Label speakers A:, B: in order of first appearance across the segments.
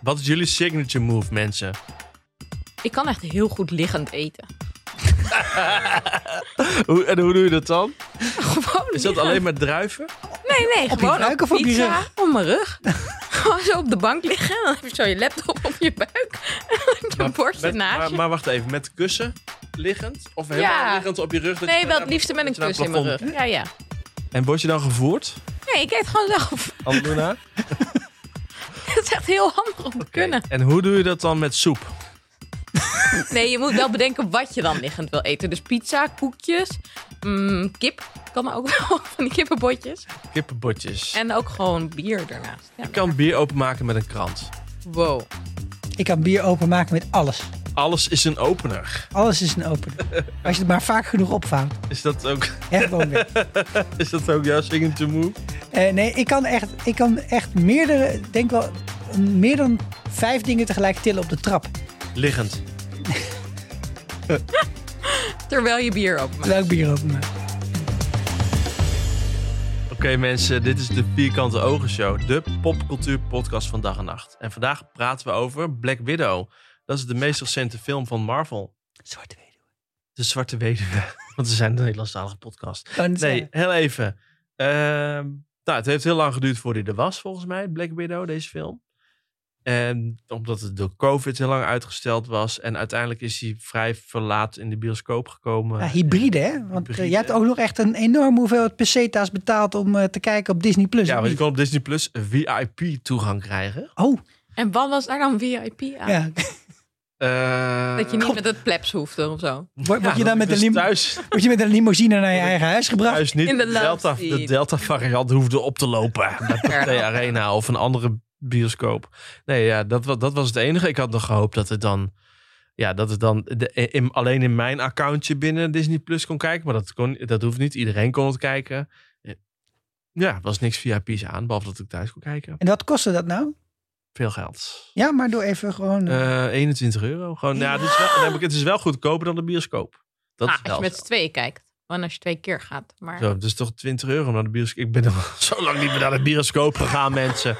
A: wat is jullie signature move, mensen?
B: Ik kan echt heel goed liggend eten.
C: Hoe, en hoe doe je dat dan?
B: Gewoon
A: Is dat
B: liggend.
A: alleen maar druiven?
B: Nee, nee,
D: je
B: gewoon
D: buik
B: op
D: of op je
B: pizza,
D: rug?
B: Op mijn rug. Gewoon zo op de bank liggen. Dan heb je zo je laptop op je buik. En dan heb je een bordje
A: Met-
B: naast
A: maar,
B: je.
A: maar wacht even, met kussen liggend? Of helemaal
B: Ja.
A: liggend op je rug? dat
B: Nee,
A: je-
B: wel het liefste met een
A: dat je naar het
B: kus in mijn
A: plafond-
B: rug. Ja, ja.
A: En word je dan gevoerd,
B: Nee, ik eet gewoon zelf.
A: Anduna?
B: Het is echt heel handig om te kunnen.
A: En hoe doe je dat dan met soep?
B: Nee, je moet wel bedenken wat je dan liggend wil eten. Dus pizza, koekjes, mm, kip. Kan ook wel van die kippenbotjes.
A: Kippenbotjes.
B: En ook gewoon bier daarnaast. Ja.
A: Je kan bier openmaken met een krant.
B: Wow.
D: Ik kan bier openmaken met alles.
A: Alles is een opener.
D: Alles is een open. Als je het maar vaak genoeg opvouwt.
A: Is dat ook,
D: Hè, gewoon weer.
A: is dat ook jouw signature move?
D: Eh, nee, ik kan, echt, ik kan echt meerdere, denk wel, meer dan vijf dingen tegelijk tillen op de trap.
A: Liggend.
B: Terwijl je bier openmaakt.
D: Terwijl ik bier openmaak.
A: Oké mensen, dit is de Vierkante Ogen Show. De popcultuur podcast van dag en nacht. En vandaag praten we over Black Widow. Dat is de meest recente film van Marvel.
D: Zwarte weduwe.
A: De Zwarte Weduwe. Want ze zijn een Nederlandstalige podcast.
D: Kan het
A: Nee,
D: zeggen.
A: heel even. Ehm, nou, het heeft heel lang geduurd voordat hij er was, volgens mij, Black Widow, deze film. En omdat het door COVID heel lang uitgesteld was. En uiteindelijk is hij vrij verlaat in de bioscoop gekomen.
D: Ja, hybride, hè? Want eh,
A: Hybride.
D: jij hebt ook nog echt een enorme hoeveelheid peseta's betaald om eh, te kijken op Disney+. Plus.
A: ja, want je kon op Disney Plus VIP toegang krijgen.
D: Oh,
B: En wat was daar dan VIP aan?
D: ja.
A: Eh,
B: Dat je niet
D: God.
B: met het plebs hoeft of zo.
D: Word,
A: ja,
D: word je
A: dat
D: dan met
A: ik
D: een,
A: dus
D: lim-
A: thuis,
D: word je met een limousine naar je eigen huis gebracht?
A: thuis niet
B: In de
A: de Delta,
B: lounge
A: de
B: seat.
A: Delta variant hoefde op te lopen. Bij Pathé Arena of een andere bioscoop. Nee, ja, dat, wa- dat was het enige. Ik had nog gehoopt dat het dan... Ja, dat het dan de, in- alleen in mijn accountje binnen Disney Plus kon kijken. Maar dat, kon, dat hoeft niet. Iedereen kon het kijken. Eh, Ja, er was niks VIP's aan. Behalve dat ik thuis kon kijken.
D: En wat kostte dat nou?
A: Veel geld.
D: Ja, maar door even gewoon...
A: Eh 21 euro. Gewoon, nou, ja, dit is wel, dan heb ik- het is wel goedkoper dan de bioscoop. Dat
B: Ah,
A: is
B: als
A: wel
B: je met z'n tweeën kijkt. Want als je twee keer gaat. Maar
A: Zo, dus toch 20 euro naar de bioscoop. Ik ben al zo lang niet meer naar de bioscoop gegaan, mensen.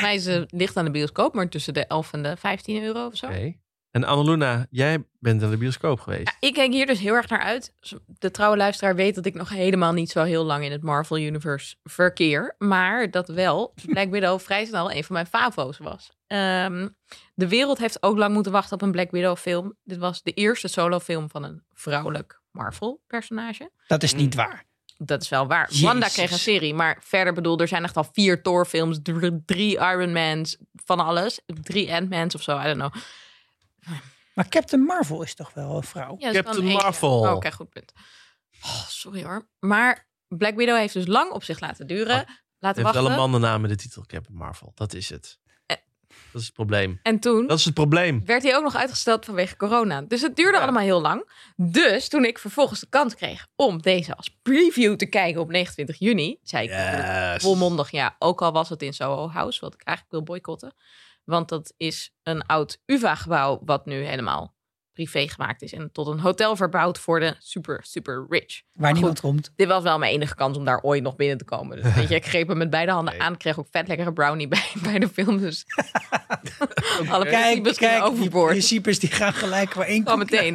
B: mij ze ligt aan de bioscoop, maar tussen de 11 en de 15 euro of zo.
A: Oké. En Annaluna, jij bent naar de bioscoop
B: Ja,
D: Eh,
A: geweest.
B: ik kijk hier dus heel erg naar uit. De trouwe luisteraar weet dat ik nog helemaal niet zo heel lang in het Marvel Universe verkeer. Maar dat wel Black Widow vrij snel een van mijn favo's was. Ehm, de wereld heeft ook lang moeten wachten op een Black Widow film. Dit was de eerste solofilm van een vrouwelijk Marvel personage.
D: dat is niet
A: mm.
D: waar.
B: Dat is wel waar.
D: Jezus.
B: Wanda kreeg een serie, maar verder bedoel, er zijn echt al vier Thor-films, dr- drie Iron Mans, van alles. Drie Ant-Mans of zo, I don't know.
D: Maar Captain Marvel is toch wel een vrouw?
B: Ja, dat is
A: Captain
B: dan eentje.
A: Marvel.
B: Oh, Oké, goed punt. Oh, sorry hoor. Maar Black Widow heeft dus lang op zich laten duren.
A: Het
B: laten
A: Oh, heeft
B: wachten.
A: wel een mannennaam in de titel, Captain Marvel. Dat is het.
B: Eh.
A: Dat is het probleem.
B: En toen
A: Dat is het probleem.
B: werd hij ook nog uitgesteld vanwege corona. Dus het duurde
A: Ja.
B: allemaal heel lang. Dus toen ik vervolgens de kans kreeg om deze als preview te kijken op 29 juni, zei ik natuurlijk
A: Yes.
B: volmondig ja. Ook al was het in Soho House, wat ik eigenlijk wil boycotten. Want dat is een oud UvA-gebouw wat nu helemaal privé gemaakt is. En tot een hotel verbouwd voor de super, super rich.
D: Waar niemand komt.
B: Dit was wel mijn enige kans om daar ooit nog binnen te komen. Dus weet je, ik greep hem met beide handen
A: Nee.
B: aan. Kreeg ook vet lekkere brownie bij, bij de film. Dus alle
D: Kijk,
B: principes
D: kijk,
B: gingen
D: die
B: overboord.
D: principes die gaan gelijk maar één
B: Al
D: kant.
B: meteen.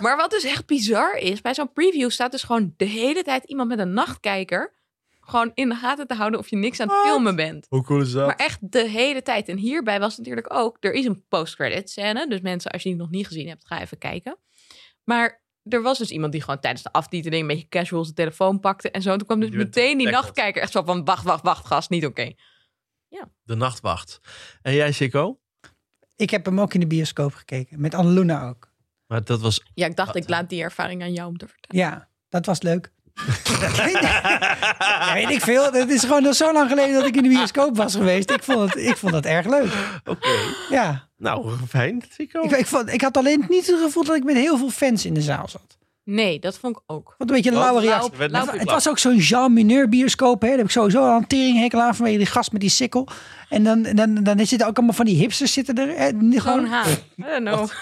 B: Maar wat dus echt bizar is, bij zo'n preview staat dus gewoon de hele tijd iemand met een nachtkijker. Gewoon in de gaten te houden of je niks aan het filmen bent.
A: Hoe cool is dat?
B: Maar echt de hele tijd. En hierbij was natuurlijk ook, er is een post-credit scène. Dus mensen, als je die nog niet gezien hebt, ga even kijken. Maar er was dus iemand die gewoon tijdens de aftiteling een beetje casual zijn telefoon pakte en zo. En toen kwam dus
A: Die werd
B: meteen die
A: getackled.
B: nachtkijker echt zo van, wacht, wacht, wacht, gast, niet oké.
A: De nachtwacht. En jij, Chico?
D: Ik heb hem ook in de bioscoop gekeken. Met Anneluna ook.
A: Maar dat was...
B: Ja, ik dacht,
A: Wat?
B: ik laat die ervaring aan jou om te vertellen.
D: Ja, dat was leuk. Ja, weet ik veel. Het is gewoon al zo lang geleden dat ik in de bioscoop was geweest. Ik vond het, ik vond het erg leuk.
A: Oké.
D: Ja.
A: Nou, fijn, Chico.
D: Ik, ik, vond, ik had alleen niet het gevoel dat ik met heel veel fans in de zaal zat.
B: Nee, dat vond ik ook.
D: Wat een
A: Oh,
D: beetje een lauwe reactie.
A: werd
B: Lauw-
A: net
D: Het
A: geklapt.
D: was ook zo'n Jean Mineur bioscoop. Hè. Daar heb ik sowieso een teringhekel aan vanwege die gast met die sikkel. En dan, dan, dan zitten ook allemaal van die hipsters zitten er. Hè,
B: Gewoon
D: die gewoon,
B: haan. I don't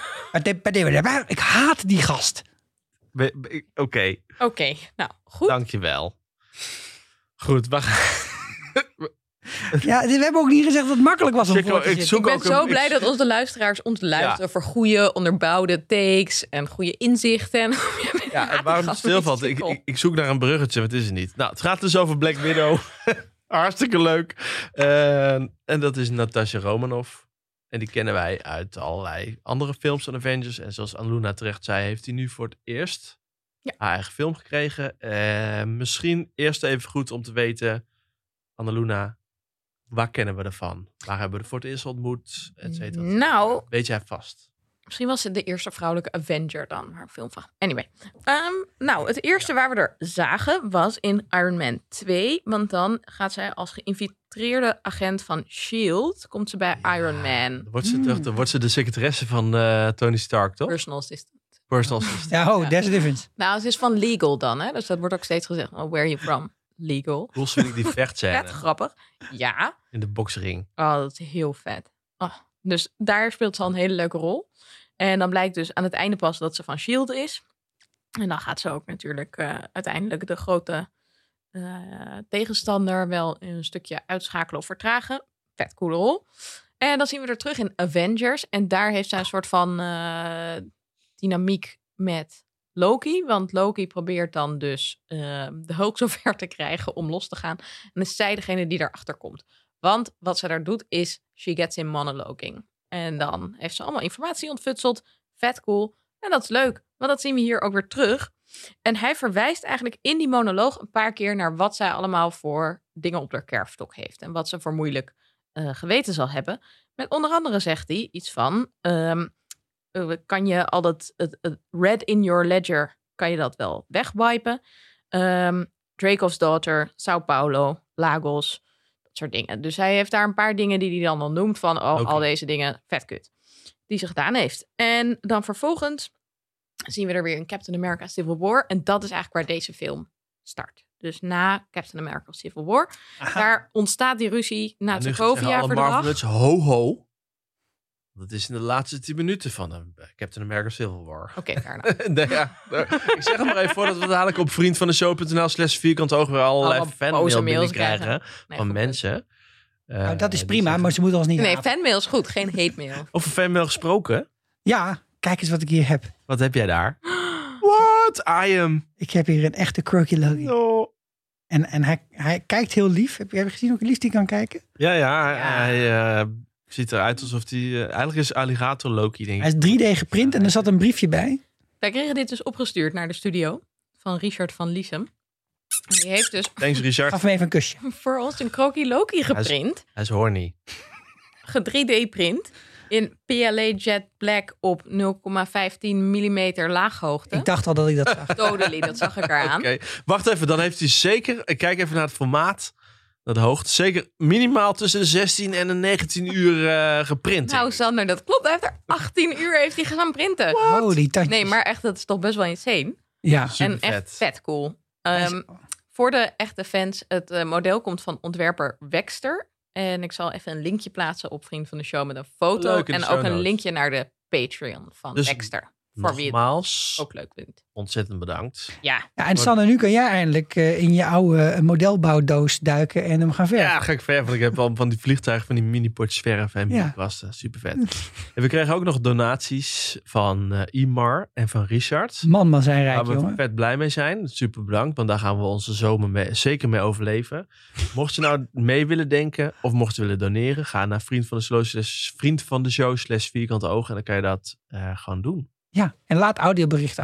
B: know. Oké,
D: ik haat die gast.
A: Be- be- Oké,
B: nou, goed.
A: dankjewel. Goed, we gaan...
D: Ja, we hebben ook niet gezegd dat het makkelijk was om
A: Chico,
D: voor
A: ik
D: te zitten.
A: zoek-
B: Ik ben
A: ook
B: zo
A: een-
B: blij
A: ik-
B: dat onze luisteraars ons luisteren voor goede, onderbouwde takes en goede inzichten. En
A: Ja, en waarom het stilvalt? Ik, ik, ik zoek naar een bruggetje, maar het is er niet. Nou, het gaat dus over Black Widow. Hartstikke leuk. Eh, en dat is Natasha Romanoff. En die kennen wij uit allerlei andere films van Avengers. En zoals Anluna terecht zei, heeft hij nu voor het eerst
B: Ja.
A: haar eigen film gekregen. Eh, misschien eerst even goed om te weten, Annaluna, waar kennen we ervan? Waar hebben we er voor het eerst ontmoet? Et cetera, et cetera.
B: Nou.
A: Weet jij vast?
B: Misschien was het de eerste vrouwelijke Avenger dan, maar film van. Anyway. Ehm, nou, het eerste waar we er zagen was in Iron Man 2. Want dan gaat zij als geïnfiltreerde agent van S.H.I.E.L.D. E Komt ze bij Iron Man.
A: Dan wordt ze,
B: Mm.
D: Hmm.
A: toch- dan wordt ze de secretaresse van eh, Tony Stark, toch?
B: Personal assistant.
A: Personal assistant.
D: Ja, oh,
B: Ja.
D: that's the difference.
B: Nou, het is van legal dan, hè? Dus dat wordt ook steeds gezegd. Well, where are you from? Legal.
A: Hoe vind ik die
B: Vet
A: vechtscène
B: grappig. Ja.
A: in de boksring?
B: Oh, dat is heel vet. Oh, dus daar speelt ze al een hele leuke rol. En dan blijkt dus aan het einde pas dat ze van S.H.I.E.L.D. E is. En dan gaat ze ook natuurlijk eh, uiteindelijk de grote eh, tegenstander wel een stukje uitschakelen of vertragen. Vet coole rol. En dan zien we er terug in Avengers. En daar heeft zij een soort van eh, dynamiek met Loki. Want Loki probeert dan dus eh, de Hulk zover te krijgen om los te gaan. En is zij degene die daarachter komt. Want wat ze daar doet is, she gets in monologuing. En dan heeft ze allemaal informatie ontfutseld. Vet cool. En dat is leuk, want dat zien we hier ook weer terug. En hij verwijst eigenlijk in die monoloog een paar keer naar wat zij allemaal voor dingen op haar kerfstok heeft. En wat ze voor moeilijk eh, geweten zal hebben. Met onder andere zegt hij iets van, ehm, eh, kan je al dat het, het red in your ledger, kan je dat wel wegwipen? Ehm Dracov's daughter, Sao Paulo, Lagos, dat soort dingen. Dus hij heeft daar een paar dingen die hij dan al noemt van oh,
A: Oké.
B: al deze dingen, vet kut, die ze gedaan heeft. En dan vervolgens zien we er weer in Captain America Civil War. En dat is eigenlijk waar deze film start. Dus na Captain America Civil War.
D: Nou,
B: Daar ontstaat die ruzie na Nou, het
A: En nu gaan zeggen alle
B: Sokovia-verdrag.
A: Marvelettes ho ho. Dat is in de laatste tien minuten van eh, Captain America Civil War.
B: Oké, daarna.
A: nee, ja, nou, ik zeg het maar even voordat we dadelijk op vriend van de show.nl slash vierkant oog weer allerlei
B: Allemaal boze
A: fanmail
B: mails
A: binnenkrijgen
B: krijgen. Nee,
A: van
B: goed.
A: mensen. Eh,
D: Nou, dat is
A: die
D: prima,
A: zeggen-
D: maar ze moeten ons niet
B: Nee,
D: haten.
B: fanmail is goed, geen hate mail.
A: Over fanmail gesproken,
D: Ja, kijk eens wat ik hier heb.
A: wat heb jij daar? What? I am...
D: Ik heb hier een echte croaky Logie.
A: No.
D: En, en hij, hij kijkt heel lief. Heb je, heb je gezien hoe lief die kan kijken?
A: Ja, ja,
B: Ja.
A: hij eh, ziet eruit alsof hij... eh, eigenlijk is Alligator Loki, denk ik.
D: Hij is 3D geprint en er zat een briefje bij.
B: Wij kregen dit dus opgestuurd naar de studio van Richard van Liesem. En Die heeft dus
A: Thanks, Richard.
D: Gaf hem even een kusje.
B: voor ons een Croaky Loki geprint,
A: Hij is horny.
B: ge 3D print, in PLA Jet Black op 0,15 mm laaghoogte.
D: Ik dacht al dat ik dat zag.
B: Totally, dat zag ik eraan.
A: Oké, wacht even. Dan heeft hij zeker, ik kijk even naar het formaat, naar de hoogte, zeker minimaal tussen de 16 en de 19 uur eh, geprint.
B: Nou, Sander, dat klopt. Hij heeft er 18 uur heeft hij gaan printen.
D: Holy tandjes.
B: Nee, maar echt, dat is toch best wel insane.
D: Ja.
B: en echt vet cool. Ehm, voor de echte fans, het eh, model komt van ontwerper Wexter. En ik zal even een linkje plaatsen op Vriend van de Show met een foto.
A: Leuk in de
B: En
A: show
B: ook een
A: notes.
B: linkje naar de Patreon van
A: Dus-
B: Wexter. Voor wie het Oh.
A: Nogmaals,
B: ook leuk vindt.
A: ontzettend bedankt.
B: Ja,
D: Ja, en Sanne, nu kan jij eindelijk eh, in je oude eh, modelbouwdoos duiken en hem gaan verven.
A: Ja, ga ik verven. want Ik heb al van die vliegtuigen, van die mini-potjes verf en
D: Ja.
A: mini-kwasten. eh, Super vet. En we kregen ook nog donaties van eh, Imar en van Richard.
D: Man, man, zijn rijk,
A: Waar we
D: jongen.
A: vet blij mee zijn. Super bedankt, want daar gaan we onze zomer mee- zeker mee overleven. mocht je nou mee willen denken of mocht je willen doneren, ga naar vriend van de show slash, vriend van de show slash vierkante ogen en dan kan je dat eh, gewoon doen.
D: Ja, en laat audioberichten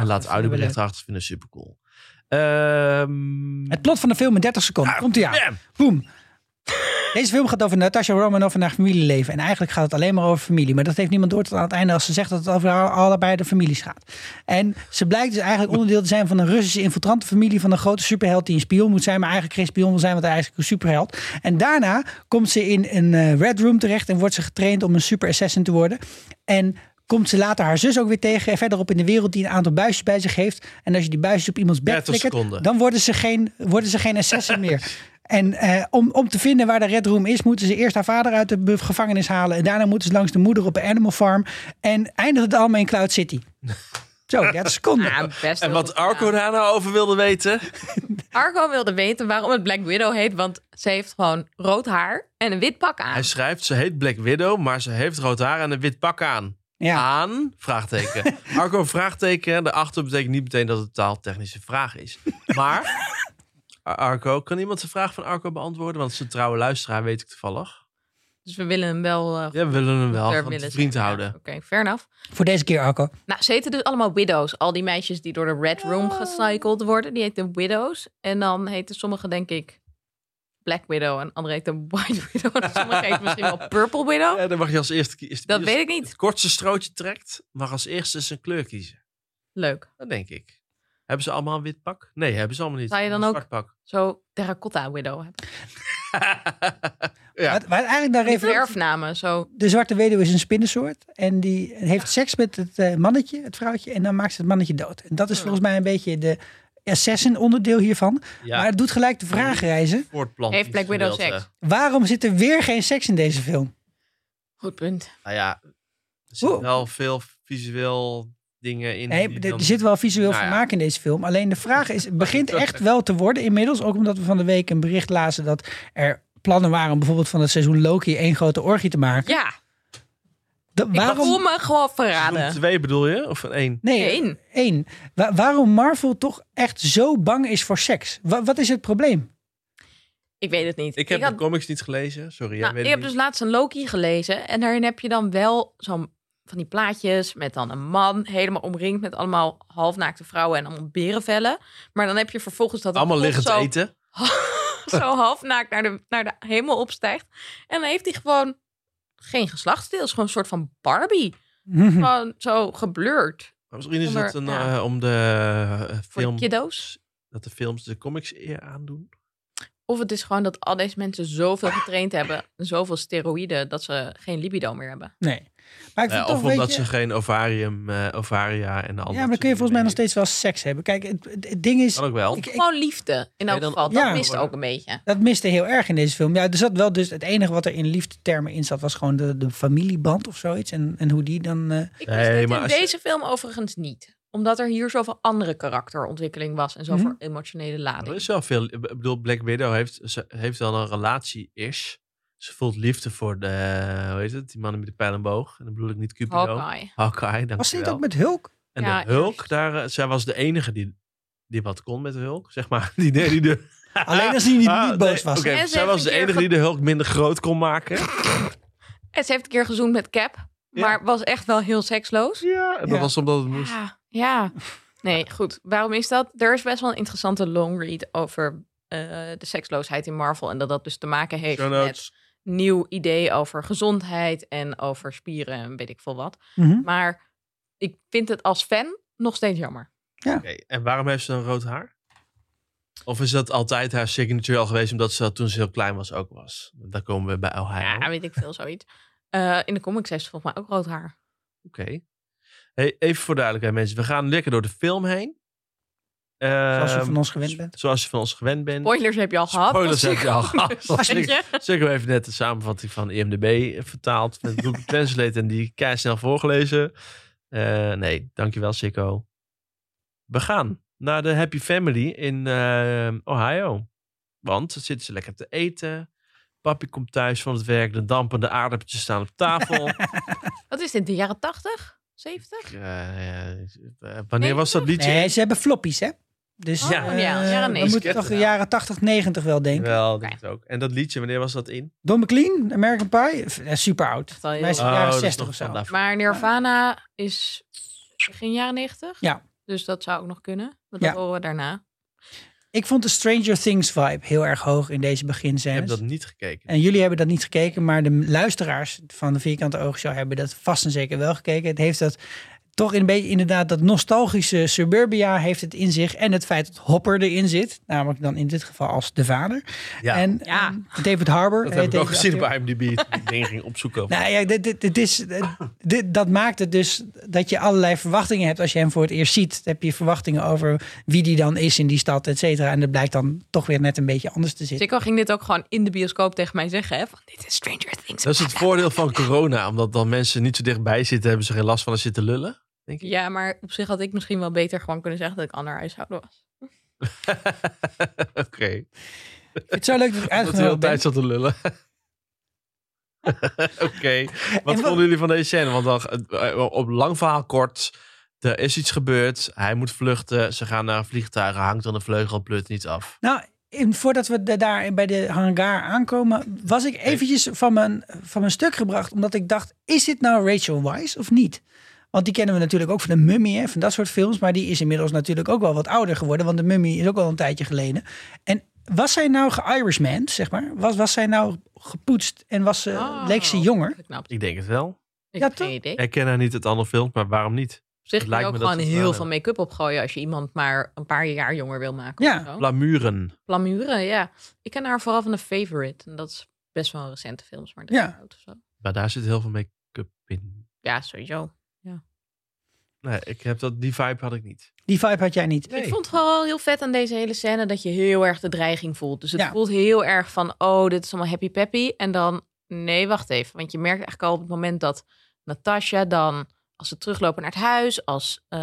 A: En
D: achter.
A: laat
D: Dat vinden we
A: audiobericht
D: leuk.
A: achter, vinden we super cool. Ehm,
D: Het plot van de film in 30 seconden.
A: Ah.
D: Komt hij aan.
A: bam!
D: Boom. Deze film gaat over Natasha Romanoff en haar familieleven. En eigenlijk gaat het alleen maar over familie. Maar dat heeft niemand door tot aan het einde als ze zegt dat het over haar- allebei de families gaat. En ze blijkt dus eigenlijk onderdeel te zijn van een Russische infiltrante familie van een grote superheld die een spion moet zijn, maar eigenlijk geen spion wil zijn, want hij is eigenlijk een superheld. En daarna komt ze in een eh, Red Room terecht en wordt ze getraind om een super assassin te worden. En komt ze later haar zus ook weer tegen en verderop in de wereld die een aantal buisjes bij zich heeft. En als je die buisjes op iemands bed
A: 30
D: flikkert,
A: seconden.
D: dan worden ze geen, worden ze geen assassin meer. En eh, om, om te vinden waar de Red Room is, moeten ze eerst haar vader uit de be- gevangenis halen. En daarna moeten ze langs de moeder op een animal farm. En eindigt het allemaal in Cloud City. Zo, 30 seconden.
B: Ah, best
A: En
B: heel
A: wat
B: goed
A: Arco
B: gedaan.
A: daar nou over wilde weten.
B: Arco wilde weten waarom het Black Widow heet, want ze heeft gewoon rood haar en een wit pak aan.
A: Hij schrijft, ze heet Black Widow, maar ze heeft rood haar en een wit pak aan.
D: Ja.
A: Aan? Vraagteken. Arco, vraagteken. Daarachter betekent niet meteen dat het een taaltechnische vraag is. Maar, Ar- Arco, kan iemand de vraag van Arco beantwoorden? Want ze trouwe luisteraar, weet ik toevallig.
B: Dus we willen hem wel eh,
A: Ja, we willen hem wel
B: ter
A: van
B: wille
A: de vriend
B: zijn. Ja,
A: houden.
B: Oké, fair enough.
D: Voor deze keer, Arco.
B: Nou, ze heten dus allemaal widows. Al die meisjes die door de Red
A: Oh.
B: Room gecycled worden, die heten widows. En dan heten sommige, denk ik, Black Widow. En andere heten White Widow. En sommige heten misschien wel Purple Widow.
A: Ja, dus- dan mag je als eerste kiezen.
B: Dat weet ik niet.
A: Het kortste strootje trekt, mag als eerste zijn kleur kiezen.
B: Leuk.
A: Dat denk ik. Hebben ze allemaal een wit pak? Nee, hebben ze allemaal niet.
B: Zou je dan
A: Een zwart pak.
B: Zo terracotta Widow. hebben.
A: Ja.
D: Wat, wat eigenlijk daar even...
B: Verfnamen, zo.
D: De zwarte weduwe is een spinnensoort. En die heeft seks met het eh, mannetje, het vrouwtje. En dan maakt ze het mannetje dood. En dat is
B: Hmm.
D: volgens mij een beetje de assassin onderdeel hiervan. Maar
A: ja,
D: het doet gelijk de vraag reizen.
A: voortplanting.
B: Heeft Black Widow seks?
D: Waarom zit er weer geen seks in deze film?
B: Goed punt.
A: Nou ja, er zitten
D: Oeh.
A: wel veel visueel dingen in.
D: Nee,
A: die
D: er-
A: dan-
D: er zit wel visueel
A: Nou ja.
D: vermaak in deze film. Alleen de vraag is, het begint echt wel te worden inmiddels. Ook omdat we van de week een bericht lazen dat er plannen waren... om bijvoorbeeld van het seizoen Loki één grote orgie te maken.
B: Ja,
D: Dat-
B: ik voel me gewoon
A: Seizoen
B: verraden.
A: twee bedoel je? Of een één?
D: Nee, eh,
B: Eén.
D: één. Wa- waarom Marvel toch echt zo bang is voor seks? Wa- wat is het probleem?
B: Ik weet het niet.
A: Ik heb
B: had-
A: de comics niet gelezen. Sorry, jij
B: Nou,
A: weet
B: ik
A: het
B: heb
A: niet.
B: dus laatst een Loki gelezen. En daarin heb je dan wel zo'n van die plaatjes met dan een man helemaal omringd met allemaal halfnaakte vrouwen en allemaal berenvellen. Maar dan heb je vervolgens dat het
A: Allemaal
B: God
A: liggend
B: zo,
A: eten.
B: zo halfnaakt naar de, naar de hemel opstijgt. En dan heeft hij gewoon geen geslachtsdeel. is gewoon een soort van Barbie.
A: Hm. Oh.
D: Mhm.
B: Gewoon zo geblurred
A: Maar misschien is dat een,
B: Onder- ja.
A: eh, om de eh,
B: voor
A: film...
B: de kiddo's.
A: Dat de films de comics eer aandoen.
B: Of het is gewoon dat al deze mensen zoveel getraind hebben, zoveel steroïden, dat ze geen libido meer hebben.
D: Nee. Maar ik vind
A: Eh,
D: toch,
A: of
D: weet
A: omdat
D: je-
A: ze geen ovarium, eh, ovaria en de andere.
D: Ja, maar dan kun je volgens mij nog steeds wel steeds wel seks hebben. Kijk, het, het- het ding is,
A: Kan ook wel.
D: ik, ik-
B: Gewoon liefde in
A: Nee,
B: elk
A: dan-
B: geval.
D: Ja.
B: Dat mist ook een beetje.
D: dat miste heel erg in deze film. Ja, er zat wel dus het enige wat er in liefdetermen in zat, was gewoon de, de familieband of zoiets. En, en hoe die dan. eh,
B: Ik
A: Nee,
B: wist dit
A: maar
B: in
A: als je-
B: deze film overigens niet. Omdat er hier zoveel andere karakterontwikkeling was en zoveel emotionele
A: Er
B: lading.
A: is wel veel. Ik bedoel, Black Widow heeft, ze heeft wel een relatie-ish. Ze voelt liefde voor de, hoe heet het, die mannen met de pijl en boog. En dan bedoel ik niet Cupido.
B: Hawkeye.
A: Hawkeye, dankjewel.
D: was dit ook met Hulk?
A: En
B: Ja,
A: de Hulk,
B: eerst.
A: daar, eh, zij was de enige die, die wat kon met de Hulk, zeg maar. Die, die, die de,
D: Alleen als hij niet,
A: Ah,
D: niet boos
A: nee,
D: was.
A: oké,
B: En ze
A: zij
B: heeft
A: was de
B: een keer
A: enige
B: ge-
A: die de Hulk minder groot kon maken.
B: En ze heeft een keer gezoend met Cap,
A: Ja.
B: maar was echt wel heel seksloos.
A: Ja, en dat
D: Ja.
A: was omdat het moest.
B: Ja, ja. Nee, goed. Waarom is dat? Er is best wel een interessante long read over eh, de seksloosheid in Marvel. En dat dat dus te maken heeft
A: Show
B: met
A: notes.
B: nieuw idee over gezondheid en over spieren en weet ik veel wat.
A: Ehm,
D: Mhm.
B: Maar ik vind het als fan nog steeds jammer.
A: Oké, En waarom heeft ze dan rood haar? Of is dat altijd haar signature al geweest, omdat ze dat toen ze heel klein was ook was? Daar komen we bij Ohio.
B: Ja, weet ik veel, zoiets. Eh, in de comics heeft ze volgens mij ook rood haar.
A: Oké. Hey, even voor duidelijkheid, mensen. We gaan lekker door de film heen. Ehm,
D: Zoals je van ons gewend bent.
A: Zoals je van ons gewend bent.
B: Spoilers heb je al gehad.
A: Spoilers heb je al gehad.
B: Dus, weet je?
A: Zeker even net de samenvatting van IMDb vertaald met Google Translate en die kei snel voorgelezen. Eh, nee, dankjewel Sikko. We gaan naar de Happy Family in eh, Ohio. Want dan zitten ze lekker te eten. Papi komt thuis van het werk. De dampende aardappeltjes staan op tafel.
B: Wat is dit, de jaren 80? 70?
A: Eh, eh, wanneer was dat liedje?
D: Nee, ze hebben floppies, hè? Dus
B: Oh,
A: ja,
D: eh,
B: jaren
D: we
B: 90.
D: moeten toch de jaren 80, 90 wel denken.
A: Wel, dat is ook. En dat liedje, wanneer was dat in?
D: Don McLean, American Pie, f- eh, super oud.
B: Echt al heel
D: Wij zijn
B: oud.
D: jaren
A: Oh, dat is
D: 60
A: nog
D: of zo.
A: van daarvoor.
B: Maar Nirvana is begin jaren 90.
D: Ja.
B: Dus dat zou ook nog kunnen. Maar dat
D: Ja.
B: horen we daarna.
D: Ik vond de Stranger Things vibe heel erg hoog in deze
A: Ik heb
D: beginscènes.
A: dat niet gekeken.
D: En jullie hebben dat niet gekeken, maar de luisteraars van de Vierkante Oogshow hebben dat vast en zeker wel gekeken. Het heeft dat toch een beetje inderdaad dat nostalgische suburbia heeft het in zich. En het feit dat Hopper erin zit, namelijk dan in dit geval als de vader.
A: Ja,
D: En
B: Ja.
D: ehm, David Harbour.
A: dat
D: heet
A: heb ik ook
D: deze
A: gezien
D: acteur.
A: op IMDb. toen ik dingen ging opzoeken. over-
D: Nou ja, dit, dit, dit is, dit, dat maakt het dus dat je allerlei verwachtingen hebt. Als je hem voor het eerst ziet, heb je verwachtingen over wie die dan is in die stad, et cetera. En dat blijkt dan toch weer net een beetje anders te zitten.
B: Sikko ging dit ook gewoon in de bioscoop tegen mij zeggen. Hè? Van, dit is Stranger Things.
A: Dat is het voordeel van corona. Omdat dan mensen niet zo dichtbij zitten, hebben ze geen last van als ze zitten lullen. denk ik.
B: Ja, maar op zich had ik misschien wel beter gewoon kunnen zeggen dat ik ander huishouden was.
A: Oké.
D: Ik vind het zo leuk dat
A: Dat de hele
D: ik uitgenodigd ben.
A: tijd zat te lullen. Oké. Wat
D: wat-
A: vonden jullie van deze scène? Want dan, eh, op lang verhaal kort. Er is iets gebeurd. Hij moet vluchten. Ze gaan naar een vliegtuig. Hij hangt aan de vleugel. Pleurt niet af.
D: Nou, in, voordat we de- daar bij de hangar aankomen, was ik eventjes van mijn, van mijn stuk gebracht. Omdat ik dacht, is dit nou Rachel Wise of niet? Want die kennen we natuurlijk ook van de Mummy, hè, van dat soort films. Maar die is inmiddels natuurlijk ook wel wat ouder geworden. Want de Mummy is ook al een tijdje geleden. En was zij nou ge-Irishman, zeg maar? Was, was zij nou gepoetst en was ze,
B: Oh,
D: Eh, leek ze jonger?
B: Geknapt. Ik
A: Ik denk het wel.
D: Ja,
B: heb geen
D: toch?
B: idee.
A: Ik ken haar niet het andere film, maar waarom niet?
B: Op zich
A: het
B: kun je
A: lijkt me dat
B: ook gewoon
A: ze het
B: heel
A: wel
B: veel make-up opgooien als je iemand maar een paar jaar jonger wil maken.
D: Ja.
B: of
A: Oh.
B: zo.
A: Plamuren.
B: Plamuren, ja. Ik ken haar vooral van de Favorite. En dat is best wel een recente films, maar dat
D: Ja.
B: is oud of zo.
A: Maar daar zit heel veel make-up in.
B: Ja, sowieso.
A: Nee, ik heb dat, die vibe had ik niet.
D: Die vibe had jij niet.
A: Nee.
B: Ik vond het wel heel vet aan deze hele scène dat je heel erg de dreiging voelt. Dus het
D: Ja.
B: voelt heel erg van, oh, dit is allemaal happy peppy. En dan, nee, wacht even. Want je merkt eigenlijk al op het moment dat Natasja dan, als ze teruglopen naar het huis, als eh,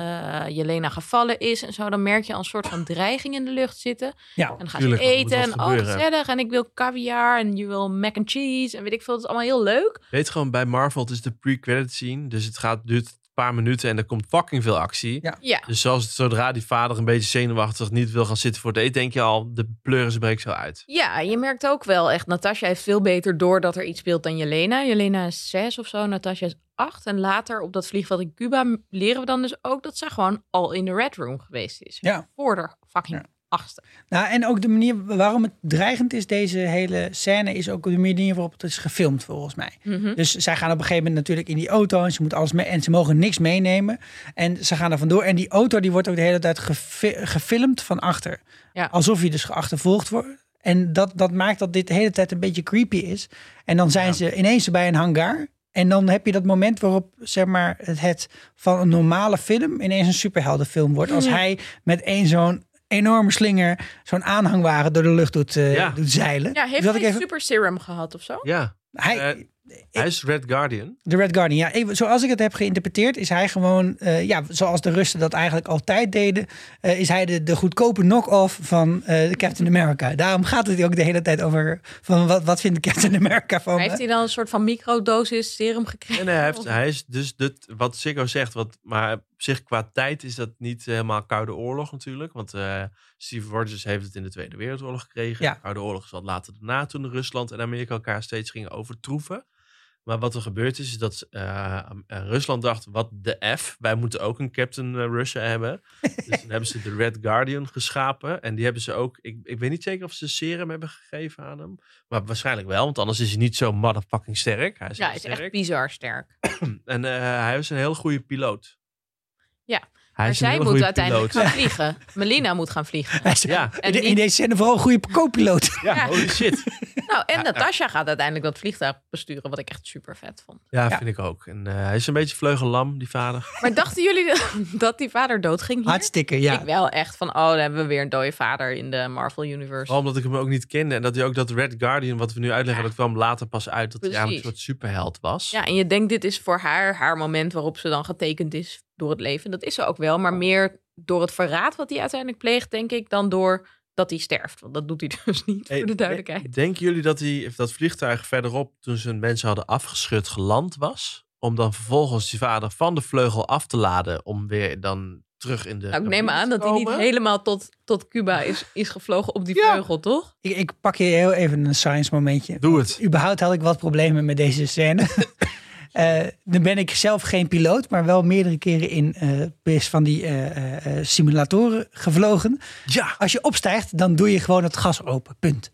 B: Jelena gevallen is en zo, dan merk je al een soort van dreiging in de lucht zitten.
D: Ja,
B: En dan gaan
A: tuurlijk,
B: ze
A: want er moet
B: eten
A: wat
B: en, oh,
A: gebeuren.
B: gezellig. En ik wil caviar en je wil mac and cheese en weet ik veel. Het is allemaal heel leuk.
A: Weet gewoon, bij Marvel het is de pre-credit scene. Dus het gaat, duurt een paar minuten en er komt fucking veel actie.
D: Ja.
B: Ja.
A: Dus zoals, zodra die vader een beetje zenuwachtig niet wil gaan zitten voor het eten, denk je al, de pleuren ze breekt zo uit.
B: Ja, je merkt ook wel echt. Natasja heeft veel beter door dat er iets speelt dan Jelena. Jelena is zes of zo, Natasja is acht. En later op dat vliegveld in Cuba m- leren we dan dus ook dat zij gewoon al in de Red Room geweest is.
D: Ja.
B: Voor de fucking
D: Ja.
B: achtste.
D: Nou, en ook de manier waarom het dreigend is, deze hele scène, is ook de manier waarop het is gefilmd, volgens mij.
B: Hm?
D: Dus zij gaan op een gegeven moment natuurlijk in die auto en ze, moet alles mee, en ze mogen niks meenemen. En ze gaan er vandoor. En die auto die wordt ook de hele tijd gefi- gefilmd van achter.
B: Ja.
D: Alsof je dus geachtervolgd wordt. En dat, dat maakt dat dit de hele tijd een beetje creepy is. En dan zijn
A: Ja.
D: ze ineens bij een hangar. En dan heb je dat moment waarop zeg maar, het, het van een normale film ineens een superheldenfilm wordt. Als hij met één zo'n enorme slinger zo'n aanhangwagen door de lucht doet, eh,
A: Ja.
D: doet zeilen.
B: Ja, heeft
D: Dat
B: hij
D: ik even-
B: super serum gehad of zo?
A: Ja,
D: hij,
A: Eh, hij is Red Guardian.
D: De Red Guardian, ja. Ik- zoals ik het heb geïnterpreteerd, is hij gewoon, eh, ja, zoals de Russen dat eigenlijk altijd deden, eh, is hij de, de goedkope knock-off van eh, Captain America. Daarom gaat het ook de hele tijd over van wat, wat vindt Captain America van
B: Maar
D: me?
B: Heeft hij dan een soort van microdosis serum gekregen?
A: En hij, heeft, hij is dus dit, wat Siggo zegt, wat, maar op zich qua tijd is dat niet eh, helemaal Koude Oorlog natuurlijk. Want eh, Steve Rogers heeft het in de Tweede Wereldoorlog gekregen.
D: Ja.
A: De Koude Oorlog is wat later daarna toen Rusland en Amerika elkaar steeds gingen overtroeven. Maar wat er gebeurd is, is dat eh, eh, Rusland dacht, wat de F, wij moeten ook een Captain eh, Russia hebben. Dus dan hebben ze de Red Guardian geschapen. En die hebben ze ook, ik, ik weet niet zeker of ze serum hebben gegeven aan hem. Maar waarschijnlijk wel, want anders is hij niet zo motherfucking sterk. Hij is,
B: Ja,
A: heel
B: hij is
A: sterk.
B: echt bizar sterk.
A: En eh, hij is een hele goede piloot.
B: Ja,
A: hij is
B: Maar
A: een
B: zij
A: hele
B: moet
A: goede
B: uiteindelijk
A: piloot.
B: gaan vliegen. Melina moet gaan vliegen.
D: Hij is-
A: Ja,
D: in,
B: En
D: de- in
B: niet-
D: deze scène vooral een goede co-piloot.
A: ja,
B: Ja.
A: holy shit.
B: Nou, en Natasja gaat uiteindelijk dat vliegtuig besturen, wat ik echt super vet vond.
A: Ja,
D: Ja.
A: vind ik ook. En eh, hij is een beetje vleugellam, die vader.
B: Maar dachten jullie dat die vader doodging hier?
D: Hartstikke, ja.
B: Ik wel echt van, oh, dan hebben we weer een dode vader in de Marvel Universe.
A: Vooral omdat ik hem ook niet kende. En dat hij ook dat Red Guardian, wat we nu uitleggen, dat kwam later pas uit. Dat hij eigenlijk een soort
B: Precies.
A: superheld was.
B: Ja, en je denkt, dit is voor haar haar moment waarop ze dan getekend is door het leven. Dat is ze ook wel, maar
A: Oh.
B: meer door het verraad wat hij uiteindelijk pleegt, denk ik, dan door dat hij sterft. Want dat doet hij dus niet,
A: Hey,
B: voor de duidelijkheid.
A: de- Denken jullie dat die, of dat vliegtuig verderop, toen ze mensen hadden afgeschud, geland was? Om dan vervolgens die vader van de vleugel af te laden. Om weer dan terug in de.
B: Nou, ik
A: cabine
B: neem
A: te
B: aan dat hij niet
A: komen?
B: helemaal tot, tot Cuba is, is gevlogen op die
A: Ja.
B: vleugel, toch?
D: Ik, ik pak je heel even een science momentje.
A: Doe het.
D: Überhaupt had ik wat problemen met deze scène. Eh, dan ben ik zelf geen piloot, maar wel meerdere keren in eh, van die eh, eh, eh, simulatoren gevlogen.
A: Ja.
D: Als je opstijgt, dan doe je gewoon het gas open. Punt.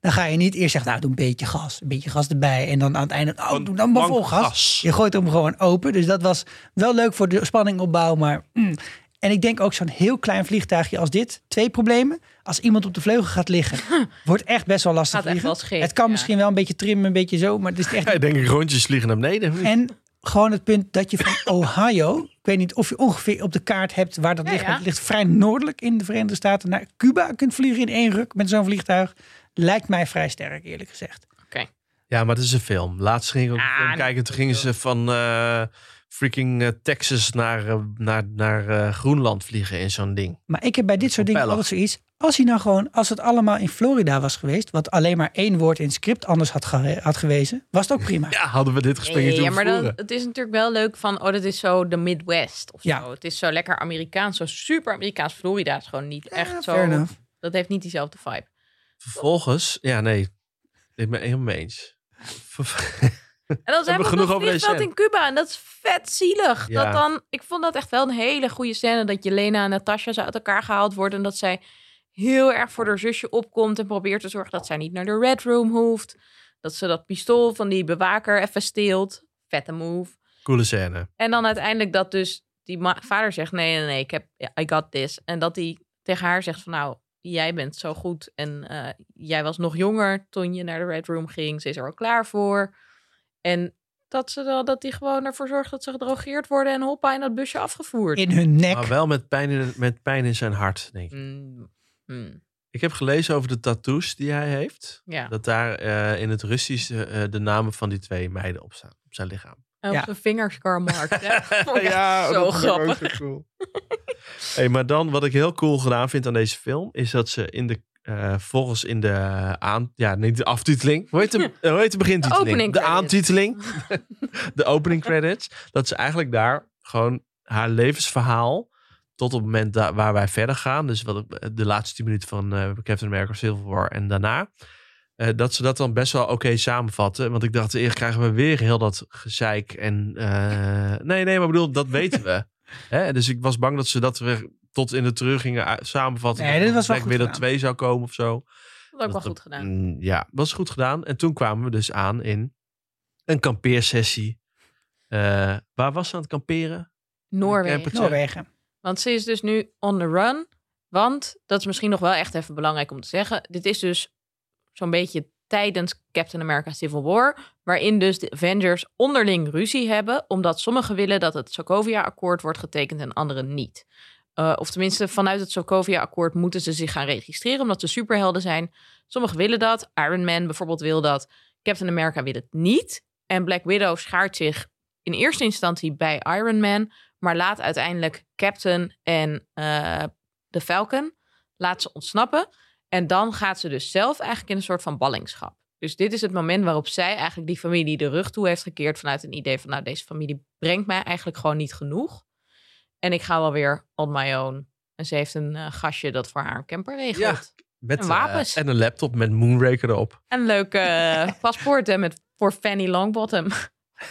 D: Dan ga je niet eerst zeggen, nou, doe een beetje gas. Een beetje gas erbij. En dan aan het einde, oh,
A: Een
D: doe dan maar vol
A: bank
D: gas.
A: gas.
D: Je gooit hem gewoon open. Dus dat was wel leuk voor de spanningopbouw, maar... mm. En ik denk ook zo'n heel klein vliegtuigje als dit. Twee problemen. Als iemand op de vleugel gaat liggen, wordt echt best wel lastig
B: Gaat echt
D: vliegen.
B: wel scheef,
D: het kan
B: ja.
D: misschien wel een beetje trimmen, een beetje zo. Maar het is echt
A: Ja, ik denk ik rondjes vliegen naar beneden. of niet?
D: en gewoon het punt dat je van Ohio, ik weet niet of je ongeveer op de kaart hebt waar dat
B: Ja,
D: ligt, maar
B: ja.
D: het ligt vrij noordelijk in de Verenigde Staten, naar Cuba kunt vliegen in één ruk met zo'n vliegtuig. Lijkt mij vrij sterk, eerlijk gezegd.
B: Oké.
A: Ja, maar het is een film. Laatst ging ik ook een
B: Ah,
A: film
B: dat
A: kijken.
B: is
A: Toen
B: wel
A: gingen ze van, eh, freaking eh, Texas naar, eh, naar, naar eh, Groenland vliegen in zo'n ding.
D: Maar ik heb bij dit soort dingen
A: Propeller.
D: altijd zoiets. Als hij nou gewoon, als het allemaal in Florida was geweest, wat alleen maar één woord in het script anders had, ge- had gewezen, was het ook prima.
A: Ja, hadden we dit gesprek
B: Nee,
A: niet
B: ja,
A: doen
B: maar dan, het is natuurlijk wel leuk van, oh, dat is zo de Midwest of
D: Ja.
B: zo. Het is zo lekker Amerikaans, zo super Amerikaans. Florida is gewoon niet
D: Ja,
B: echt zo.
D: fair enough.
B: Dat heeft niet diezelfde vibe.
A: Vervolgens, ja, nee. Ik ben het helemaal mee eens. Ver-
B: En dan zijn we
A: hebben genoeg
B: genoeg
A: over
B: over
A: deze
B: in Cuba en dat is vet zielig.
A: Ja.
B: Dat dan, ik vond dat echt wel een hele goede scène dat Jelena en Natasha zo uit elkaar gehaald worden en dat zij heel erg voor haar zusje opkomt en probeert te zorgen dat zij niet naar de Red Room hoeft. Dat ze dat pistool van die bewaker even steelt. Vette move.
A: Coole scène.
B: En dan uiteindelijk dat dus die ma- vader zegt: nee, nee, nee, ik heb, I got this. En dat hij tegen haar zegt: van nou, jij bent zo goed. En eh, jij was nog jonger toen je naar de Red Room ging. Ze is er al klaar voor. En dat ze dan, dat hij gewoon ervoor zorgt dat ze gedrogeerd worden en hoppa in dat busje afgevoerd.
D: In hun nek.
A: Maar wel met pijn, in, met pijn in zijn hart, denk ik.
B: Mm, mm,
A: Ik heb gelezen over de tattoos die hij heeft.
B: ja,
A: Dat daar eh, in het Russisch eh, de namen van die twee meiden op staan. Op zijn lichaam.
B: En op
D: Ja.
B: zijn vingers Karmark. ja,
A: dat
B: zo
A: vond ik ook zo
B: grappig.
A: cool. hey, maar dan wat ik heel cool gedaan vind aan deze film. Is dat ze in de... eh, volgens in de aan... Ja, niet de aftiteling. Hoe heet de, hoe heet de beginteling?
B: opening
A: de
B: credits.
A: aantiteling. de opening credits. Dat ze eigenlijk daar gewoon haar levensverhaal tot op het moment da- waar wij verder gaan. Dus wat, ik- de laatste 10 minuten van eh, Captain America Civil War en daarna. eh, dat ze dat dan best wel oké samenvatten. Want ik dacht, eerst krijgen we weer heel dat gezeik. En eh, nee, nee, maar ik bedoel, dat weten we. Hè? Dus ik was bang dat ze dat weer tot in de terug gingen uit- samenvatten.
D: Nee, dit was wel goed
A: weer dat
D: gedaan.
A: twee zou komen of zo.
B: Dat ook wel
A: Dat-
B: goed gedaan.
A: Mm, Ja, was goed gedaan. En toen kwamen we dus aan in een kampeersessie. Eh, waar was ze aan het kamperen?
B: Noorwegen.
A: camper-
D: Noorwegen.
B: Want ze is dus nu on the run. Want, dat is misschien nog wel echt even belangrijk om te zeggen. Dit is dus zo'n beetje tijdens Captain America Civil War. Waarin dus de Avengers onderling ruzie hebben. Omdat sommigen willen dat het Sokovia-akkoord wordt getekend en anderen niet. Eh, of tenminste, vanuit het Sokovia-akkoord moeten ze zich gaan registreren. Omdat ze superhelden zijn. Sommigen willen dat. Iron Man bijvoorbeeld wil dat. Captain America wil het niet. En Black Widow schaart zich in eerste instantie bij Iron Man. Maar laat uiteindelijk Captain en eh, de Falcon laat ze ontsnappen. En dan gaat ze dus zelf eigenlijk in een soort van ballingschap. Dus dit is het moment waarop zij eigenlijk die familie de rug toe heeft gekeerd vanuit een idee van nou deze familie brengt mij eigenlijk gewoon niet genoeg. En ik ga wel weer on my own. En ze heeft een eh, gastje dat voor haar een camper regelt.
A: Met
B: En wapens.
A: eh, en een laptop met Moonraker erop.
B: En leuke eh, paspoorten met voor Fanny Longbottom.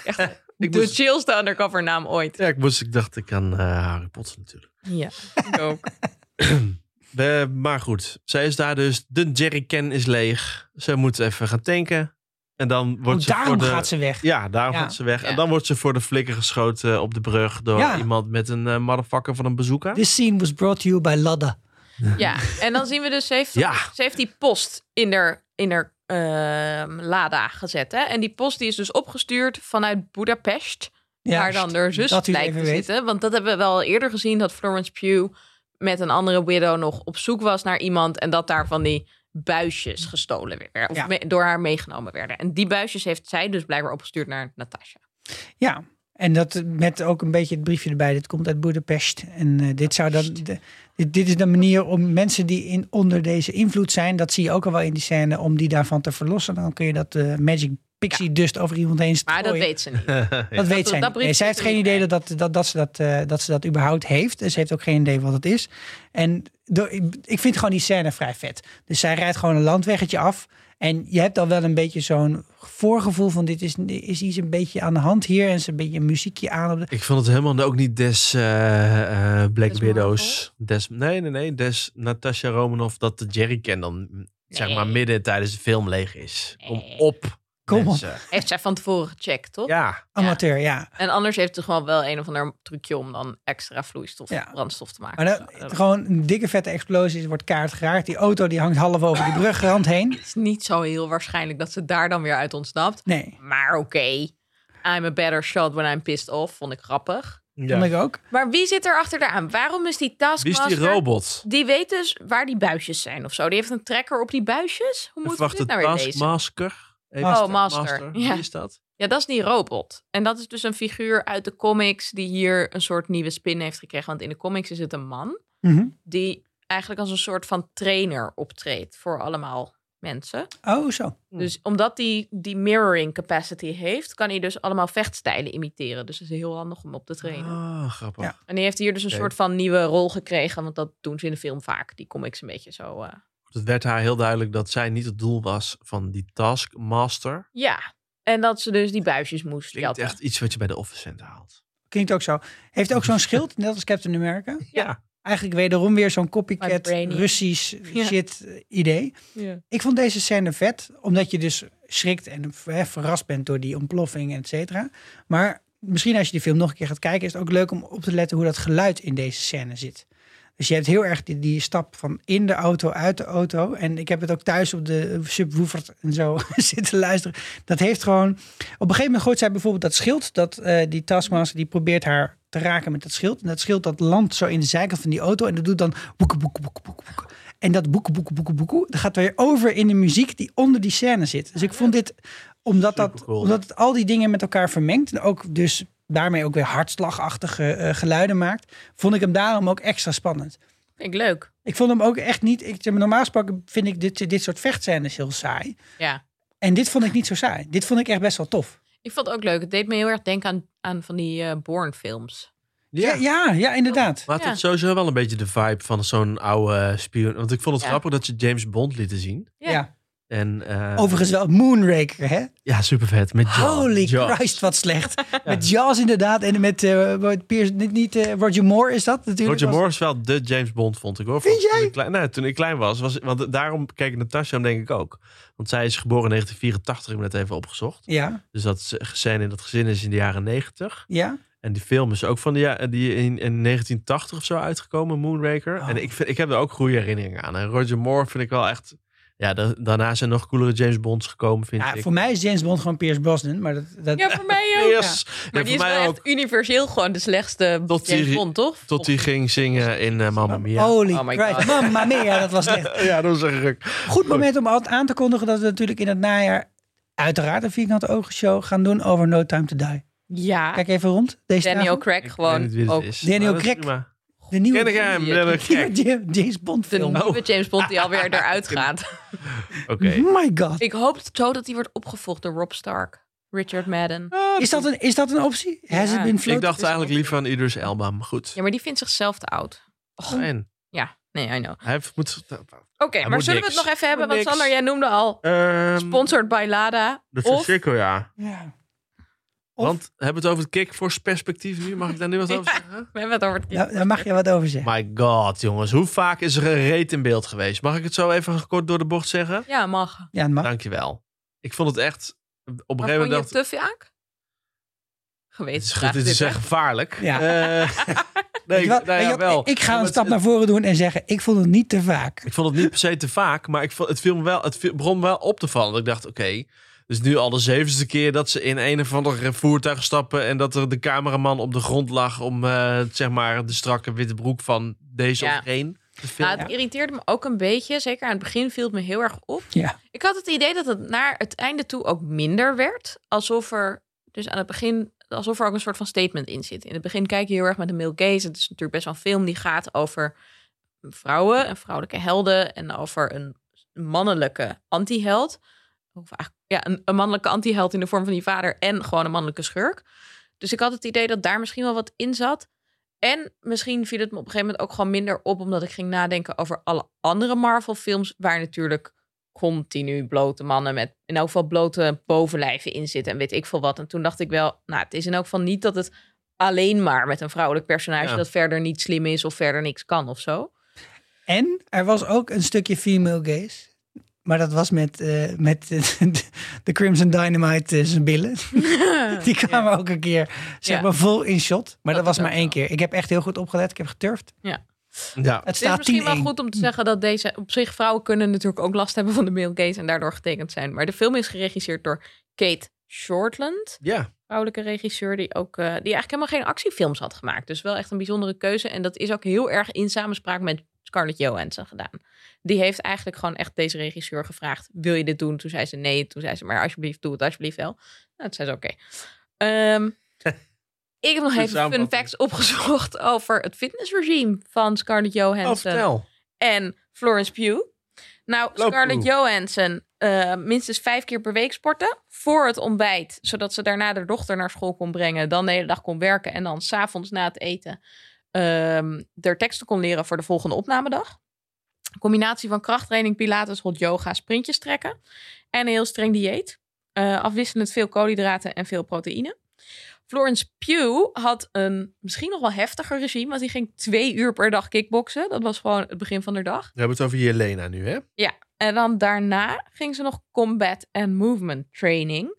B: Echt
A: Ik
B: de
A: moest-
B: chillste undercover naam ooit.
A: Ja, ik, moest, ik dacht, ik aan eh, Harry Potter natuurlijk.
B: Ja, ik ook.
A: Eh, maar goed, zij is daar dus. De jerrycan is leeg. Ze moet even gaan tanken. En dan wordt
D: Oh,
A: ze voor
D: daarom
A: de...
D: gaat ze weg.
A: Ja, daarom
D: Ja.
A: gaat ze weg.
B: Ja.
A: En dan wordt ze voor de flikker geschoten op de brug door
D: Ja.
A: iemand met een eh, motherfucker van een bezoeker.
D: This scene was brought to you by Ladda.
B: Ja, en dan zien we dus, ze heeft,
A: Ja.
B: ze heeft die post in haar, in haar ehm, Lada gezet. Hè? En die post die is dus opgestuurd vanuit Budapest,
D: Ja,
B: waar dan haar zus
D: dat u het
B: blijkt te
D: even weet.
B: zitten. Want dat hebben we wel eerder gezien, dat Florence Pugh met een andere widow nog op zoek was naar iemand. En dat daar van die buisjes gestolen werden, of
D: Ja.
B: me- door haar meegenomen werden. En die buisjes heeft zij dus blijkbaar opgestuurd naar Natasha.
D: Ja, en dat met ook een beetje het briefje erbij. Dit komt uit Budapest. En eh, dit, zou dan, de- dit, dit is de manier om mensen die in, onder deze invloed zijn, dat zie je ook al wel in die scène, om die daarvan te verlossen. Dan kun je dat eh, Magic Pixie Dust over iemand heen
B: Maar dat
D: strooien.
B: weet ze niet. dat-
D: Dat weet zij
B: dat
D: niet. Nee,
B: briefje
D: zij heeft
B: is
D: geen
B: er niet
D: idee dat, dat, dat, dat ze dat, eh, dat ze dat überhaupt heeft. En ze heeft ook geen idee wat het is. En door, ik, ik vind gewoon die scène vrij vet. Dus zij rijdt gewoon een landweggetje af. En je hebt al wel een beetje zo'n voorgevoel van dit is, is iets een beetje aan de hand hier. En ze een beetje een muziekje aan. Op de,
A: Ik vond het helemaal ook niet des eh, eh, Black
B: Des
A: Widows. Des, nee, nee, nee. Des Natasha Romanoff dat de jerrycan dan mm, zeg maar
B: Nee.
A: midden tijdens de film leeg is. Kom
B: Nee.
A: op.
D: Kom op.
A: mensen.
B: Heeft zij van tevoren gecheckt, toch?
A: Ja.
D: amateur, ja.
B: En anders heeft ze gewoon wel een of ander trucje om dan extra vloeistof,
D: Ja.
B: brandstof te maken.
D: Maar dat,
B: Zo, dat
D: gewoon een dikke vette explosie. Er wordt kaart geraakt. Die auto die hangt half over die brugrand heen.
B: is niet zo heel waarschijnlijk dat ze daar dan weer uit ontsnapt.
D: Nee,
B: Maar oké, I'm a better shot when I'm pissed off, vond ik grappig.
A: Ja.
D: vond ik ook.
B: Maar wie zit er achter aan? Waarom is die
A: Wie is
B: taskmaster...
A: die robot?
B: Die weet dus waar die buisjes zijn of zo. Die heeft een tracker op die buisjes. Hoe moet
A: Even
B: ik dit
A: wachten,
B: nou weer lezen?
A: Taskmaster. Even-
D: Oh,
B: Master. Ja.
A: Wie is dat?
B: Ja, dat is die robot. En dat is dus een figuur uit de comics die hier een soort nieuwe spin heeft gekregen. Want in de comics is het een man
D: Mhm.
B: die eigenlijk als een soort van trainer optreedt voor allemaal mensen.
D: Oh, zo.
A: Hm.
B: Dus omdat die, die mirroring capacity heeft, kan hij dus allemaal vechtstijlen imiteren. Dus dat is heel handig om op te trainen.
A: Ah, grappig.
D: Ja.
B: En die heeft hier dus een
A: Oké.
B: soort van nieuwe rol gekregen. Want dat doen ze in de film vaak. Die comics een beetje zo. eh,
A: Het werd haar heel duidelijk dat zij niet het doel was van die Taskmaster.
B: Ja. En dat ze dus die buisjes moest
A: Klinkt
B: jatten.
A: echt iets wat je bij de Office Center haalt.
D: Klinkt ook zo. Heeft ook zo'n schild, net als Captain America.
A: Ja.
D: Eigenlijk wederom weer zo'n
B: My
D: copycat
B: brainy.
D: Russisch
B: Ja.
D: shit eh, idee.
B: Ja.
D: Ik vond deze scène vet, omdat je dus schrikt en eh, verrast bent door die ontploffing, et cetera. Maar misschien als je die film nog een keer gaat kijken, is het ook leuk om op te letten hoe dat geluid in deze scène zit. Dus je hebt heel erg die, die stap van in de auto, uit de auto. En ik heb het ook thuis op de subwoofer en zo zitten luisteren. Dat heeft gewoon... Op een gegeven moment gooit zij bijvoorbeeld dat schild. Dat, eh, die taskmaster die probeert haar te raken met dat schild. En dat schild dat landt zo in de zijkant van die auto. En dat doet dan boeken, boeken, boeken, boeken, boeken. En dat boeken, boeken, boeken, boeken. Dat gaat weer over in de muziek die onder die scène zit. Dus ik vond dit... Omdat, dat,
A: Supercool.
D: omdat het al die dingen met elkaar vermengt. En ook dus daarmee ook weer hartslagachtige eh, geluiden maakt. Vond ik hem daarom ook extra spannend.
B: Vind ik leuk.
D: Ik vond hem ook echt niet. Ik, zeg maar, normaal gesproken vind ik dit, dit soort vechtscènes heel saai.
B: Ja.
D: En dit vond ik niet zo saai. Dit vond ik echt best wel tof.
B: Ik vond het ook leuk. Het deed me heel erg denken aan, aan van die eh Born-films.
D: Ja, ja, ja, inderdaad.
A: Maar het
B: Ja.
A: had sowieso wel een beetje de vibe van zo'n oude spion. Want ik vond het
B: Ja.
A: grappig dat ze James Bond lieten zien.
D: Ja.
A: En, eh,
D: Overigens wel Moonraker, hè?
A: Ja, super vet. Met Jaws.
D: Holy
A: Jaws.
D: Christ, wat slecht. Met Jaws inderdaad en met eh, met Piers, niet, niet eh, Roger Moore is dat natuurlijk.
A: Roger
D: Was-
A: Moore is wel de James Bond, vond ik hoor.
D: Vind
A: Vond- toen
D: jij?
A: ik klein, nou, toen ik klein was, was. Want daarom keek ik Natasha hem denk ik ook. Want zij is geboren in 1984, ik heb het net even opgezocht.
D: Ja,
A: Dus dat ze- scène in dat gezin is in de jaren 90.
D: ja.
A: En die film is ook van de, ja- die in, in 1980 of zo uitgekomen, Moonraker.
D: Oh.
A: En ik, vind, ik heb er ook goede herinneringen aan. En Roger Moore vind ik wel echt... Ja, da- daarna zijn nog coolere James Bonds gekomen, vind
D: ja
A: ik.
D: voor mij is James Bond gewoon Piers Brosnan, maar dat, dat
B: Ja, voor mij ook.
A: Yes. Ja,
B: Maar
A: voor
B: die is
A: mij
B: wel
A: ook.
B: echt universeel gewoon de slechtste
A: Tot
B: James
A: die-
B: Bond, toch?
A: Tot hij ging zingen in eh, Mamma Mia.
D: Holy
B: Oh my
D: Christ,
B: God.
D: mamma mia, dat was echt
A: Ja, dat was een ruk.
D: Goed moment om al aan te kondigen dat we natuurlijk in het najaar uiteraard een vierkante ogen show gaan doen over No Time to Die.
B: Ja,
D: Ah, Kijk nou- even rond. Deze
B: Daniel
D: avond.
B: Craig
A: Ik
B: gewoon
A: weet niet wie dit
B: ook.
A: is,
D: Daniel
A: maar dat is
D: Craig.
A: prima.
D: de nieuwe,
A: Ken ik eh, hem,
B: Die-
A: Daniel
D: de nieuwe
A: Craig.
D: Ja- James Bond
B: De
A: Oh.
D: film.
B: nieuwe James Bond die alweer eruit gaat.
A: Oké.
D: Oh My god.
B: Ik hoop zo dat hij wordt opgevolgd door Rob Stark. Richard Madden.
D: Is dat een, is dat een optie? Has
B: Ja.
D: it been
A: Ik
D: floated?
A: Ah, dacht eigenlijk liever aan Idris Elba, maar goed.
B: Ja, maar die vindt zichzelf te oud.
D: Oh,
A: En
B: Ja, nee, I know. Oké,
A: hij heeft- moet...
B: maar
A: moet
B: zullen we
A: niks.
B: het nog even hebben?
A: Moet
B: Want
A: niks.
B: Sander, jij noemde al
A: Ehm,
B: sponsored by Lada.
A: Dat is een
B: Of
A: cirkel, ja.
D: Ja. Of-
A: Want hebben we het over het kickforce perspectief nu? Mag ik daar nu wat over
B: Ja.
A: zeggen?
B: we hebben het over het
D: Daar, daar mag je wat over zeggen.
A: My god, jongens. Hoe vaak is er een reet in beeld geweest? Mag ik het zo even kort door de bocht zeggen?
B: Ja, mag. Maar
D: Ja, het
A: Nou,
D: mag.
A: Dankjewel. Ik vond het echt... Op een
B: vond
A: gegeven moment
B: je
A: dacht
B: het te vaak?
A: Dit is,
B: Geweten.
A: goed, dit is echt gevaarlijk.
D: Ja.
A: Eh,
D: Weet
A: nee,
D: je wat?
A: nou
D: Weet
A: ja,
D: je wat?
A: wel.
D: Ik ga
A: Maar
D: een
A: het-
D: stap naar voren doen en zeggen, ik vond het niet te vaak.
A: Ik vond het niet per se te vaak, maar ik vond, het, viel me wel, het viel- begon me wel op te vallen. Dat Ik dacht, oké, dus nu al de zevende keer dat ze in een of ander voertuig stappen... en dat er de cameraman op de grond lag om eh, zeg maar de strakke witte broek van deze
B: Ja.
A: of geen te filmen.
B: Nou, het irriteerde me ook een beetje. Zeker aan het begin viel het me heel erg op.
D: Ja.
B: Ik had het idee dat het naar het einde toe ook minder werd. Alsof er, dus aan het begin, alsof er ook een soort van statement in zit. In het begin kijk je heel erg met de male gaze. Het is natuurlijk best wel een film die gaat over vrouwen en vrouwelijke helden. En over een mannelijke antiheld. Of eigenlijk, ja, een, een mannelijke antiheld in de vorm van die vader en gewoon een mannelijke schurk. Dus ik had het idee dat daar misschien wel wat in zat. En misschien viel het me op een gegeven moment ook gewoon minder op, omdat ik ging nadenken over alle andere Marvel-films, waar natuurlijk continu blote mannen met in elk geval blote bovenlijven in zitten en weet ik veel wat. En toen dacht ik wel, nou, het is in elk geval niet dat het alleen maar met een vrouwelijk personage
A: Ja.
B: dat verder niet slim is of verder niks kan of zo.
D: En er was ook een stukje female gaze. Maar dat was met, eh, met eh, de Crimson Dynamite eh, zijn billen. Die kwamen ook een keer, zeg
B: Ja.
D: maar, vol in shot. Maar dat,
B: Dat
D: was
B: is
D: maar
B: ook
D: één
B: zo.
D: keer. Ik heb echt heel goed opgelet. Ik heb geturfd.
A: ja.
D: Het
B: Dus Het is
D: staat 10-1.
B: misschien wel goed om te zeggen dat deze op zich vrouwen kunnen natuurlijk ook last hebben van de male gaze en daardoor getekend zijn. Maar de film is geregisseerd door Kate Shortland,
A: ja,
B: vrouwelijke regisseur die ook eh, die eigenlijk helemaal geen actiefilms had gemaakt. Dus wel echt een bijzondere keuze en dat is ook heel erg in samenspraak met Scarlett Johansson gedaan. Die heeft eigenlijk gewoon echt deze regisseur gevraagd: wil je dit doen? Toen zei ze nee. Toen zei ze maar alsjeblieft doe het alsjeblieft wel. Nou, toen zei ze oké. Ehm, ik heb nog
A: Goed
B: even fun
A: samenvatting.
B: facts opgezocht over het fitnessregime van Scarlett
A: Oh,
B: Johansson
A: vertel.
B: en Florence Pugh. Nou,
A: Loop,
B: Scarlett
A: Pugh.
B: Johansson eh, minstens vijf keer per week sporten. Voor het ontbijt, zodat ze daarna haar dochter naar school kon brengen. Dan de hele dag kon werken en dan s'avonds na het eten ehm haar teksten kon leren voor de volgende opnamedag. Een combinatie van krachttraining, pilates, hot yoga, sprintjes trekken. En een heel streng dieet. Eh, afwisselend veel koolhydraten en veel proteïne. Florence Pugh had een misschien nog wel heftiger regime. Want die ging twee uur per dag kickboksen. Dat was gewoon het begin van de dag.
A: We hebben het over Jelena nu, hè?
B: En dan daarna ging ze nog combat en movement training.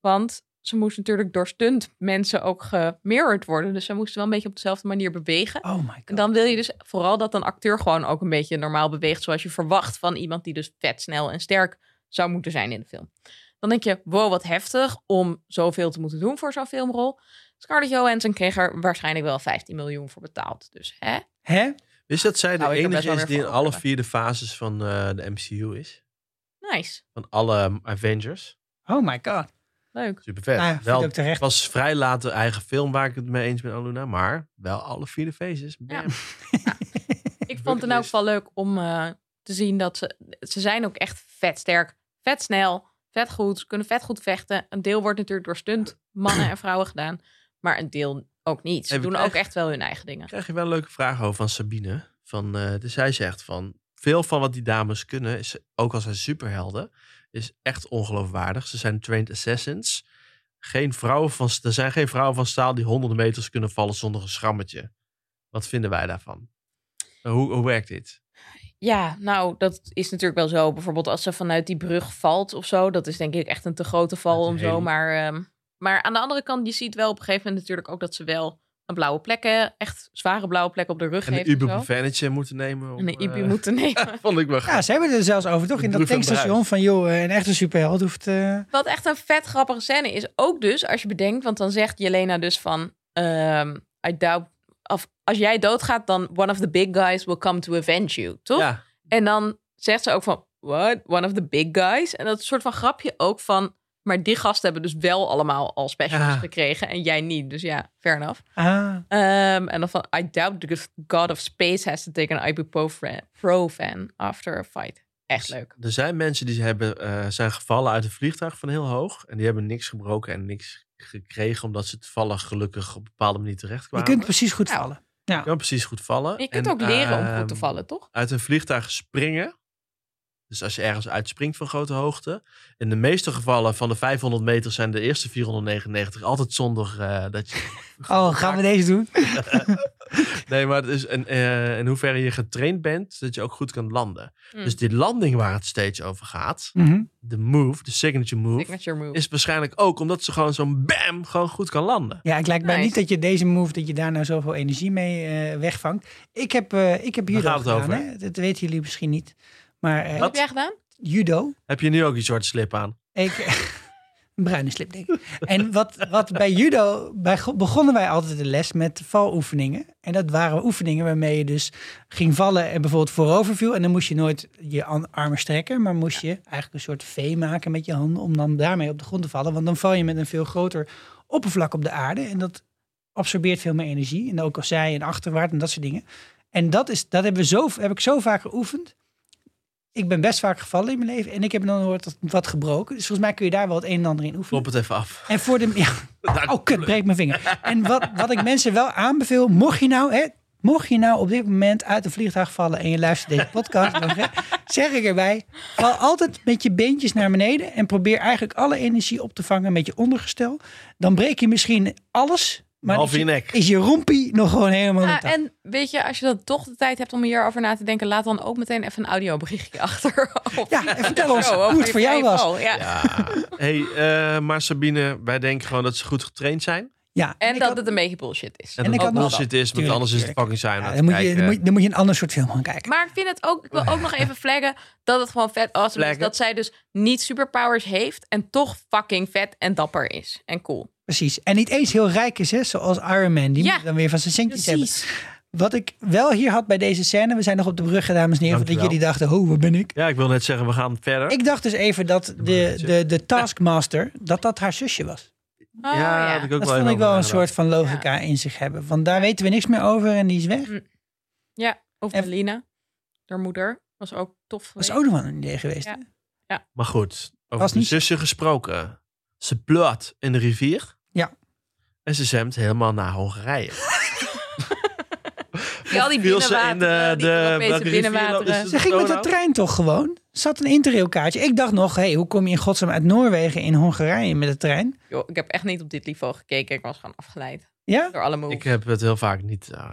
B: Want ze moest natuurlijk door stunt mensen ook gemirrored worden. Dus ze moesten wel een beetje op dezelfde manier bewegen.
D: Oh my
B: En
D: god.
B: dan wil je dus vooral dat een acteur gewoon ook een beetje normaal beweegt. Zoals je verwacht van iemand die dus vet, snel en sterk zou moeten zijn in de film. Dan denk je, wow, wat heftig om zoveel te moeten doen voor zo'n filmrol. Scarlett Johansson kreeg er waarschijnlijk wel 15 miljoen voor betaald. Dus hè?
D: Hè?
A: Wist je dat zij de
B: Nou, ik heb best
A: enige
B: wel
A: is
B: weer
A: die in
B: voor
A: alle
B: oordelen.
A: vier de fases van eh, de MCU is?
B: Nice.
A: Van alle mm, Avengers.
D: Oh my god.
B: Leuk.
A: Super vet.
D: Nou ja, vind
A: wel,
D: ik ook terecht.
A: het was vrij laat de eigen film waar ik het mee eens ben, Aluna. Maar wel alle vier de faces. Bam.
B: Ik vond het in elk geval leuk om eh, te zien dat ze... Ze zijn ook echt vet sterk, vet snel, vet goed. Ze kunnen vet goed vechten. Een deel wordt natuurlijk door stunt mannen en vrouwen gedaan. Maar een deel ook niet. Ze
A: Heb ik
B: doen ook
A: echt-
B: echt wel hun eigen dingen.
A: krijg je wel een leuke vraag over van Sabine. Van, eh, dus zij zegt van, veel van wat die dames kunnen, is, ook al zijn superhelden, is echt ongeloofwaardig. Ze zijn trained assassins. Geen vrouwen van, er zijn geen vrouwen van staal die honderden meters kunnen vallen zonder een schrammetje. Wat vinden wij daarvan? Eh, Hoe, hoe werkt dit?
B: Ja, nou, dat is natuurlijk wel zo. Bijvoorbeeld als ze vanuit die brug valt of zo. Dat is denk ik echt een te grote val
A: Dat is
B: om
A: heel-
B: zo. Maar, ehm, maar aan de andere kant, je ziet wel op een gegeven moment natuurlijk ook dat ze wel een blauwe plekken, echt zware blauwe plekken op de rug
A: En
B: heeft.
A: een ibuprofenetje moeten nemen? om,
B: En een
A: eh,
B: IBU moeten nemen.
A: vond ik wel gaaf.
D: Ja, ze hebben er zelfs over, toch? In dat
A: Droef en
D: tankstation
A: bruis.
D: van, joh, eh, een echte superheld hoeft... eh,
B: Wat echt een vet grappige scène is, ook dus als je bedenkt, want dan zegt Jelena dus van, ehm I doubt, of als jij doodgaat, dan one of the big guys will come to avenge you, toch?
A: Ja,
B: En dan zegt ze ook van, what, one of the big guys? En dat is een soort van grapje ook van, maar die gasten hebben dus wel allemaal al specials
A: Ja.
B: gekregen en jij niet, dus ja, fair enough.
D: ah,
B: Ehm, en dan van, I doubt the god of space has to take an ibuprofen after a fight. Echt leuk.
A: Er zijn mensen die hebben, eh, zijn gevallen uit een vliegtuig van heel hoog. En die hebben niks gebroken en niks gekregen. Omdat ze toevallig gelukkig op een bepaalde manier terecht
D: je
A: kwamen.
D: kunt precies goed
B: Nou.
D: vallen.
A: Je kan precies goed vallen.
B: Je kunt
A: En,
B: ook leren om goed te
A: ehm,
B: vallen, toch?
A: Uit een vliegtuig springen. Dus als je ergens uitspringt van grote hoogte. In de meeste gevallen van de 500 meter zijn de eerste 499 altijd zonder eh, dat je...
D: Oh, gaan we deze doen?
A: Nee, maar het is een, eh, in hoeverre je getraind bent, dat je ook goed kan landen.
B: Hmm.
A: Dus die landing waar het steeds over gaat,
D: Mhm.
A: de move, de signature move,
B: Signature move.
A: is waarschijnlijk ook omdat ze gewoon zo'n bam gewoon goed kan landen.
D: Ja, ik lijkt mij
B: Nice.
D: niet dat je deze move, dat je daar nou zoveel energie mee eh, wegvangt. Ik heb, eh, ik heb judo
A: gaat het
D: gedaan,
A: over?
D: Hè? dat weten jullie misschien niet. Maar eh,
B: Wat
A: Wat?
B: heb jij gedaan?
D: judo,
A: Heb je nu ook die soort slip aan?
D: ik, een bruine slip denk ik. En wat, wat bij judo, bij, go- begonnen wij altijd de les met valoefeningen. En dat waren oefeningen waarmee je dus ging vallen en bijvoorbeeld voorover viel. En dan moest je nooit je an- armen strekken, maar moest je eigenlijk een soort V maken met je handen om dan daarmee op de grond te vallen. Want dan val je met een veel groter oppervlak op de aarde. En dat absorbeert veel meer energie. En ook al zij en achterwaarts en dat soort dingen. En dat, is, dat hebben we zo, heb ik zo vaak geoefend. Ik ben best vaak gevallen in mijn leven. En ik heb dan nooit wat- wat gebroken. Dus volgens mij kun je daar wel het een en ander in oefenen.
A: Klop het even af.
D: En voor de. Ja, oh, kut, breek mijn vinger. En wat, wat ik mensen wel aanbeveel, mocht je nou. Hè, Mocht je nou op dit moment uit een vliegtuig vallen en je luistert deze podcast, dan zeg- zeg ik erbij: val altijd met je beentjes naar beneden en probeer eigenlijk alle energie op te vangen met je ondergestel. Dan breek je misschien alles, maar
A: Half je
D: is,
A: nek.
D: is je rompie nog gewoon helemaal
B: Ah,
D: intact.
B: en weet je, als je dan toch de tijd hebt om hierover na te denken, laat dan ook meteen even een audioberichtje achter. Of
D: Ja, en vertel ons
B: zo,
D: hoe
B: over
D: het
B: je
D: voor jou was.
B: val, Ja.
A: Ja. Hey, eh, maar Sabine, wij denken gewoon dat ze goed getraind zijn.
D: Ja,
B: En
D: ik
B: dat
D: had-
B: het een beetje bullshit is.
A: En,
D: ik
A: dat
D: had
A: het
D: nog-
A: bullshit is, want
D: Tuurlijk,
A: anders is het
D: tuurlijk.
A: fucking eh, saai. om
D: ja,
A: naar te
D: dan, moet je, dan,
A: kijken.
D: moet, je- dan moet je een ander soort film gaan kijken.
B: Maar ik vind het ook, ik wil ook nog even flaggen dat het gewoon vet awesome is.
A: Flaggen.
B: Dat zij dus niet superpowers heeft en toch fucking vet en dapper is. En cool.
D: Precies. En niet eens heel rijk is, hè, zoals Iron Man. Die
B: Ja,
D: moet dan weer van zijn centjes hebben.
B: Precies.
D: Wat ik wel hier had bij deze scène, we zijn nog op de brug, dames en heren, dat
A: Dankjewel.
D: jullie dachten, oh, waar ben ik?
A: Ja, ik wil net zeggen, we gaan verder.
D: Ik dacht dus even dat de, de, de Taskmaster, dat dat haar zusje was.
B: Oh, ja,
A: had ik ook
D: Dat
A: wel
D: vond
A: even
D: ik wel een
A: over
D: soort van logica in zich hebben. Want daar weten we niks meer over en die is weg.
B: Of
D: Even-
B: Lina, haar moeder, was ook tof.
D: Dat is
B: geweest.
D: ook nog wel een idee geweest.
B: Ja.
D: hè?
A: nagedacht. Maar goed, over
D: Was
A: de
D: niet-
A: zussen gesproken. Ze pleurt in de rivier.
D: Ja.
A: En ze zwemt helemaal naar Hongarije.
B: Ja, al die
A: Viel ze in de,
B: binnenwateren, die
A: de,
B: Europese
A: welke rivier dan?
B: binnenwateren.
A: Is het
D: Ze ging met de
A: Donau?
D: trein toch gewoon? Ze had een interrailkaartje. Ik dacht nog, hé, hey, hoe kom je in godsnaam uit Noorwegen in Hongarije met de trein?
B: Joh, ik heb echt niet op dit niveau gekeken. Ik was gewoon afgeleid
D: Ja?
B: door alle moves.
A: Ik eh, heb het heel vaak niet. eh,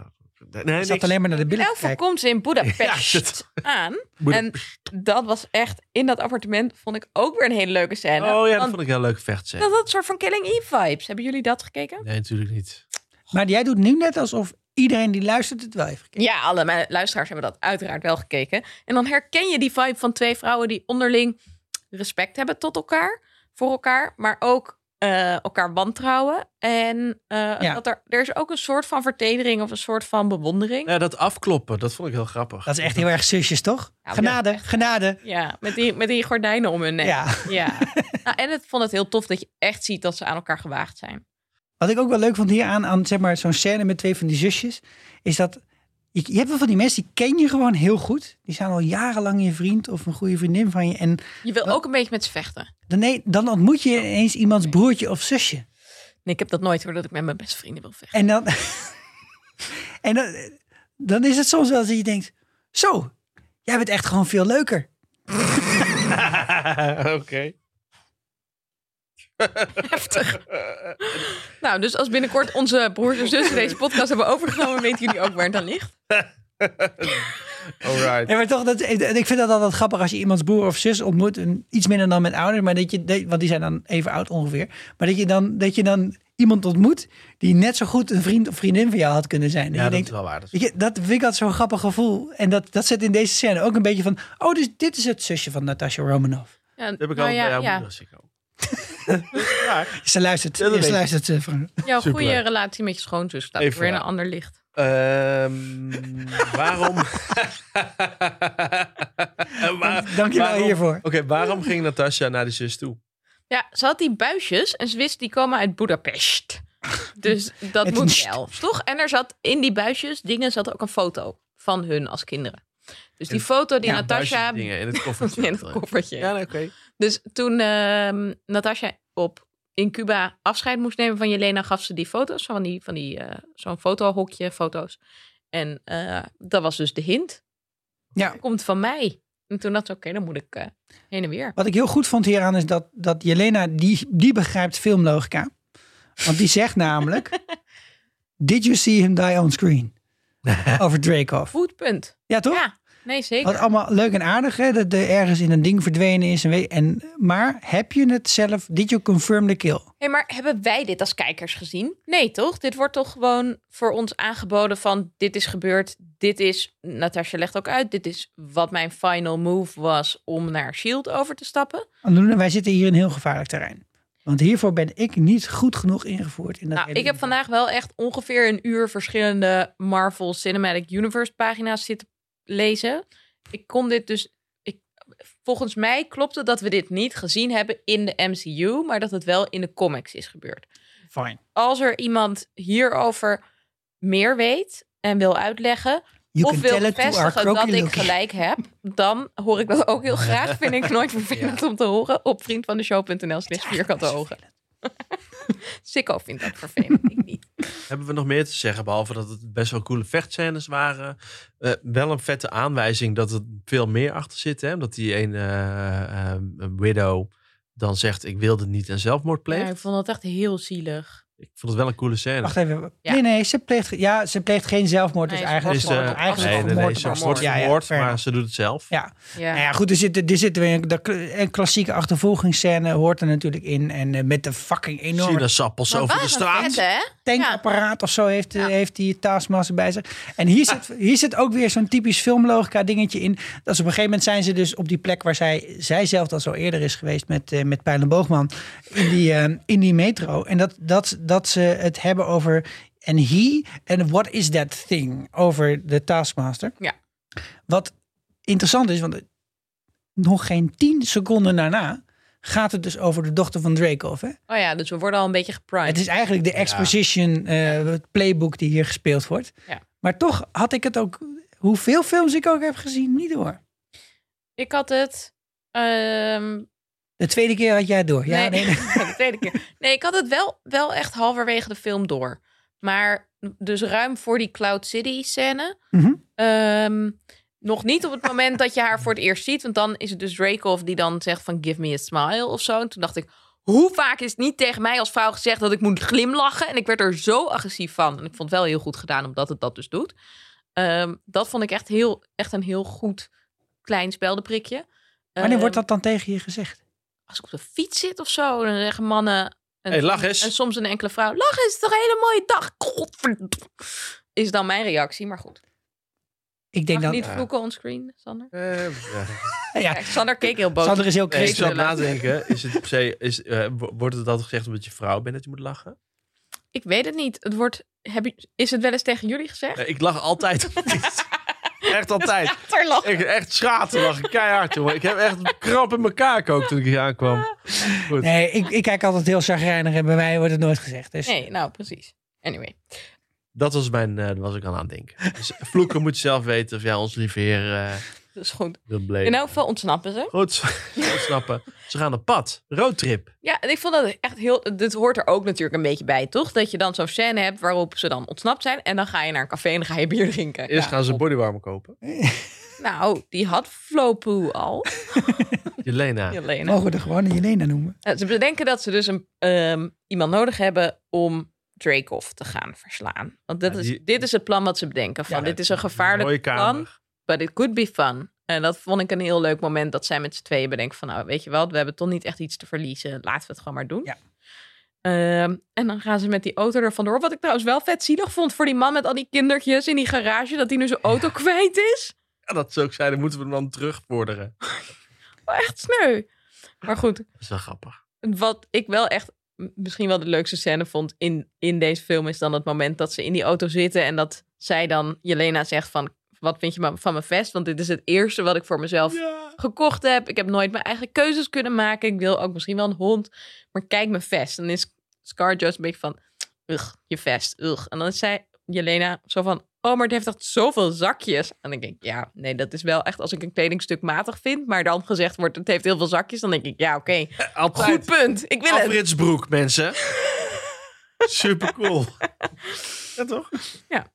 A: nee,
D: Ze
A: niks.
D: zat Oh. alleen maar naar de
B: In
D: billen
B: elk
D: te
B: geval
D: kijken.
B: komt ze in Budapest
A: Ja, shit.
B: aan.
A: Moet-
B: En dat was echt, in dat appartement vond ik ook weer een hele leuke scène.
A: oh ja, dat
B: Want
A: vond ik heel leuk vechtscène.
B: dat had een soort van Killing Eve vibes. Hebben jullie dat gekeken?
A: Nee, natuurlijk niet.
D: Maar jij doet nu net alsof iedereen die luistert het wel heeft gekeken.
B: Ja, alle mijn luisteraars hebben dat uiteraard wel gekeken. En dan herken je die vibe van twee vrouwen die onderling respect hebben tot elkaar, voor elkaar, maar ook eh, elkaar wantrouwen. En eh,
D: Ja.
B: dat er, er is ook een soort van vertedering of een soort van bewondering.
A: Ja, dat afkloppen, dat vond ik heel grappig.
D: Dat is echt heel erg zusjes, toch?
B: Ja,
D: genade,
B: Nou, ja, echt.
D: genade.
B: Ja, met die, met die gordijnen om hun nek.
D: Ja.
B: Ja. Nou, en ik vond het heel tof dat je echt ziet dat ze aan elkaar gewaagd zijn.
D: Wat ik ook wel leuk vond hier aan, aan zeg maar, zo'n scène met twee van die zusjes, is dat je, je hebt wel van die mensen, die ken je gewoon heel goed. Die zijn al jarenlang je vriend of een goede vriendin van je. En
B: Je wil
D: Wat?
B: ook een beetje met ze vechten.
D: dan, nee, dan ontmoet je ineens iemands broertje of zusje.
B: Nee, ik heb dat nooit hoor, dat ik met mijn beste vrienden wil vechten.
D: En dan, en dan, dan is het soms wel eens dat je denkt, zo, jij bent echt gewoon veel leuker.
A: Oké.
B: Heftig. nou, dus als binnenkort onze broers en zussen deze podcast hebben overgenomen, weten jullie ook waar het aan ligt.
A: Alright.
D: En maar toch, dat, ik vind dat altijd grappig als je iemands broer of zus ontmoet, en iets minder dan met ouders, maar dat je, dat- want die zijn dan even oud ongeveer, maar dat je dan, dat je dan iemand ontmoet die net zo goed een vriend of vriendin van jou had kunnen zijn.
A: Ja,
D: je
A: dat
D: denkt,
A: is wel waar. Dat is-
D: Weet je, dat vind ik altijd zo'n grappig gevoel. En dat, dat zit in deze scène ook een beetje van... Oh, dus dit is het zusje van Natasha Romanoff.
B: Ja,
A: Dat heb ik
B: nou
A: al bij
B: ja,
A: jouw
B: ja.
A: moeder, zeker ook. Maar,
D: Ze luistert.
A: Ja, dat
D: ze
A: weet ik.
D: luistert. eh, Fran.
B: Jouw
A: Superleuk.
B: goede relatie met je schoonzus staat
A: Even,
B: weer in een
A: ja.
B: ander licht.
A: ehm, waarom... Waar-
D: Dank je wel
A: waarom-
D: hiervoor.
A: Oké, waarom ging Natasja naar de zus toe?
B: Ja, ze had die buisjes en ze wist die komen uit Budapest. Dus dat
D: Met een
B: moet
D: sst.
B: wel, toch? En er zat in die buisjes dingen zat ook een foto van hun als kinderen. Dus die
A: En-
B: foto die
A: Ja,
B: Natasja
A: buisjes dingen in het koffertje.
B: in het koffertje.
A: Ja, nee, oké.
B: Dus toen ehm Natasja op in Cuba afscheid moest nemen van Jelena, gaf ze die foto's van die van die eh, zo'n fotohokje foto's. En eh, dat was dus de hint.
D: Ja.
B: Komt van mij. En toen dacht ze, oké, dan moet ik eh, heen en weer.
D: Wat ik heel goed vond hieraan is dat, dat Jelena... Die, die begrijpt filmlogica. Want die zegt namelijk... Did you see him die on screen? Over Dreykov.
B: Goed punt.
D: Ja, toch?
B: Ja, nee, zeker.
D: Wat allemaal leuk en aardig, hè? Dat er ergens in een ding verdwenen is. En, we- en, maar heb je het zelf... Did you confirm the kill?
B: Hey, maar hebben wij dit als kijkers gezien? Nee, toch? Dit wordt toch gewoon voor ons aangeboden van dit is gebeurd, dit is, Natasja legt ook uit, dit is wat mijn final move was om naar S.H.I.E.L.D. E over te stappen.
D: Andoen, wij zitten hier in heel gevaarlijk terrein. Want hiervoor ben ik niet goed genoeg ingevoerd. In dat
B: Nou,
D: hele
B: ik heb
D: ding.
B: vandaag wel echt ongeveer een uur verschillende Marvel Cinematic Universe pagina's zitten lezen. Ik kon dit dus. Ik, volgens mij klopt het dat we dit niet gezien hebben in de MCU, maar dat het wel in de comics is gebeurd.
D: Fine.
B: Als er iemand hierover meer weet en wil uitleggen,
D: You
B: of
D: can
B: wil
D: tell it to our
B: bevestigen dat ik
D: crocodile.
B: gelijk heb, dan hoor ik dat ook heel graag. Vind ik nooit vervelend om te horen op vriendvandeshow.nl slash vierkante ogen. Sikko vindt dat vervelend, ik niet.
A: Hebben we nog meer te zeggen, behalve dat het best wel coole vechtscènes waren. Eh, wel een vette aanwijzing dat er veel meer achter zit. Hè? Omdat die een eh, eh, een widow dan zegt, ik wilde niet en zelfmoord pleegt.
B: Ja, ik vond dat echt heel zielig.
A: Ik vond het wel een coole scène.
D: Wacht even.
B: Ja.
D: Nee, nee, ze pleegt, ja, ze pleegt geen zelfmoord.
B: Nee,
D: dus
B: ze
D: eigenlijk,
B: wordt
A: Is, eh,
B: vermoord.
D: eigenlijk
A: nee, nee,
D: vermoord
A: nee,
D: op
A: ze
D: haar
A: wordt
D: moord. Ja, ja,
A: vermoord,
D: fair
A: maar
D: enough.
A: ze doet het zelf.
D: Ja.
B: Ja.
D: Nou ja, goed, er zitten, er zitten weer een, de kl- een klassieke achtervolgingsscène hoort er natuurlijk in. En eh, met de fucking enorme
A: Sinaasappels
B: Maar
A: over
B: waar
A: de
B: een
A: straat.
B: vet, hè?
D: tankapparaat of zo heeft, eh,
B: Ja. Ah.
D: heeft die taskmaster bij zich. En hier zit, hier zit ook weer zo'n typisch filmlogica dingetje in. Dat ze op een gegeven moment zijn ze dus op die plek waar zij, zij zelf al zo eerder is geweest met, eh met Pijl en Boogman. In die, eh, in die metro. En dat, dat, dat ze het hebben over... en he en what is that thing over de Taskmaster.
B: Ja.
D: Wat interessant is, want nog geen tien seconden daarna gaat het dus over de dochter van Dreykov. Hè?
B: Oh ja, dus we worden al een beetje geprimed.
D: Ah, Het is eigenlijk de exposition eh, het playbook die hier gespeeld wordt.
B: Ja.
D: Maar toch had ik het ook, hoeveel films ik ook heb gezien, niet door.
B: Ik had het. ehm,
D: De tweede keer had jij het door. Ja,
B: nee,
D: nee, nee.
B: de tweede keer. Nee, ik had het wel, wel echt halverwege de film door. Maar dus ruim voor die Cloud City scène.
D: Mhm.
B: Ehm, nog niet op het moment dat je haar voor het eerst ziet. Want dan is het dus Dreykov die dan zegt van give me a smile of zo. En toen dacht ik, hoe vaak is het niet tegen mij als vrouw gezegd dat ik moet glimlachen? En ik werd er zo agressief van. En ik vond het wel heel goed gedaan omdat het dat dus doet. Ehm, dat vond ik echt, heel, echt een heel goed klein speldenprikje.
D: Wanneer
B: Ehm,
D: wordt dat dan tegen je gezegd?
B: als ik op de fiets zit of zo, dan zeggen mannen. En,
A: Hey, lach eens.
B: En soms een enkele vrouw. Lach eens, toch een hele mooie dag. Godverdomme. Is dan mijn reactie, maar goed.
D: Ik denk
B: Mag ik
D: dat...
B: niet
A: Ja.
B: vloeken onscreen, Sander?
D: Ja,
B: Kijk, Sander keek heel boos.
D: Sander is heel
A: Nee, ik
D: christelijk.
A: zou nadenken. Is het per se, is, eh, wo- wordt het altijd gezegd omdat je vrouw bent dat je moet lachen?
B: Ik weet het niet. Het wordt, heb je, is het wel eens tegen jullie gezegd?
A: Nee, Eh, ik lach altijd. echt altijd.
B: Achterlachen.
A: Ik, echt schaten lachen. Keihard, jongen. Ik heb echt kramp in mijn kaak ook toen ik hier aankwam. Goed.
D: Nee, ik, ik kijk altijd heel chagrijnig en bij mij wordt het nooit gezegd. Dus.
B: Nee, nou precies. Anyway.
A: Dat was, mijn, eh, daar was ik al aan het denken. Dus vloeken moet je zelf weten of jij ons lieve heer eh
B: Dat is goed.
A: wil beleven.
B: In elk geval ontsnappen ze.
A: Goed, snappen. Ze gaan op pad. Roadtrip.
B: Ja, en ik vond dat echt heel... Dit hoort er ook natuurlijk een beetje bij, toch? Dat je dan zo'n scène hebt waarop ze dan ontsnapt zijn. En dan ga je naar een café en dan ga je bier drinken.
A: Eerst
B: Ja,
A: gaan ze
B: top.
A: bodywarmer kopen.
B: Nou, die had Flopoe al.
A: Jelena.
B: Jelena.
D: Mogen we er gewoon Jelena noemen?
B: Eh, Ze bedenken dat ze dus een, ehm, iemand nodig hebben om Dreykov te gaan verslaan. Want dit,
A: Ja,
B: is,
A: die-
B: dit is het plan wat ze bedenken. Van,
A: Ja,
B: dit is een gevaarlijk
A: mooie kamer.
B: plan, but it could be fun. En dat vond ik een heel leuk moment dat zij met z'n tweeën bedenken van... nou, weet je wat, we hebben toch niet echt iets te verliezen. Laten we het gewoon maar doen.
D: Ja.
B: Ehm, en dan gaan ze met die auto er vandoor. Wat ik trouwens wel vet zielig vond voor die man met al die kindertjes in die garage... dat hij nu zijn auto kwijt is.
A: Ja, dat zou ik zijn. Dan moeten we hem dan terugvorderen.
B: Wel Oh, echt sneu. Maar goed,
A: Dat is wel grappig.
B: wat ik wel echt m- misschien wel de leukste scène vond in, in deze film... is dan het moment dat ze in die auto zitten... en dat zij dan Jelena zegt van... wat vind je ma- van mijn vest? Want dit is het eerste wat ik voor mezelf
A: Ja.
B: gekocht heb. Ik heb nooit mijn eigen keuzes kunnen maken. Ik wil ook misschien wel een hond. Maar kijk mijn vest. En dan is Scarjo een beetje van... Ugh, je vest, ugh. En dan is zij, Jelena, zo van... Oh, maar het heeft echt zoveel zakjes. En dan denk ik, ja, nee, dat is wel echt... Als ik een kledingstuk matig vind, maar dan gezegd wordt... Het heeft heel veel zakjes, dan denk ik, ja, oké. Goed
A: Altijd.
B: punt. Ik wil het.
A: Afritsbroek, mensen. Super cool. ja, toch?
B: Ja.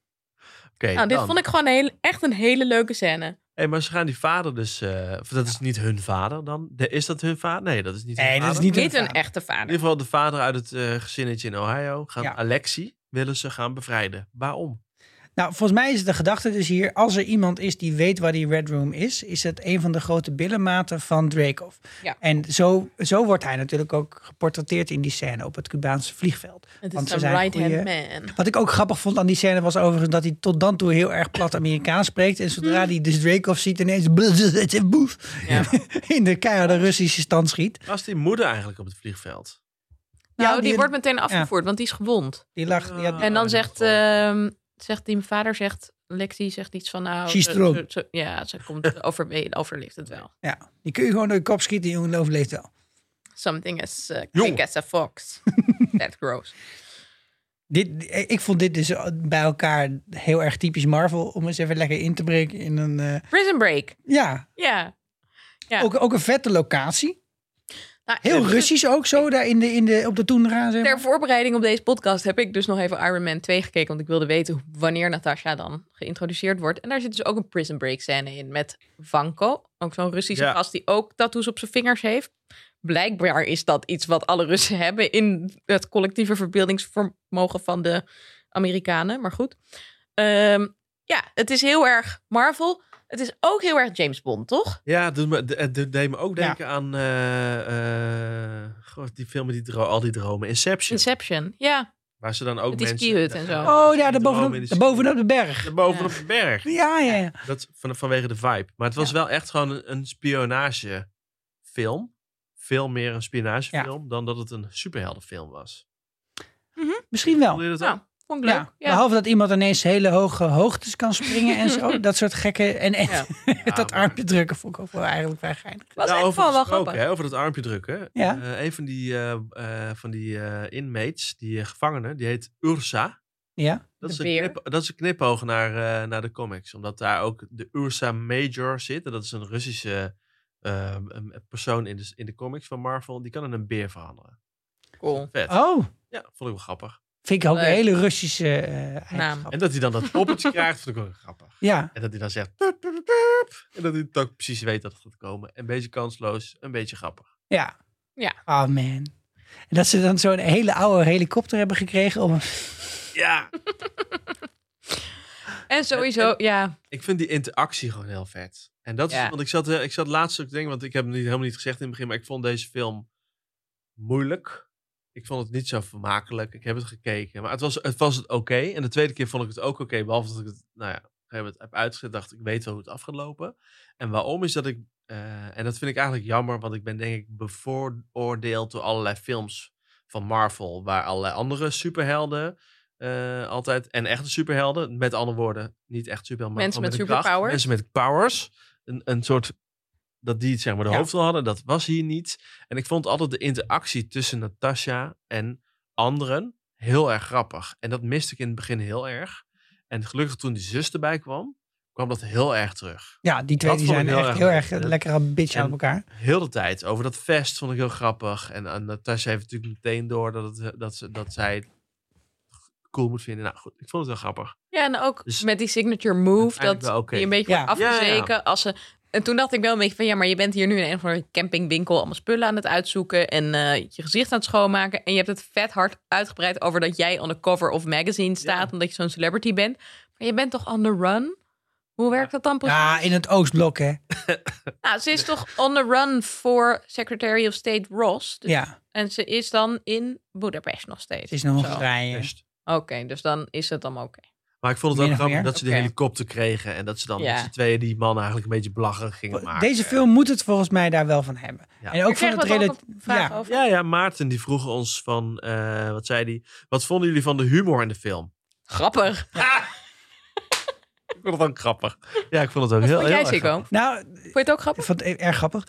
A: Oké,
B: Nou, dit
A: dan.
B: vond ik gewoon een heel, echt een hele leuke scène.
A: Hey, maar ze gaan die vader dus... eh, of dat is niet hun vader dan? De- is dat hun vader? Nee, dat is niet hun
D: Nee, dat is
A: vader.
D: niet,
B: Niet
D: hun
B: een
D: vader.
B: echte
A: In
B: vader.
A: ieder geval de vader uit het eh, gezinnetje in Ohio. Gaan
D: Ja.
A: Alexi willen ze gaan bevrijden. Waarom?
D: Nou, volgens mij is de gedachte dus hier... als er iemand is die weet waar die Red Room is... is het een van de grote billenmaten van Dreykov.
B: Ja.
D: En zo, zo wordt hij natuurlijk ook geportretteerd in die scène... op het Cubaanse vliegveld.
B: Het
D: Want
B: is
D: ze
B: een
D: zijn
B: right-hand
D: goeie-
B: man.
D: Wat ik ook grappig vond aan die scène was overigens dat hij tot dan toe heel erg plat Amerikaans spreekt. En zodra hij dus Dreykov ziet, ineens boef
B: Mhm. Ja.
D: in de keiharde Russische stand schiet.
A: Was die moeder eigenlijk op het vliegveld?
B: Nou,
D: Ja,
B: die,
D: die-
B: wordt meteen afgevoerd, want die is gewond.
D: Die lacht. die had-
A: Ah.
B: En dan
A: die
B: zegt,
A: begon.
B: ehm, zegt die mijn vader, zegt, Lexi zegt iets van, nou,
D: She's
B: ze-
D: strong.
B: ze- ze- ja, ze komt overwe- overleeft het wel.
D: ja, die kun je gewoon door je kop schieten, die jongen overleeft wel.
B: Something as uh,
A: Jongen.
B: quick as a fox. That grows.
D: Dit, ik vond dit dus bij elkaar heel erg typisch Marvel om eens even lekker in te breken in een. eh,
B: Prison Break.
D: ja,
B: Ja. Ja.
D: Ook, ook een vette locatie.
B: Nou,
D: Heel
B: dus
D: Russisch ook zo daar in de, in de, op de toendra. Zeg
B: Ter
D: maar.
B: voorbereiding op deze podcast heb ik dus nog even Iron Man 2 gekeken, want ik wilde weten wanneer Natasha dan geïntroduceerd wordt. En daar zit dus ook een Prison Break scène in met Vanko, ook zo'n Russische
A: Ja.
B: gast die ook tattoos op zijn vingers heeft. blijkbaar is dat iets wat alle Russen hebben in het collectieve verbeeldingsvermogen van de Amerikanen. Maar goed. Ehm, ja, het is heel erg Marvel. Het is ook heel erg James Bond, toch?
A: Ja, het doet me- de- het deed me ook denken aan eh, eh, goh, die film met die dro- al die dromen. Inception.
B: Inception. Ja,
A: Waar ze dan ook
B: Met die
A: mensen...
B: skihut en zo.
D: Oh ja, daar
A: Dromen in
D: bovenop,
A: de
D: daar bovenop de berg.
A: Daar bovenop
B: Ja.
A: de berg.
D: Ja, ja, ja.
A: Dat, van, vanwege de vibe. Maar het was wel echt gewoon een, een spionagefilm. Veel meer een spionagefilm dan dat het een superheldenfilm was.
D: Misschien wel.
A: Voelde je dat
B: nou,
A: ook?
B: vond Vond ik leuk. Ja,
D: Behalve dat iemand ineens hele hoge hoogtes kan springen en zo. dat soort gekke. En, en
B: Ja.
D: dat armpje drukken vond ik ook wel eigenlijk vrij geinig.
B: was
A: Nou,
B: echt
A: over
B: wel wel
A: gesproken,
B: grappig.
A: Hè, over dat armpje drukken.
D: Ja.
A: Eh, een van die, eh, eh, van die eh, inmates, die eh, gevangenen, die heet Ursa.
D: Ja.
A: Dat
B: De
A: is, een
B: beer.
A: knip, dat is een knipoog naar, eh, naar de comics. Omdat daar ook de Ursa Major zit. En dat is een Russische eh, een persoon in de, in de comics van Marvel. Die kan in een beer veranderen.
B: Cool.
A: Vet.
D: Oh,
A: Ja, vond ik wel grappig.
D: vind ik ook een
B: Leuk.
D: hele Russische eh, eigenschap.
A: En dat hij dan dat poppetje krijgt, vond ik wel grappig.
D: Ja.
A: En dat hij dan zegt... "Pup, pup, pup." En dat hij het ook precies weet dat het gaat komen. Een beetje kansloos, een beetje grappig.
D: Ja.
B: Ja.
D: Oh man. En dat ze dan zo'n hele oude helikopter hebben gekregen om
A: Ja,
B: En sowieso, ja.
A: Ik vind die interactie gewoon heel vet. En dat is,
B: Ja.
A: want ik zat, eh, ik zat laatst ook te denken, want ik heb het niet, helemaal niet gezegd in het begin, maar ik vond deze film moeilijk. Ik vond het niet zo vermakelijk. Ik heb het gekeken, maar het was het, was het oké. En de tweede keer vond ik het ook oké, behalve dat ik het, nou ja, op een gegeven moment heb uitgezet, dacht ik, ik weet wel hoe het af gaat lopen. En waarom is dat ik, eh, en dat vind ik eigenlijk jammer, want ik ben denk ik bevooroordeeld door allerlei films van Marvel, waar allerlei andere superhelden eh, altijd, en echte superhelden, met andere woorden, niet echt superhelden, maar
B: Mensen
A: gewoon
B: met
A: een kracht.
B: superpowers.
A: mensen met powers, een, een soort, dat die het zeg maar de
D: Ja.
A: hoofdrol hadden, dat was hier niet. En ik vond altijd de interactie tussen Natasha en anderen heel erg grappig. En dat miste ik in het begin heel erg. En gelukkig toen die zus erbij kwam, kwam dat heel erg terug.
D: Ja, die twee
A: Dat
D: die
A: vond
D: zijn
A: ik heel
D: echt
A: erg
D: heel
A: leuk.
D: erg
A: Dat-
D: lekker een bitch
A: en-
D: aan elkaar.
A: Heel de tijd. Over dat vest vond ik heel grappig. En eh, Natasha heeft natuurlijk meteen door dat, het, dat, ze, dat zij het cool moet vinden. Nou goed, ik vond het wel grappig.
B: Ja, en ook
A: Dus-
B: met die signature move, dat
A: Uiteindelijk wel oké.
B: die een beetje
D: Ja.
B: wordt
A: Ja, ja, ja.
B: afgezeken. Als ze, en toen dacht ik wel een beetje van, ja, maar je bent hier nu in een of andere campingwinkel allemaal spullen aan het uitzoeken en eh, je gezicht aan het schoonmaken. En je hebt het vet hard uitgebreid over dat jij on the cover of magazine staat, omdat je zo'n celebrity bent. Maar je bent toch on the run? Hoe werkt dat dan precies?
D: Ja, in het Oostblok hè.
B: Nou, ze is toch on the run voor Secretary of State Ross. Dus-
D: Ja,
B: En ze is dan in Budapest nog steeds.
D: het is nog
B: Zo.
D: een eh, vrije.
A: Best.
B: Oké, dus dan is het dan oké.
A: Maar ik vond het
D: Min
A: ook
D: of
A: grappig
D: meer?
A: dat ze
B: Oké.
A: de helikopter kregen. En dat ze dan
B: Ja.
A: met z'n tweeën die man eigenlijk een beetje belachelijk gingen maken.
D: Deze film moet het volgens mij daar wel van hebben.
A: Ja.
D: En ook van
B: Krijgen
D: het
B: we er
D: rela-
B: ook een vraag
D: ja.
B: over?
A: Ja, ja, Maarten die vroeg ons van, eh, wat zei die? Wat vonden jullie van de humor in de film?
B: Grappig.
A: Ik vond het ook grappig. Ja, ik vond het ook
B: Wat
A: heel,
B: vond
A: heel
B: jij,
A: erg
B: Sikko? Vond
D: Nou,
B: je het ook grappig?
D: ik vond het erg grappig.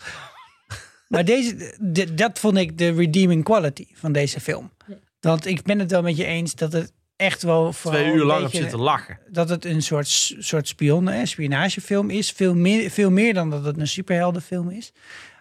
D: Maar deze, de- dat vond ik de redeeming quality van deze film. Want ik ben het wel met je eens dat het echt wel vooral
A: twee uur
D: een
A: lang op
D: beetje-
A: zitten lachen.
D: dat het een soort, soort spion, hè, spionagefilm is. Veel meer, veel meer dan dat het een superheldenfilm is.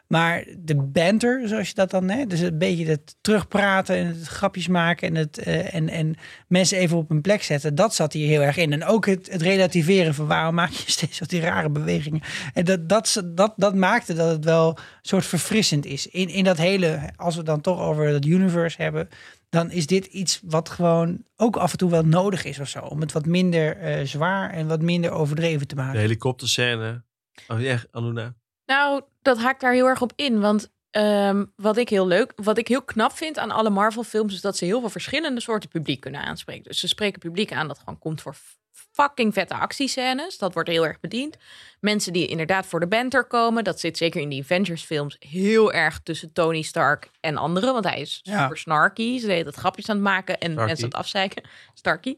D: Maar de banter, zoals je dat dan... Hè, dus een beetje het terugpraten en het grapjes maken... en, het, eh, en, en mensen even op hun plek zetten, dat zat hier heel erg in. En ook het, het relativeren van waarom maak je steeds wat die rare bewegingen. En dat, dat, dat, dat maakte dat het wel een soort verfrissend is. In, in dat hele, als we het dan toch over dat universe hebben... dan is dit iets wat gewoon ook af en toe wel nodig is of zo. Om het wat minder eh, zwaar en wat minder overdreven te
A: De
D: maken.
A: helikopterscène. Oh ja, Aluna.
B: Nou, dat haakt daar heel erg op in. Want ehm, wat ik heel leuk, wat ik heel knap vind aan alle Marvel-films, is dat ze heel veel verschillende soorten publiek kunnen aanspreken. Dus ze spreken publiek aan dat gewoon komt voor f- fucking vette actiescènes. Dat wordt heel erg bediend. Mensen die inderdaad voor de banter komen, dat zit zeker in die Avengers-films heel erg tussen Tony Stark en anderen. Want hij is
D: Ja.
B: super snarky. Ze deed dat grapjes aan het maken en mensen aan het afzeiken. Starky.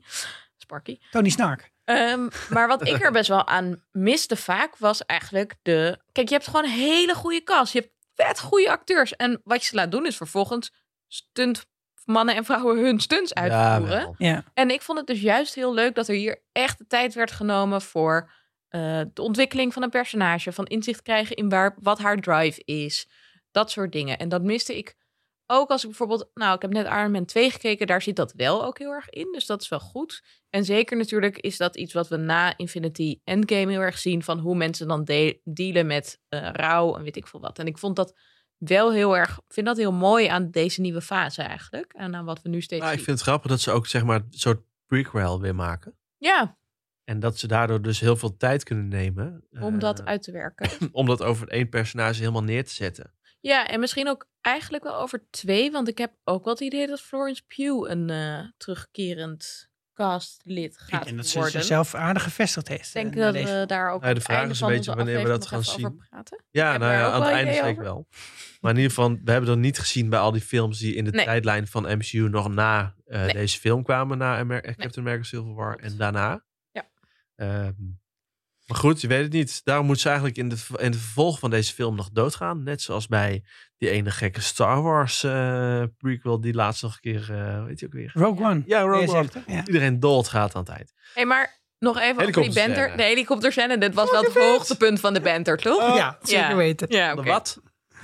B: Sparky.
D: Tony Snark.
B: Ehm, maar wat ik er best wel aan miste vaak was eigenlijk de. Kijk, je hebt gewoon een hele goede kast. Je hebt vet goede acteurs. En wat je ze laat doen is vervolgens stunt mannen en vrouwen hun stunts uitvoeren.
A: wel.
D: Ja.
B: en ik vond het dus juist heel leuk dat er hier echt de tijd werd genomen voor eh, de ontwikkeling van een personage. Van inzicht krijgen in waar, wat haar drive is. Dat soort dingen. En dat miste ik ook als ik bijvoorbeeld. Nou, ik heb net Iron Man 2 gekeken. Daar zit dat wel ook heel erg in. Dus dat is wel goed. En zeker natuurlijk is dat iets wat we na Infinity Endgame heel erg zien. Van hoe mensen dan de- dealen met eh, rouw en weet ik veel wat. En ik vond dat wel heel erg. vind dat heel mooi aan deze nieuwe fase eigenlijk. En aan wat we nu steeds
A: Maar Nou, ik
B: zien.
A: vind het grappig dat ze ook zeg maar een soort prequel weer maken.
B: Ja,
A: En dat ze daardoor dus heel veel tijd kunnen nemen.
B: om
A: eh,
B: dat uit te werken.
A: om dat over één personage helemaal neer te zetten.
B: Ja, en misschien ook eigenlijk wel over twee. Want ik heb ook wel het idee dat Florence Pugh een eh, terugkerend castlid
D: Ik
B: gaat
D: denk dat ze
B: worden.
D: zichzelf aardig gevestigd heeft.
B: Ik denk
D: eh, na
B: dat
D: deze.
B: we daar
A: Nou,
B: ook
A: de
B: op het
A: vraag
B: einde
A: is
B: van
A: een beetje
B: onze
A: wanneer we dat
B: aflevering
A: gaan
B: nog even over praten.
A: Ja,
B: Heb
A: nou
B: jij
A: ja,
B: ook
A: aan het
B: wel
A: einde
B: ideeën
A: zeker wel. Maar in ieder geval, we hebben dat niet gezien bij al die films die in de
B: Nee.
A: tijdlijn van MCU nog na eh,
B: Nee.
A: deze film kwamen na Amer- eh, Captain America Civil War
B: Klopt.
A: en daarna.
B: Ja.
A: Ehm, maar goed, je weet het niet. Daarom moet ze eigenlijk in de, v- in het vervolg van deze film nog doodgaan. Net zoals bij die ene gekke Star Wars eh, prequel die laatst nog een keer, eh, hoe heet je ook weer?
D: Rogue One.
A: Ja,
D: Jij
A: Rogue One.
D: zegt het, ja.
A: Iedereen doodgaat aan het eind.
B: Hé, maar nog even over die
A: Helikopterscène.
B: banter. De helikopterscène, dit was wel het hoogtepunt van de banter, toch?
D: ja, zeker
B: ja.
D: weten.
B: Ja,
A: Oh, De
B: oké.
A: Wat?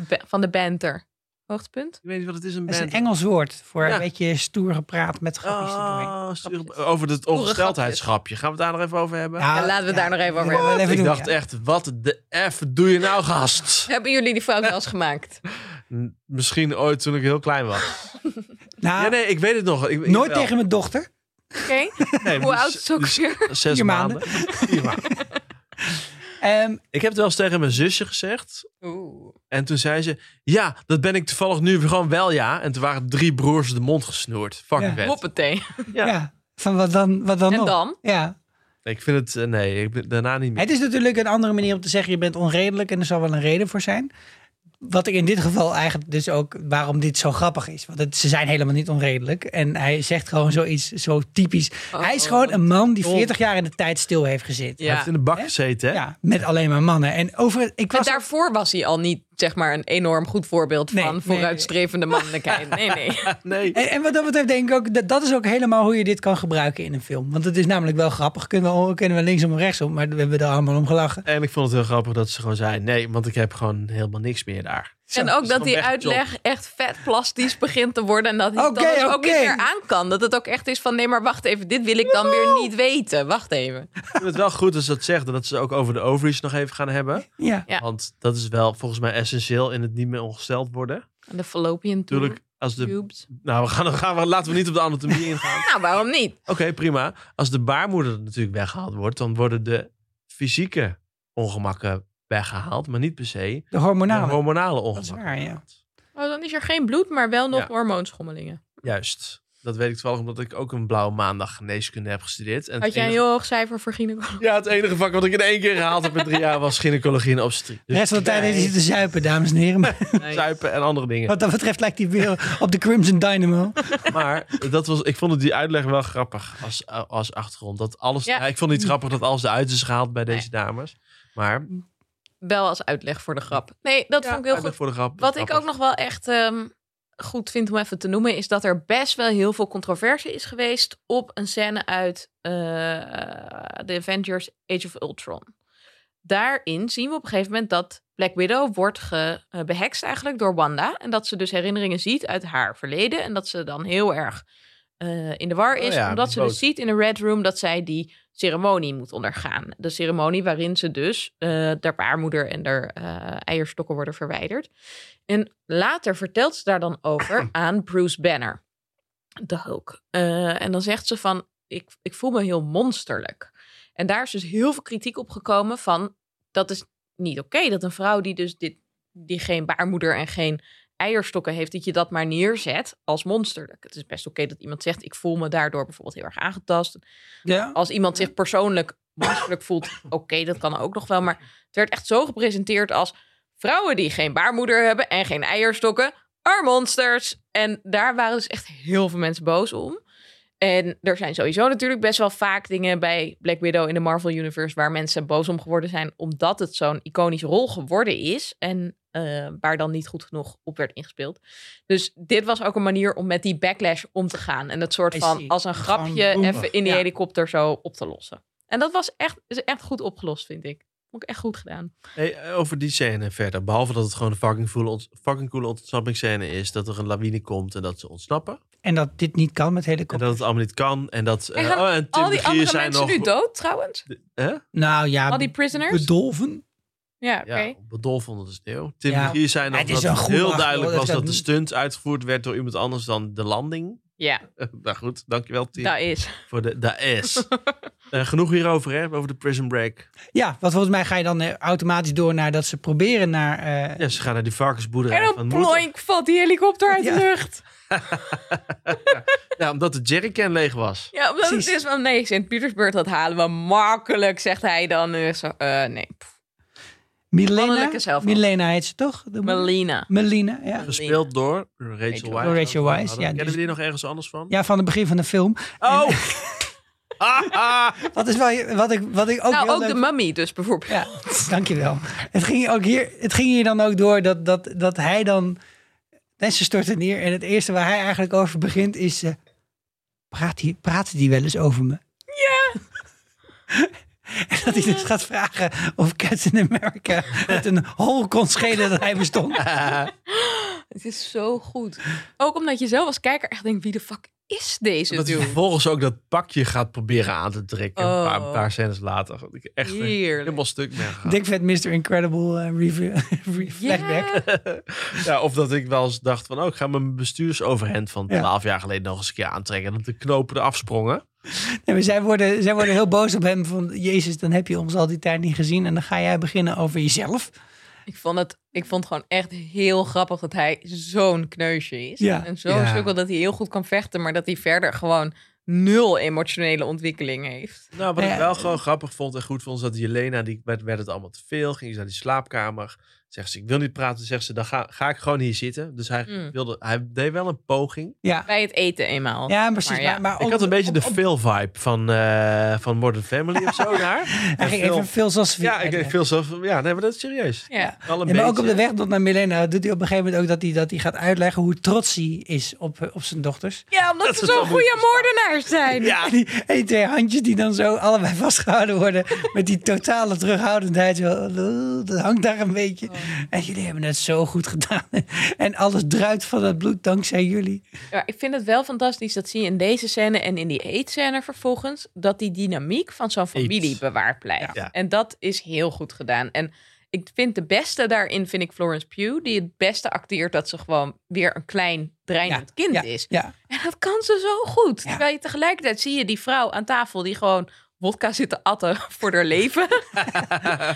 B: Ba- Van de banter. Hoogtepunt?
A: Ik weet niet wat het is. Een
D: Dat is een
A: band.
D: Engels woord voor
A: Ja.
D: een beetje stoer gepraat met grapjes erdoorheen.
A: Oh,
B: Grapjes.
A: over het ongesteldheidsgrapje. Gaan we het daar nog even over hebben?
B: Ja, laten we het daar nog even over
D: dat willen we
A: ik
D: even doen,
A: dacht
D: Nou, ja.
A: echt, wat de F doe je nou, gast?
B: Hebben jullie die fout wel eens gemaakt?
A: N- Misschien ooit toen ik heel klein was.
D: Nou,
A: ja, nee, ik weet het nog. Ik, ik
D: nooit
A: wel.
D: tegen mijn dochter.
B: Oké?
A: Nee,
B: Hoe
A: dus-
B: oud is het ook
A: dus
B: weer?
A: Zes
D: Vier maanden.
A: maanden. Vier maanden.
D: Ehm,
A: Ik heb het wel eens tegen mijn zusje gezegd.
B: Oeh.
A: En toen zei ze, ja, dat ben ik toevallig nu gewoon wel, ja. En toen waren drie broers de mond gesnoerd. Fucking
D: Ja.
A: vet.
B: Hoppatee.
A: Ja.
D: ja. Van wat dan, wat dan
B: En
D: nog?
B: dan?
D: Ja.
A: Ik vind het, eh, nee, ik ben daarna niet meer.
D: Het is natuurlijk een andere manier om te zeggen: je bent onredelijk en er zal wel een reden voor zijn. Wat ik in dit geval eigenlijk dus ook waarom dit zo grappig is. Want het, ze zijn helemaal niet onredelijk. En hij zegt gewoon zoiets zo typisch.
B: Oh,
D: hij is
B: oh.
D: gewoon een man die
A: Oh.
D: 40 jaar in de tijd stil heeft gezeten.
A: Hij
B: Ja.
A: heeft in de bak
D: Hè?
A: gezeten, hè?
D: Ja, met alleen maar mannen. En over, ik
B: En
D: was
B: daarvoor was hij al niet, zeg maar, een enorm goed voorbeeld
D: Nee,
B: van
D: nee,
B: vooruitstrevende mannelijkheid. Nee, nee.
A: Nee.
D: En, en wat dat betreft denk ik ook, dat, dat is ook helemaal hoe je dit kan gebruiken in een film. Want het is namelijk wel grappig. Kunnen we, kunnen we linksom en rechtsom, maar we hebben er allemaal om gelachen.
A: En ik vond het heel grappig dat ze gewoon zei, nee, want ik heb gewoon helemaal niks meer daar.
B: En ook
A: is
B: dat
A: gewoon
B: die
A: weg,
B: uitleg echt vet plastisch begint te worden. En dat hij het dan
D: Oké,
B: dus ook
D: oké.
B: niet meer aan kan. Dat het ook echt is van, nee, maar wacht even. Dit wil ik dan weer niet weten. Wacht even.
A: Ik vind het wel goed dat ze dat zegt en dat ze het ook over de ovaries nog even gaan hebben.
D: Ja.
B: Ja.
A: Want dat is wel volgens mij essentieel in het niet meer ongesteld worden.
B: En de fallopian tube-
A: Natuurlijk, als de.
B: tubes.
A: Nou, we gaan, we gaan, laten we niet op de anatomie ingaan.
B: Nou, waarom niet?
A: Oké, prima. Als de baarmoeder natuurlijk weggehaald wordt, dan worden de fysieke ongemakken weggehaald, maar niet per se
D: De
A: de
D: hormonale.
A: hormonale
D: is
A: ongemakken.
D: waar, ja.
A: weggehaald.
B: Oh, dan is er geen bloed, maar wel nog
A: Ja.
B: hormoonschommelingen.
A: Juist. Dat weet ik wel omdat ik ook een blauwe maandag geneeskunde heb gestudeerd. En
B: Had
A: het
B: jij een
A: enige,
B: heel hoog cijfer voor gynaecologie?
A: ja, het enige vak wat ik in één keer gehaald heb in drie jaar was gynaecologie en obstetrie.
D: de
A: Dus
D: rest van de tijd is hij te zuipen, dames en heren. Maar
A: zuipen en andere dingen.
D: wat dat betreft lijkt hij weer op de Crimson Dynamo.
A: Maar dat was, ik vond het die uitleg wel grappig als, als achtergrond. Dat alles,
B: Ja.
A: ja, ik vond het niet grappig dat alles eruit is gehaald bij deze dames. Maar
B: Wel als uitleg voor de grap. Nee, dat
A: ja,
B: vond ik heel
A: uitleg
B: goed.
A: voor de grap.
B: Wat ik ook nog wel echt ehm, goed vind om even te noemen, is dat er best wel heel veel controverse is geweest op een scène uit eh The Avengers Age of Ultron. Daarin zien we op een gegeven moment dat Black Widow wordt ge, eh, behext eigenlijk door Wanda. En dat ze dus herinneringen ziet uit haar verleden. En dat ze dan heel erg eh, in de war
A: Oh
B: is.
A: ja,
B: omdat
A: die
B: ze dus
A: boot.
B: ziet in een Red Room dat zij die ceremonie moet ondergaan. De ceremonie waarin ze dus eh haar baarmoeder en haar eh, eierstokken worden verwijderd. En later vertelt ze daar dan over aan Bruce Banner, de Hulk. Eh, en dan zegt ze van, ik, ik voel me heel monsterlijk. En daar is dus heel veel kritiek op gekomen van, dat is niet oké. dat een vrouw die dus dit, die geen baarmoeder en geen eierstokken heeft, dat je dat maar neerzet als monsterlijk. Het is best oké dat iemand zegt, ik voel me daardoor bijvoorbeeld heel erg aangetast.
D: Ja.
B: Als iemand zich persoonlijk monsterlijk voelt, oké, dat kan ook nog wel. Maar het werd echt zo gepresenteerd als vrouwen die geen baarmoeder hebben en geen eierstokken, are monsters. En daar waren dus echt heel veel mensen boos om. En er zijn sowieso natuurlijk best wel vaak dingen bij Black Widow in de Marvel Universe waar mensen boos om geworden zijn, omdat het zo'n iconische rol geworden is en eh, waar dan niet goed genoeg op werd ingespeeld. Dus dit was ook een manier om met die backlash om te gaan en dat soort
D: I
B: van
D: see.
B: als een
D: Gewoon
B: grapje
D: boemer.
B: even in die
D: Ja.
B: helikopter zo op te lossen. En dat was echt, is echt goed opgelost, vind ik. Vond ik echt goed gedaan.
A: eh, over die scène verder. Behalve dat het gewoon een fucking, voele ont- fucking coole ontsnappingsscène is. Dat er een lawine komt en dat ze ontsnappen.
D: En dat dit niet kan met
A: En
D: helikopter.
A: dat het allemaal niet kan. En dat. eh,
B: En gaan
A: oh, en Tim
B: Al
A: de
B: die
A: Gier
B: andere
A: zijn
B: mensen
A: nog,
B: nu dood, trouwens.
A: Hè?
D: Nou ja,
B: Al die prisoners.
D: bedolven.
B: Ja, oké.
A: Ja, bedolven onder de sneeuw. Tim
D: Ja.
A: de Gier zei nog
D: het is
A: dat
D: een
A: het
D: goed
A: heel
D: verhaal,
A: duidelijk
D: dat
A: was
D: ik dat
A: dat de stunt uitgevoerd werd door iemand anders dan de landing.
B: Ja,
A: Eh, nou goed, dankjewel Tim.
B: dat is.
A: Voor de, de S. Eh, genoeg hierover, hè? Over de Prison Break.
D: Ja, want volgens mij ga je dan eh, automatisch door naar dat ze proberen naar... eh,
A: Ja, ze gaan naar die varkensboerderij.
B: En
A: van
B: dan
A: moeder.
B: ploink valt die helikopter uit de
D: Ja.
B: lucht.
A: Ja, omdat de jerrycan leeg was.
B: Ja, omdat het
D: Precies.
B: is van nee, Sint-Petersburg, dat halen we makkelijk, zegt hij dan. En ik zo, eh, nee. pff.
D: Milena,
B: Mannelijke zelfmoord.
D: Milena heet ze toch? De-
B: Melina.
D: Melina, ja.
A: Gespeeld door Rachel Wise.
B: Door
D: Rachel
A: Hadden-
D: Weisz, ja,
A: Kennen
D: dus-
A: we die nog ergens anders van?
D: Ja, van het begin van de film.
A: Oh! Ah, ah.
D: Wat is wel wat ik, wat ik ook
B: nou,
D: heel
B: ook
D: leuk-
B: de mummy dus bijvoorbeeld.
D: Ja, dankjewel. Het ging, ook hier, het ging hier dan ook door dat, dat, dat hij dan... Mensen storten neer en het eerste waar hij eigenlijk over begint is... eh, praat, die, praat die wel eens over me? Ja! en dat hij dus gaat vragen of Captain America met een hol kon schelen dat hij bestond.
B: Het is zo goed. Ook omdat je zelf als kijker echt denkt, wie de fuck is deze
A: Dat hij
B: dude?
A: vervolgens ook dat pakje gaat proberen aan te trekken. Een paar,
B: Oh.
A: paar scènes later. Dat ik echt
B: Heerlijk.
A: helemaal stuk ben gegaan.
D: Dik vet Mr. Incredible eh, review- re- flashback.
B: Ja.
A: Ja, of dat ik wel eens dacht van... Oh, ik ga mijn bestuursoverhemd van
D: Ja.
A: 12 jaar geleden nog eens een keer aantrekken. Dat de knopen eraf sprongen.
D: Nee, maar zij, worden, zij worden heel boos op hem van... Jezus, dan heb je ons al die tijd niet gezien en dan ga jij beginnen over jezelf.
B: Ik vond het, ik vond het gewoon echt heel grappig dat hij zo'n kneusje is.
D: Ja.
B: En zo'n
A: Ja.
B: sukkel dat hij heel goed kan vechten, maar dat hij verder gewoon nul emotionele ontwikkeling heeft.
A: Nou, wat
D: Ja.
A: ik wel gewoon grappig vond en goed vond... is dat Jelena, die werd, werd het allemaal te veel. Ging ze naar die slaapkamer. Zegt ze, ik wil niet praten. Zegt ze, dan ga, ga ik gewoon hier zitten. Dus hij,
D: Hmm.
B: Mm.
A: wilde, hij deed wel een poging.
D: Ja,
B: Bij het eten eenmaal.
D: ja precies. Maar,
B: Maar ja.
D: maar ook-
A: Ik had een beetje
D: op-
A: de
D: op-
A: Phil-vibe van, eh, van Modern Family of zo daar.
D: Hij
A: En
D: ging
A: Phil-
D: even veel zoals
A: Ja, ik deed veel zelf. Ja, nee, maar dat is serieus.
B: Ja.
A: Al een
D: Ja, maar ook op
A: beetje.
D: de weg tot naar Milena doet hij op een gegeven moment ook dat hij, dat hij gaat uitleggen hoe trots hij is op, op zijn dochters.
B: Ja, omdat
A: Dat
B: ze
A: is
B: zo'n
A: wel moeilijk
B: goede
A: te
B: moordenaars zijn.
A: Ja,
D: En die, en die twee handjes die dan zo allebei vastgehouden worden met die totale terughoudendheid. Zo, eh, dat hangt daar een beetje.
B: Oh.
D: En jullie hebben het zo goed gedaan. En alles druipt van het bloed dankzij jullie.
B: Ja, ik vind het wel fantastisch dat zie je in deze scène en in die eetscène vervolgens dat die dynamiek van zo'n familie
A: Eet.
B: bewaard blijft.
A: Ja.
B: En dat is heel goed gedaan. En ik vind de beste daarin vind ik Florence Pugh die het beste acteert dat ze gewoon weer een klein dreinend kind
D: ja,
B: is.
D: Ja,
B: En dat kan ze zo goed.
D: Ja.
B: Terwijl je tegelijkertijd zie je die vrouw aan tafel die gewoon wodka zit te atten voor haar leven.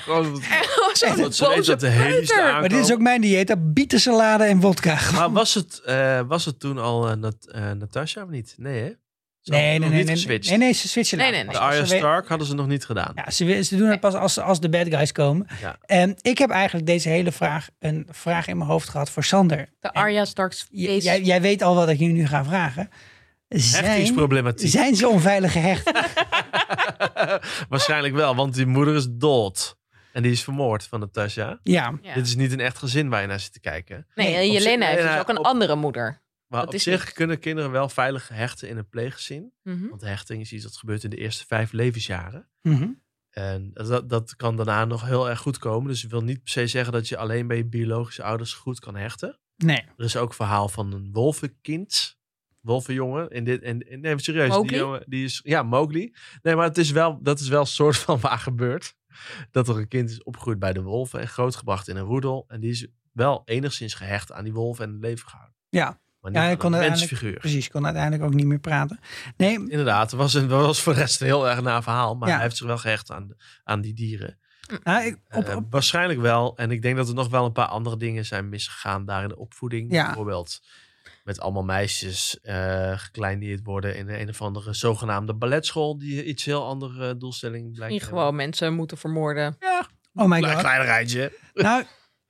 A: Gewoon
B: en gewoon zo'n
A: dat ze weet
B: boze
A: dat de hele
B: peuter.
D: maar dit is ook mijn dieet. dat Bietensalade en wodka.
A: Maar was het, eh, was het toen al eh, Nat- eh, Natasha of niet? Nee, hè? Ze hadden
D: Nee, nee,
A: nog
D: nee.
A: niet
D: Nee, nee,
A: geswitcht.
D: nee, nee, ze switchen
B: Nee,
D: later
B: nee,
A: De
D: pas.
A: Arya
D: Ze we-
A: Stark hadden ze nog niet gedaan.
D: Ja, ze, ze doen het pas als, als de bad guys komen.
A: Ja.
D: En ik heb eigenlijk deze hele vraag een vraag in mijn hoofd gehad voor Sander.
B: De Arya Stark's
D: J-
B: face.
D: jij, jij weet al wat ik je nu ga vragen. Zijn,
A: Hechtingsproblematiek.
D: zijn ze onveilig gehecht?
A: Waarschijnlijk wel, want die moeder is dood. En die is vermoord van Natasha.
D: ja.
B: Ja.
A: Dit is niet een echt gezin waar je naar zit te kijken.
B: Nee,
D: Nee,
B: en
A: op zich-
B: Jelena heeft
A: nee,
B: dus
A: nee,
B: ook een
A: op-
B: andere moeder.
A: Maar
B: Dat
A: op
B: is
A: zich
B: niet-
A: kunnen kinderen wel veilig hechten in een pleeggezin.
B: Mhm.
A: Want hechting is iets dat gebeurt in de eerste vijf levensjaren.
D: Mhm.
A: En dat, dat kan daarna nog heel erg goed komen. Dus ik wil niet per se zeggen dat je alleen bij je biologische ouders goed kan hechten.
D: Nee.
A: Er is ook een verhaal van een wolvenkind. Wolvenjongen. In dit, en en- nee, maar serieus.
B: Mowgli?
A: Die jongen, die is, ja, Mowgli. Nee, maar het is wel, dat is wel een soort van waar gebeurt. Dat er een kind is opgegroeid bij de wolven en grootgebracht in een roedel. En die is wel enigszins gehecht aan die wolven en het leven gehouden.
D: Ja.
A: Maar niet
D: Ja, hij
A: aan
D: kon
A: een
D: uiteindelijk-
A: mensfiguur.
D: Precies, kon uiteindelijk ook niet meer praten. Nee,
A: Inderdaad, het was, een, was voor de rest een heel erg na verhaal. Maar
D: Ja.
A: hij heeft zich wel gehecht aan, aan die dieren.
D: nou, ik, op,
A: Eh,
D: op-
A: waarschijnlijk wel. En ik denk dat er nog wel een paar andere dingen zijn misgegaan daar in de opvoeding.
D: Ja.
A: Bijvoorbeeld met allemaal meisjes eh gekleineerd worden in een of andere zogenaamde balletschool. Die iets heel andere eh, doelstelling blijkt.
B: Misschien
A: te
B: gewoon mensen moeten vermoorden.
D: oh my
A: hebben. Een
D: god.
A: klein rijtje.
D: Nou,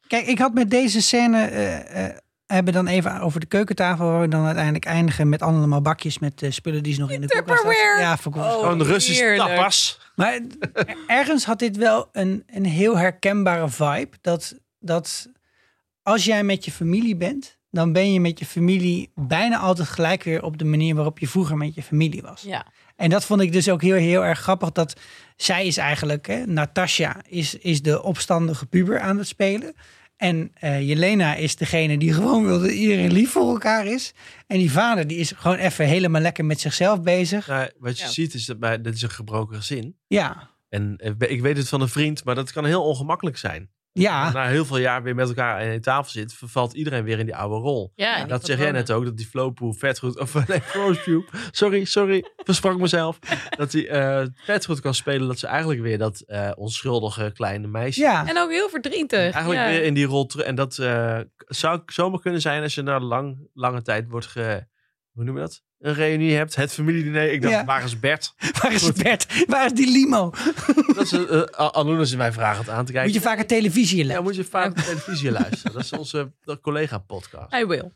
D: kijk, ik had met deze scène. eh, eh, hebben dan even over de keukentafel, waar we dan uiteindelijk eindigen met allemaal bakjes met eh, spullen die ze nog in de koelkast hadden.
B: Tupperware.
D: Ja, voor koelkast.
A: Gewoon Russisch
B: Oh, heerlijk.
A: tapas.
D: Maar het- er- ergens had dit wel een, een heel herkenbare vibe. Dat, dat als jij met je familie bent, dan ben je met je familie bijna altijd gelijk weer op de manier waarop je vroeger met je familie was.
B: Ja.
D: En dat vond ik dus ook heel, heel erg grappig. Dat zij is eigenlijk, hè, Natasja is, is de opstandige puber aan het spelen. En eh, Jelena is degene die gewoon wil dat iedereen lief voor elkaar is. En die vader die is gewoon even helemaal lekker met zichzelf bezig.
A: Nou, wat je
B: Ja.
A: ziet is dat bij, dit is een gebroken gezin.
D: Ja,
A: En eh, ik weet het van een vriend, maar dat kan heel ongemakkelijk zijn.
B: Ah.
D: ja.
A: Na heel veel jaar weer met elkaar aan een tafel zit, vervalt iedereen weer in die oude rol.
B: Ja,
A: Dat zeg jij net ook, dat die flowpoe vetgoed... Of nee, Flowspoe. Sorry, sorry. Versprak mezelf. Dat hij eh vetgoed kan spelen. Dat ze eigenlijk weer dat eh, onschuldige kleine meisje...
D: ja.
B: En ook heel verdrietig.
A: Eigenlijk
B: ja.
A: weer in die rol terug. En dat eh, zou zomaar kunnen zijn als je na lang, lange tijd wordt ge... Hoe noem je dat? een reunie hebt. Het familiediner. Ik dacht,
D: Ja.
A: waar is Bert?
D: Waar is Bert? Waar is die limo?
A: Dat is, eh, eh, Anouna zit mij vragend aan te kijken.
D: Moet je vaker televisie in
A: ja, moet je vaak op televisie luisteren. Dat is onze eh, collega-podcast.
B: I will.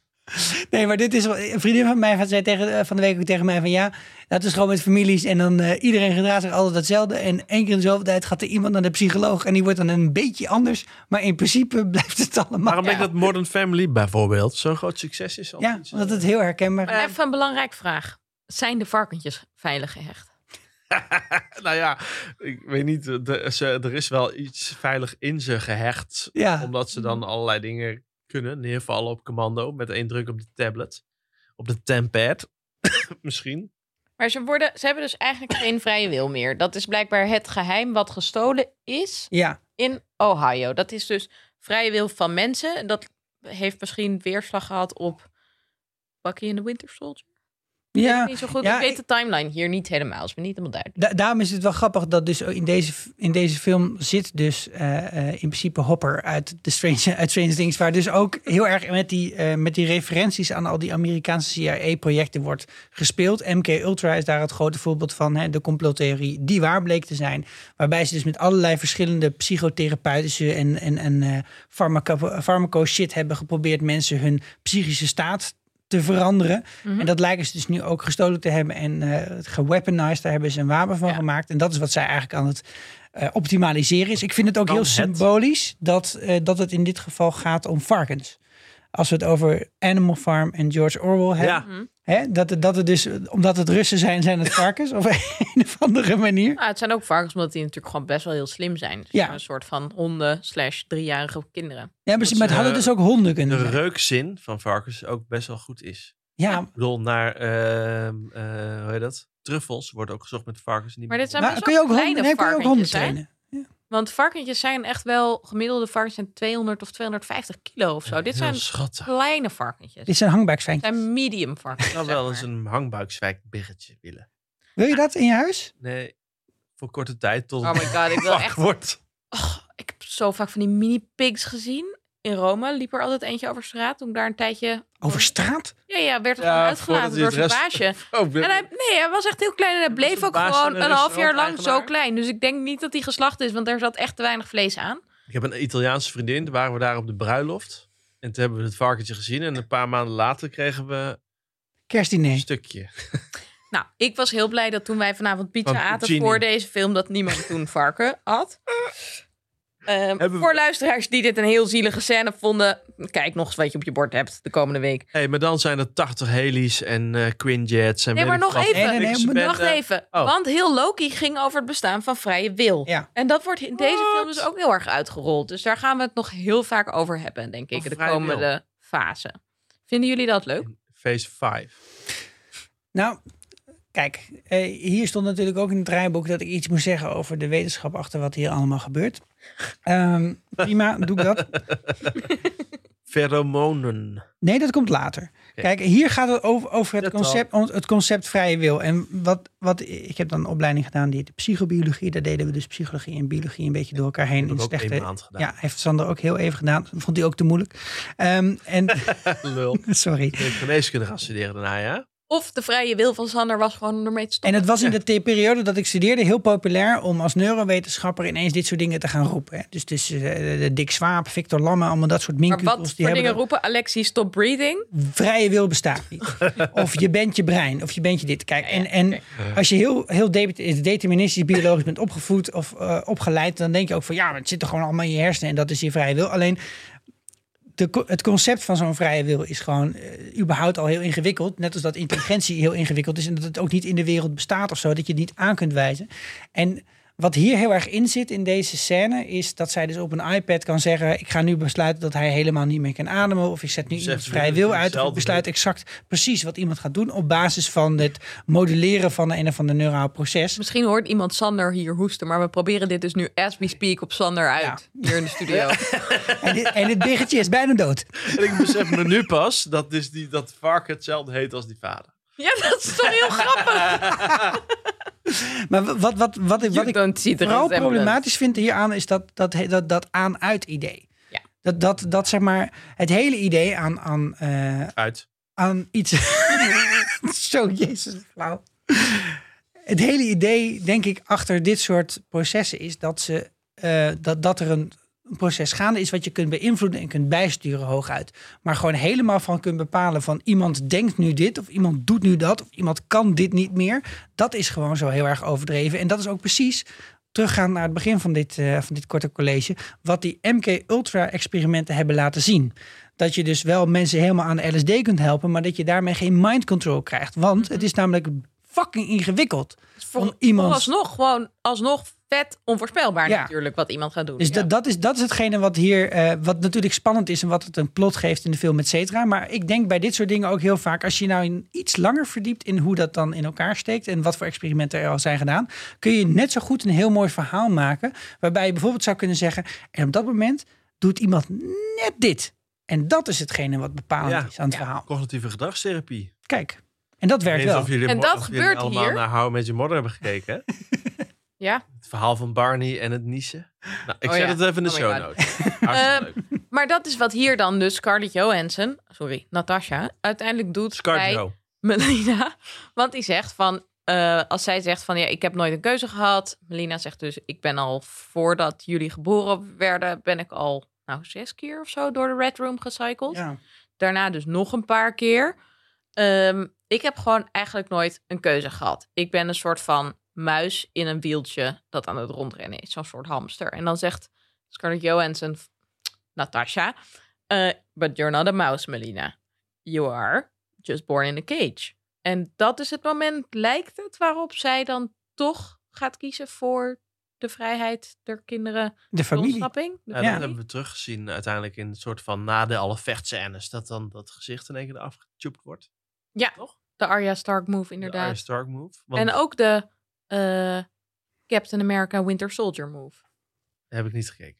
D: Nee, maar dit is wel- een vriendin van mij zei tegen, eh, van de week ook tegen mij van ja, dat is gewoon met families en dan eh, iedereen gedraagt zich altijd hetzelfde en één keer in de zoveel tijd gaat er iemand naar de psycholoog en die wordt dan een beetje anders, maar in principe blijft het allemaal.
A: Waarom denk ik dat Modern Family bijvoorbeeld zo'n groot succes is? eh,
D: Ja, omdat het heel herkenbaar is.
B: Even een belangrijke vraag. Zijn de varkentjes veilig gehecht?
A: Nou ja, ik weet niet. eh, de- ze- er is wel iets veilig in ze gehecht.
D: Ja.
A: Omdat ze dan allerlei dingen kunnen. Neervallen op commando met één druk op de tablet. Op de tempad. Misschien.
B: Maar ze, worden, ze hebben dus eigenlijk geen vrije wil meer. Dat is blijkbaar het geheim wat gestolen is
D: Ja,
B: in Ohio. Dat is dus vrije wil van mensen. En Dat heeft misschien weerslag gehad op Bucky en de Winter Soldier. Ik weet
D: ja.
B: niet zo goed.
D: Ja,
B: ik weet
D: ik-
B: de timeline hier niet helemaal. Is me niet helemaal duidelijk.
D: Da- daarom is het wel grappig dat dus in deze, in deze film zit dus eh, eh, in principe Hopper uit, de Strange, uit Strange Things. Waar dus ook heel erg met die, eh, met die referenties aan al die Amerikaanse CIA-projecten wordt gespeeld. MK Ultra is daar het grote voorbeeld van. Hè, de complottheorie die waar bleek te zijn. Waarbij ze dus met allerlei verschillende psychotherapeutische en, en, en eh, farmaco, farmaco shit hebben geprobeerd mensen hun psychische staat te veranderen.
B: Mhm.
D: En dat lijken ze dus nu ook gestolen te hebben en eh geweaponized. Daar hebben ze een wapen van
B: Ja.
D: gemaakt. En dat is wat zij eigenlijk aan het eh, optimaliseren is. Ik vind het ook
A: Kan
D: heel
A: het?
D: symbolisch dat, eh, dat het in dit geval gaat om varkens. Als we het over Animal Farm en George Orwell hebben.
A: Ja.
D: Hè, dat, het- dat het dus, omdat het Russen zijn, zijn het varkens. of een of andere manier.
B: Ah, het zijn ook varkens, omdat die natuurlijk gewoon best wel heel slim zijn. Dus
D: Ja.
B: Een soort van honden slash driejarige kinderen.
D: Ja, maar ze
A: Dat
D: maar
A: ze,
D: het hadden
A: eh,
D: dus ook honden kunnen
A: De
D: zijn.
A: reukzin van varkens ook best wel goed is.
D: Ja,
A: Ik bedoel, naar, ehm, eh, hoe heet dat? Truffels wordt ook gezocht met varkens. Niet
B: Maar dit zijn
D: nou,
B: best
D: kun
B: wel
D: je ook honden,
B: kleine
D: nee, kun je ook honden
B: varkentjes, hè?
D: trainen.
B: Want varkentjes zijn echt wel... Gemiddelde varkens zijn 200 of 250 kilo of zo. Dit zijn
A: schattig.
B: kleine varkentjes. Dit
D: Dit zijn hangbuikzwijntjes.
B: zijn medium varkens.
A: Ik zou
B: zeg
A: wel
B: maar.
A: eens een hangbuikzwijkbiggetje willen.
D: Wil je dat in je huis?
A: Nee, voor korte tijd tot
B: Oh my god, ik wil
A: wakker
B: echt...
A: wordt.
B: Och, ik heb zo vaak van die mini-pigs gezien. In Rome liep er altijd eentje over straat. Toen ik daar een tijdje...
D: Over straat?
B: Ja, ja, werd er
A: Ja,
B: gewoon
A: voordat
B: uitgelaten
A: hij
B: door
A: het
B: zijn
A: rest-
B: baasje.
A: Oh,
B: En hij, nee, hij was echt heel klein en hij bleef
A: een
B: ook
A: baas en
B: gewoon
A: een
B: een half jaar lang
A: restauranteigenaar?
B: zo klein. Dus ik denk niet dat hij geslacht is, want daar zat echt te weinig vlees aan.
A: Ik heb een Italiaanse vriendin, toen waren we daar op de bruiloft. En toen hebben we het varkentje gezien. En een paar maanden later kregen we een
D: Kerstdiner.
A: stukje.
B: Nou, ik was heel blij dat toen wij vanavond pizza
A: Van
B: aten
A: Puccini.
B: voor deze film, dat niemand toen varken had. Ehm,
A: we-
B: Voor luisteraars die dit een heel zielige scène vonden, kijk nog eens wat je op je bord hebt de komende week.
A: hey, maar dan zijn er 80 heli's en eh Quinjets. En
B: Nee,
A: weet
B: maar
A: ik wat.
B: nog even.
D: Nee, nee, nee,
A: Niks
D: maar
A: bent,
B: Wacht
A: eh,
B: even,
A: oh.
B: want heel Loki ging over het bestaan van vrije wil.
D: Ja.
B: En dat wordt in deze film dus ook heel erg uitgerold. Dus daar gaan we het nog heel vaak over hebben, denk ik,
A: Over
B: de
A: vrije wil.
B: komende fase. Vinden jullie dat leuk?
A: Phase 5.
D: Nou, kijk, eh, hier stond natuurlijk ook in het draaiboek dat ik iets moest zeggen over de wetenschap achter wat hier allemaal gebeurt. Ehm, prima, doe ik dat.
A: Pheromonen.
D: Nee, dat komt later. Kijk, hier gaat het over, over het,
A: Dat al.
D: concept, on- het concept vrije wil. En wat, wat ik heb dan een opleiding gedaan die heette psychobiologie. Daar deden we dus psychologie en biologie een beetje door elkaar heen.
A: heb
D: in
A: ik ook
D: slechte-
A: één maand gedaan.
D: Ja, heeft Sander ook heel even gedaan. Vond hij ook te moeilijk. Ehm, en,
A: Lul.
D: sorry.
A: Je hebt geneeskunde gaan studeren daarna, ja?
B: Of de vrije wil van Sander was gewoon om ermee te stoppen.
D: En het was in de te- periode dat ik studeerde heel populair om als neurowetenschapper ineens dit soort dingen te gaan roepen. Hè. Dus, dus eh, de Dick Swaap, Victor Lamme, allemaal dat soort
B: Maar wat
D: minkukels.
B: voor
D: Die
B: dingen
D: hebben
B: roepen? Alexi, stop breathing.
D: dat vrije wil bestaat niet. of je bent je brein, of je bent je dit. Kijk, en, en als je heel, heel de- deterministisch biologisch bent opgevoed of eh, opgeleid, dan denk je ook van ja, maar het zit er gewoon allemaal in je hersenen en dat is je vrije wil. Alleen de, co- het concept van zo'n vrije wil is gewoon eh, überhaupt al heel ingewikkeld. Net als dat intelligentie heel ingewikkeld is en dat het ook niet in de wereld bestaat of zo, dat je het niet aan kunt wijzen. En wat hier heel erg in zit in deze scène is dat zij dus op een iPad kan zeggen: Ik ga nu besluiten dat hij helemaal niet meer kan ademen. Of ik zet nu
A: Dus
D: iemand
A: even
D: vrije
A: doen,
D: wil uit. Of ik
A: hetzelfde
D: besluit exact precies wat iemand gaat doen op basis van het modelleren van een of ander neuraal proces.
B: Misschien hoort iemand Sander hier hoesten, maar we proberen dit dus nu as we speak op Sander uit. Hier in de studio.
D: En dit, en dit biggetje is bijna dood.
A: En ik besef me nu pas dat, dus die, dat varken hetzelfde heet als die vader.
B: Ja, dat is toch heel grappig.
D: Maar wat, wat, wat, wat, ik- wat ik
B: don't see the
D: vooral
B: resemblance.
D: problematisch vind hieraan is dat, dat, dat, dat aan-uit idee.
B: Ja.
D: Dat, dat, dat zeg maar het hele idee aan, aan, eh,
A: Uit.
D: aan iets. Zo, jezus, flauw. Het hele idee, denk ik, achter dit soort processen is dat, ze, eh, dat, dat er een een proces gaande is wat je kunt beïnvloeden en kunt bijsturen hooguit. Maar gewoon helemaal van kunt bepalen van iemand denkt nu dit of iemand doet nu dat of iemand kan dit niet meer. Dat is gewoon zo heel erg overdreven. En dat is ook precies teruggaan naar het begin van dit, eh, van dit korte college, wat die MK Ultra experimenten hebben laten zien. Dat je dus wel mensen helemaal aan de LSD kunt helpen, maar dat je daarmee geen mind control krijgt. Want het is namelijk fucking ingewikkeld.
B: is
D: Om iemand-
B: Alsnog gewoon, alsnog vet onvoorspelbaar
D: Ja.
B: natuurlijk wat iemand gaat doen.
D: Dus
B: Ja.
D: dat, dat, is, dat is hetgene wat hier, eh, wat natuurlijk spannend is en wat het een plot geeft in de film, et cetera. Maar ik denk bij dit soort dingen ook heel vaak, als je nou in iets langer verdiept in hoe dat dan in elkaar steekt en wat voor experimenten er al zijn gedaan, kun je net zo goed een heel mooi verhaal maken. Waarbij je bijvoorbeeld zou kunnen zeggen, en op dat moment doet iemand net dit. En dat is hetgene wat bepalend
A: Ja.
D: is aan het
B: Ja.
D: verhaal.
A: Cognitieve gedragstherapie.
D: Kijk, en dat werkt
A: Ik weet niet
D: wel.
A: of jullie,
B: En
A: mo-
B: dat
A: of jullie
B: gebeurt
A: allemaal
B: hier.
A: naar How I Met Your Mother hebben gekeken. hè?
B: Ja.
A: Het verhaal van Barney en het niezen. Nou, ik
B: Oh
A: zet
B: ja.
A: het even in de
B: Oh my
A: show
B: God. Ehm,
A: notes. Hartstikke leuk.
B: Maar dat is wat hier dan dus Scarlett Johansson, sorry, Natasha, uiteindelijk doet bij
A: Scarjo.
B: Melina. Want die zegt van, eh, als zij zegt van ja, ik heb nooit een keuze gehad. Melina zegt dus, ik ben al voordat jullie geboren werden, ben ik al nou zes keer of zo door de Red Room gecycled.
D: Ja.
B: Daarna dus nog een paar keer. Ehm, ik heb gewoon eigenlijk nooit een keuze gehad. Ik ben een soort van muis in een wieltje dat aan het rondrennen is. Zo'n soort hamster. En dan zegt Scarlett Johansson, Natasha, eh, but you're not a mouse, Melina. You are just born in a cage. En dat is het moment, lijkt het, waarop zij dan toch gaat kiezen voor de vrijheid der kinderen.
D: De
B: De
D: familie.
B: ontsnapping. de
A: Ja, dat
D: Ja.
B: familie.
A: hebben we teruggezien uiteindelijk in een soort van na de alle vechtscènes. Dat dan dat gezicht in één keer afgetupt wordt.
B: De Arya Stark move,
A: De Arya
B: inderdaad.
A: Stark move. Want
B: En ook de eh, Captain America Winter Soldier move.
A: heb ik niet gekeken.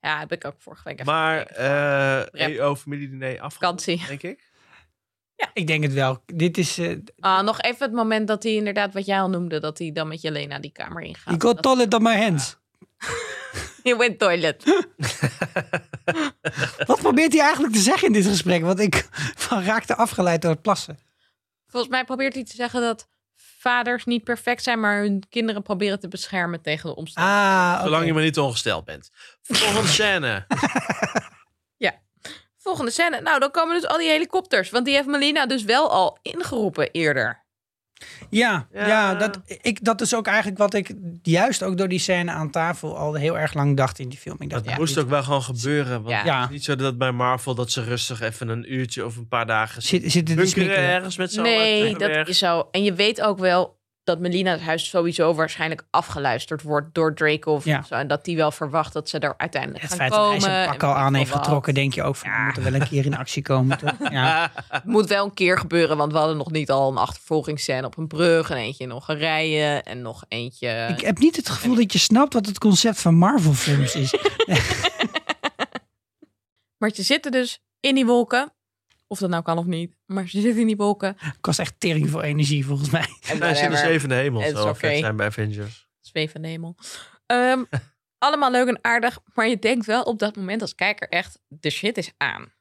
B: Ja, heb ik ook vorige week even
A: maar
B: gekeken. Maar
A: eh
B: Rep.
A: EO-familiediner afgerond,
B: Vakantie.
A: denk ik.
D: Ik denk het wel. Dit is, eh
B: Ah, nog even het moment dat hij inderdaad, wat jij al noemde, dat hij dan met Jelena die kamer ingaat.
D: you got
B: Dat-
D: toilet on my hands.
B: Je went toilet.
D: Wat probeert hij eigenlijk te zeggen in dit gesprek? Want ik van raakte afgeleid door het plassen.
B: Volgens mij probeert hij te zeggen dat vaders niet perfect zijn, maar hun kinderen proberen te beschermen tegen de omstandigheden.
D: Ah, oké.
A: Zolang je maar niet ongesteld bent. Volgende scène.
B: Volgende scène. Nou, dan komen dus al die helikopters. Want die heeft Melina dus wel al ingeroepen eerder.
D: Ja, ja.
A: Ja.
D: dat, ik, dat is ook eigenlijk wat ik juist ook door die scène aan tafel al heel erg lang dacht in die film. Ik dacht,
A: Dat
D: ja,
A: moest
D: dit-
A: ook wel gewoon gebeuren. Want
B: Ja.
A: het is niet zo dat bij Marvel dat ze rustig even een uurtje of een paar dagen
D: Zit, zit het in
A: bunkeren
D: smikkelen?
A: ergens met z'n allen
B: Nee,
A: tegen
B: dat
A: berg.
B: is zo. En je weet ook wel dat Melina's huis sowieso waarschijnlijk afgeluisterd wordt door Draco of
D: Ja.
B: zo. En dat die wel verwacht dat ze er uiteindelijk
D: Het
B: gaan
D: feit dat
B: komen.
D: hij zijn pak
B: en
D: al
B: weet
D: aan
B: ik
D: heeft
B: veel wat.
D: getrokken, denk je ook van, we moeten wel een keer in actie komen. toch? Ja.
B: Het moet wel een keer gebeuren, want we hadden nog niet al een achtervolgingsscène op een brug. En eentje in Hongarije en nog eentje...
D: Ik heb niet het gevoel dat je snapt wat het concept van Marvel films is.
B: Maar ze zitten dus in die wolken. Of dat nou kan of niet. Maar ze zitten in die wolken.
D: Kost echt tering voor energie volgens mij.
A: Wij
B: En
A: zijn de
B: whatever.
A: zevende hemel.
B: Het is
A: Zo vet
B: oké.
A: zijn bij Avengers.
B: Zweven hemel. Ehm, allemaal leuk en aardig, maar je denkt wel op dat moment als kijker echt, de shit is aan.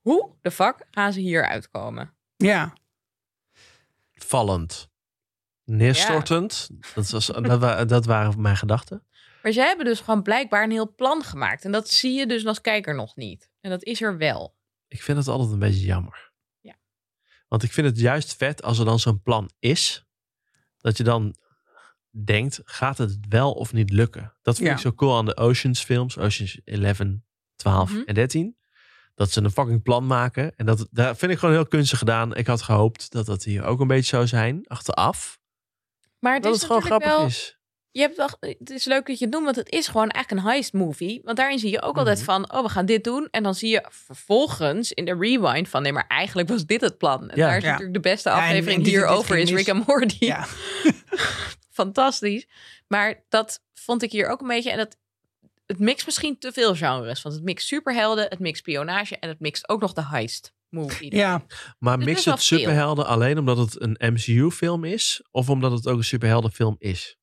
B: Hoe de fuck gaan ze hier uitkomen?
D: Ja,
A: Vallend. Neerstortend. Dat, was, dat, wa- dat waren mijn gedachten.
B: Maar ze hebben dus gewoon blijkbaar een heel plan gemaakt. En dat zie je dus als kijker nog niet. En dat is er wel.
A: Ik vind het altijd een beetje jammer.
B: Ja.
A: Want ik vind het juist vet als er dan zo'n plan is. Dat je dan denkt, gaat het wel of niet lukken? Dat vind
D: Ja.
A: ik zo cool aan de Oceans films. Oceans 11, 12
B: Mhm.
A: en 13. Dat ze een fucking plan maken. En dat, daar vind ik gewoon heel kunstig gedaan. Ik had gehoopt dat dat hier ook een beetje zou zijn. Achteraf.
B: Maar het
A: Dat
B: is
A: het gewoon
B: natuurlijk
A: grappig
B: wel...
A: is.
B: Je hebt wel, het is leuk dat je het noemt, want het is gewoon echt een heist movie. Want daarin zie je ook altijd
A: Mhm.
B: van, oh, we gaan dit doen. En dan zie je vervolgens in de rewind van, nee, maar eigenlijk was dit het plan. En
A: Ja.
B: daar is
D: Ja.
B: natuurlijk de beste
D: Ja, en- en
B: aflevering
D: dit- dit
B: hierover
D: ging
B: is
D: mis.
B: Rick and Morty.
D: ja.
B: Fantastisch. Maar dat vond ik hier ook een beetje. En dat, het mixt misschien te veel genres. Want het mixt superhelden, het mixt spionage en het mixt ook nog de heist movie.
D: ja.
A: Maar
B: Dus
A: mix
B: best wel
A: het superhelden alleen omdat het een MCU-film is? Of omdat het ook een superheldenfilm is?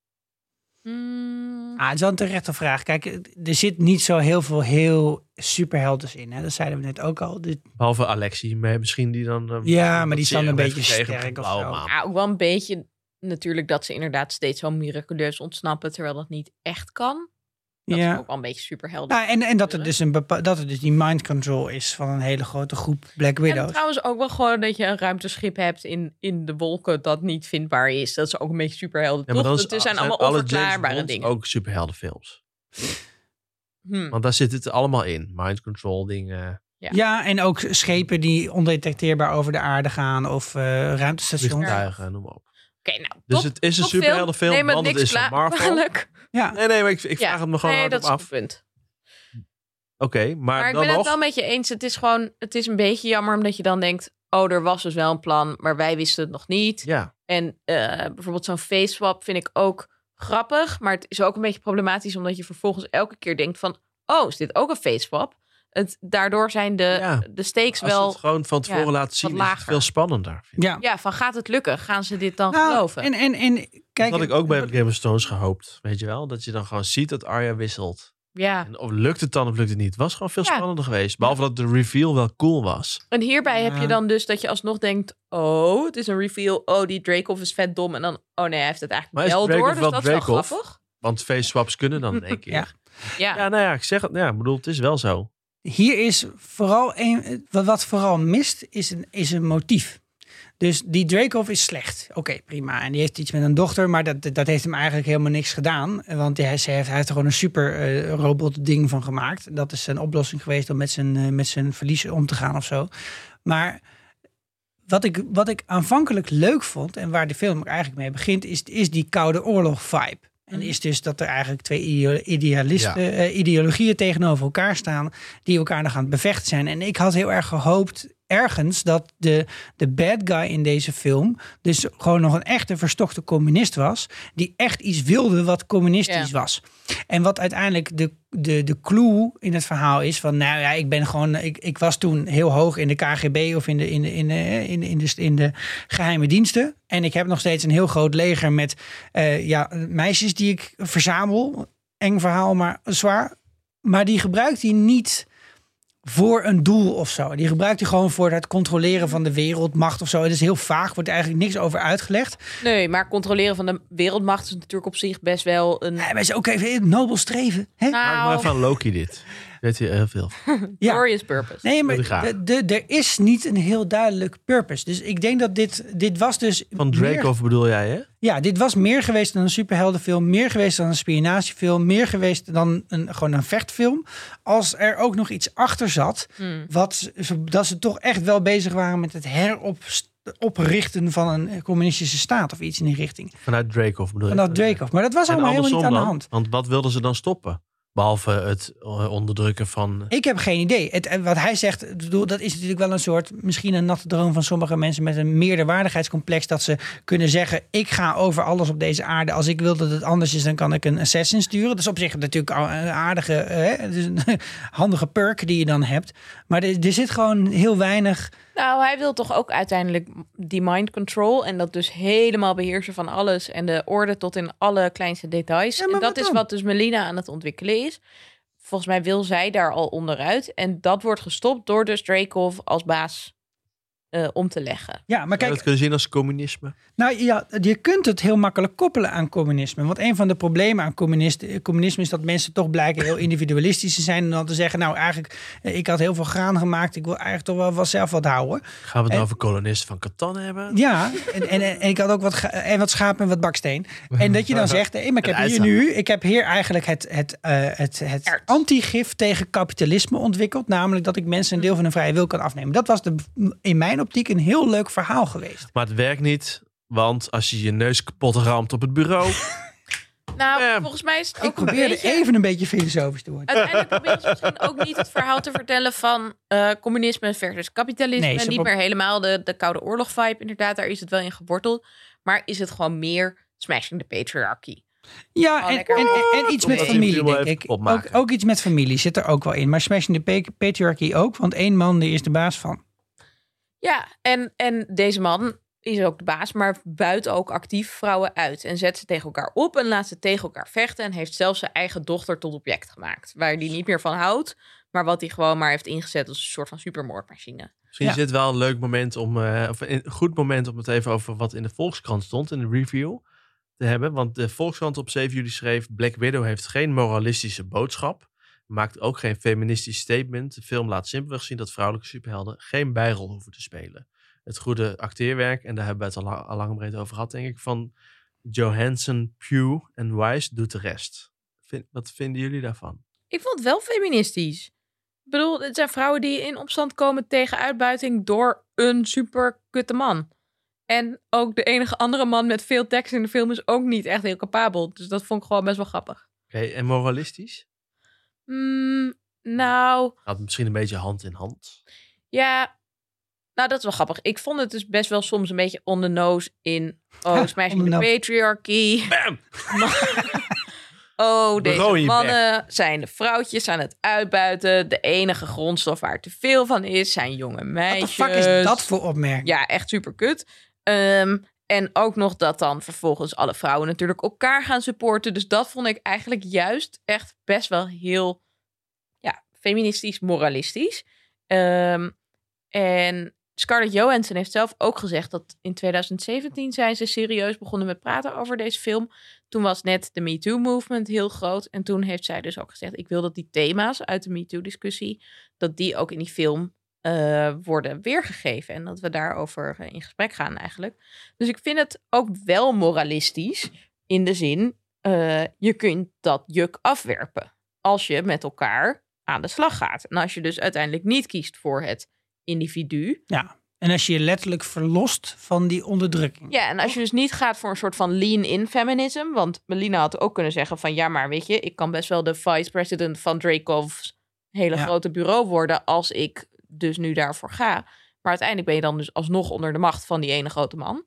B: Mm,
D: Ah, het is wel een terechte vraag. Kijk, eh, er zit niet zo heel veel heel superheldes in. Hè? Dat zeiden we net ook al. Dit,
A: Behalve Alexi, maar misschien die dan... eh,
D: Ja, maar
A: dat
D: die is dan een
A: serum heeft
D: beetje
A: gekregen op
D: sterk
A: de
D: of
A: blauwe
D: zo.
A: maan.
B: ja, ook wel een beetje natuurlijk dat ze inderdaad steeds zo miraculeus ontsnappen, terwijl dat niet echt kan. Dat
D: ja.
B: is ook wel een beetje superhelder.
D: Nou, en, en dat, er dus een bepa- dat er dus die mind control is van een hele grote groep Black
B: en
D: Widows.
B: trouwens ook wel gewoon dat je een ruimteschip hebt in, in de wolken dat niet vindbaar is. Dat is ook een beetje superhelder.
A: Ja,
B: toch?
A: maar dan is-
B: Dat er zijn allemaal
A: alle
B: onverklaarbare
A: James Bonds
B: dingen.
A: ook superheldenfilms.
B: Hmm.
A: Want daar zit het allemaal in. Mind control dingen.
D: ja. en ook schepen die ondetecteerbaar over de aarde gaan of eh, ruimtestations. Ja.
A: Vliegtuigen, noem maar op.
B: Oké, nou,
A: Dus
B: top,
A: het is een
B: topfilm.
A: superheldenfilm,
B: Neem het
A: want het
B: niks
A: is van
B: kla-
A: Marvel.
B: kwalijk.
A: Nee, nee, maar ik, ik
B: Ja.
A: vraag het me gewoon
B: nee, dat
A: hardop
B: is
A: af.
B: het
A: Oké,
B: punt.
A: maar,
B: Maar, ik
A: dan
B: ben
A: nog...
B: het wel met je eens. Het is gewoon, het is een beetje jammer omdat je dan denkt, oh, er was dus wel een plan, maar wij wisten het nog niet.
A: Ja,
B: En eh, bijvoorbeeld zo'n face swap vind ik ook grappig, maar het is ook een beetje problematisch omdat je vervolgens elke keer denkt van, oh, is dit ook een face swap? Het, daardoor zijn de,
A: Ja.
B: de stakes
A: als
B: wel
A: het gewoon van tevoren
B: ja,
A: laten zien, is het
B: lager.
A: veel spannender. vind ik.
B: ja, van gaat het lukken? Gaan ze dit dan
D: Nou,
B: geloven?
D: en, en, en
A: dat
D: kijk,
A: had ik ook bij Game of Thrones gehoopt, weet je wel? Dat je dan gewoon ziet dat Arya wisselt.
B: ja.
A: En of lukt het dan of lukt het niet? Het was gewoon veel
B: Ja.
A: spannender geweest. Behalve dat de reveal wel cool was.
B: En hierbij heb
D: Ja.
B: je dan dus dat je alsnog denkt, oh, het is een reveal, oh, die Dracoff is vet dom. En dan, oh nee, hij heeft het
A: Maar
B: eigenlijk
A: is
B: wel
A: Dracoff
B: door, dus
A: wel
B: dat is wel
A: Dracoff?
B: grappig.
A: Want face swaps kunnen dan in één keer.
D: Ja.
A: Ja.
B: Ja.
A: nou ja, ik zeg het. Ja, ik bedoel, het is wel zo.
D: hier is vooral een, wat, wat vooral mist, is een, is een motief. Dus die Dreykov is slecht. Oké, prima. En die heeft iets met een dochter, maar dat, dat heeft hem eigenlijk helemaal niks gedaan. Want hij, ze heeft, hij heeft er gewoon een super eh, robot ding van gemaakt. Dat is zijn oplossing geweest om met zijn, eh, met zijn verlies om te gaan of zo. Maar wat ik, wat ik aanvankelijk leuk vond en waar de film ook eigenlijk mee begint, is, is die Koude Oorlog vibe. En
B: Mhm.
D: is dus dat er eigenlijk twee ideo- idealisten, eh, ideologieën tegenover elkaar staan, die elkaar nog aan het bevechten zijn. En ik had heel erg gehoopt ergens dat de, de bad guy in deze film dus gewoon nog een echte verstokte communist was, die echt iets wilde wat communistisch was. En wat uiteindelijk de, de, de clue in het verhaal is van, nou ja, ik ben gewoon, ik, ik was toen heel hoog in de KGB of in de, in de, in de, in de, in de, in de geheime diensten. En ik heb nog steeds een heel groot leger met eh, ja, meisjes die ik verzamel. Eng verhaal, maar zwaar. Maar die gebruikt hij niet voor een doel of zo. Die gebruikt hij gewoon voor het controleren van de wereldmacht of zo. Het is heel vaag, wordt eigenlijk niks over uitgelegd.
B: Nee, maar controleren van de wereldmacht is natuurlijk op zich best wel een...
D: Eh, Maar is ook even een nobel streven. Hè?
A: Maak maar
B: Nou,
A: van Loki dit. Weet je heel veel.
D: Ja.
B: glorious purpose.
D: Nee,
A: Wil je
D: maar
A: graag.
D: de, de- er is niet een heel duidelijk purpose. Dus ik denk dat dit, dit was dus...
A: Van
D: meer-
A: Drake of bedoel jij, hè?
D: Ja, dit was meer geweest dan een superheldenfilm, meer geweest dan een spionagefilm, meer geweest dan een, gewoon een vechtfilm. Als er ook nog iets achter zat,
B: Hmm.
D: wat ze, dat ze toch echt wel bezig waren met het heroprichten van een communistische staat of iets in die richting.
A: Vanuit Drake of bedoel
D: Vanuit
A: je?
D: Dreykov. Maar dat was
A: En
D: allemaal helemaal niet
A: andersom
D: aan de
A: dan?
D: hand.
A: Want wat wilden ze dan stoppen? Behalve het eh, onderdrukken van...
D: Ik heb geen idee. Het, en wat hij zegt, ik bedoel, dat is natuurlijk wel een soort, misschien een natte droom van sommige mensen met een meerderwaardigheidscomplex. Dat ze kunnen zeggen: Ik ga over alles op deze aarde. Als ik wil dat het anders is, dan kan ik een assassin sturen. Dat is op zich natuurlijk al een aardige, eh, het is een handige perk die je dan hebt. Maar er, er zit gewoon heel weinig.
B: Nou, hij wil toch ook uiteindelijk die mind control en dat dus helemaal beheersen van alles en de orde tot in alle kleinste details.
D: Ja,
B: en
D: maar
B: dat
D: wat
B: is
D: dan?
B: wat dus Melina aan het ontwikkelen is. Volgens mij wil zij daar al onderuit en dat wordt gestopt door dus Dreykov als baas eh, om te leggen.
D: Ja, maar
A: Kijk,
D: kijk,
A: dat kunnen zien als communisme.
D: Nou ja, je kunt het heel makkelijk koppelen aan communisme. Want een van de problemen aan communist- communisme is dat mensen toch blijken heel individualistisch te zijn. En dan te zeggen, nou eigenlijk, eh, ik had heel veel graan gemaakt. Ik wil eigenlijk toch wel, wel zelf wat houden.
A: Gaan we het
D: En-
A: nou over kolonisten van Catan hebben?
D: Ja, en, en, en ik had ook wat, ga- en wat schaap en wat baksteen. En dat je dan zegt, hé, maar ik heb
A: Het
D: hier nu, ik heb hier eigenlijk het, het, eh, het, het
B: Erts.
D: antigif tegen kapitalisme ontwikkeld. Namelijk dat ik mensen een deel van hun vrije wil kan afnemen. Dat was de, in mijn optiek een heel leuk verhaal geweest.
A: Maar het werkt niet, want als je je neus kapot ramt op het bureau...
B: Nou,
A: Eh,
B: volgens mij is het ook
D: Ik probeerde
B: een beetje...
D: even een beetje filosofisch te worden.
B: Uiteindelijk proberen ze misschien ook niet het verhaal te vertellen van eh, communisme versus kapitalisme.
D: Nee, ze
B: niet
D: pro-
B: meer helemaal de, de Koude Oorlog vibe. Inderdaad, daar is het wel in geworteld. Maar is het gewoon meer smashing the patriarchy.
D: Ja,
B: Oh,
D: en,
B: lekker.
D: en, en- en iets met
A: Omdat
D: familie,
A: hij het helemaal
D: denk ik.
A: even
D: Ook,
A: opmaken.
D: ook iets met familie zit er ook wel in. Maar Smashing the Pa- Patriarchy ook, want één man die is de baas van.
B: Ja, en, en deze man is ook de baas, maar buit ook actief vrouwen uit en zet ze tegen elkaar op en laat ze tegen elkaar vechten en heeft zelfs zijn eigen dochter tot object gemaakt, waar die niet meer van houdt, maar wat hij gewoon maar heeft ingezet als een soort van supermoordmachine.
A: Misschien
D: Ja.
A: is dit wel een leuk moment om, eh, of een goed moment om het even over wat in de Volkskrant stond, in de review, te hebben. Want de Volkskrant op 7 juli schreef, Black Widow heeft geen moralistische boodschap, maakt ook geen feministisch statement. De film laat simpelweg zien dat vrouwelijke superhelden geen bijrol hoeven te spelen. Het goede acteerwerk, en daar hebben we het al, la- al lang en breed over gehad, denk ik, van Johansson, Pugh en Wise doet de rest. Vind- wat vinden jullie daarvan?
B: Ik vond het wel feministisch. Ik bedoel, het zijn vrouwen die in opstand komen tegen uitbuiting door een super kutte man. En ook de enige andere man met veel tekst in de film is ook niet echt heel capabel. Dus dat vond ik gewoon best wel grappig.
A: Oké, en moralistisch?
B: Mm, nou,
A: Gaat misschien een beetje hand in hand.
B: ja. Nou, dat is wel grappig. Ik vond het dus best wel soms een beetje on the nose in... Oh,
D: Ha,
B: smashing
D: on
B: the
D: the nose.
B: patriarchy.
A: Bam!
B: Oh,
A: Rooi
B: deze
A: in
B: mannen zijn de vrouwtjes aan het uitbuiten. De enige grondstof waar te veel van is, zijn jonge
D: Wat de
B: meisjes.
D: fuck is dat voor opmerking?
B: Ja, echt super kut. en ook nog dat dan vervolgens alle vrouwen natuurlijk elkaar gaan supporten. Dus dat vond ik eigenlijk juist echt best wel heel ja, feministisch, moralistisch. Ehm, en Scarlett Johansson heeft zelf ook gezegd dat in 2017 zijn ze serieus begonnen met praten over deze film. Toen was net de MeToo-movement heel groot. En toen heeft zij dus ook gezegd, ik wil dat die thema's uit de MeToo-discussie, dat die ook in die film eh, worden weergegeven. En dat we daarover eh, in gesprek gaan eigenlijk. Dus ik vind het ook wel moralistisch. In de zin, eh, je kunt dat juk afwerpen. Als je met elkaar aan de slag gaat. En als je dus uiteindelijk niet kiest voor het individu.
D: En als je je letterlijk verlost van die onderdrukking.
B: Ja, en als je dus niet gaat voor een soort van lean-in feminism. Want Melina had ook kunnen zeggen van... ja, maar weet je, ik kan best wel de vice-president van Dracov's... hele
D: Ja.
B: grote bureau worden als ik dus nu daarvoor ga. Maar uiteindelijk ben je dan dus alsnog onder de macht van die ene grote man.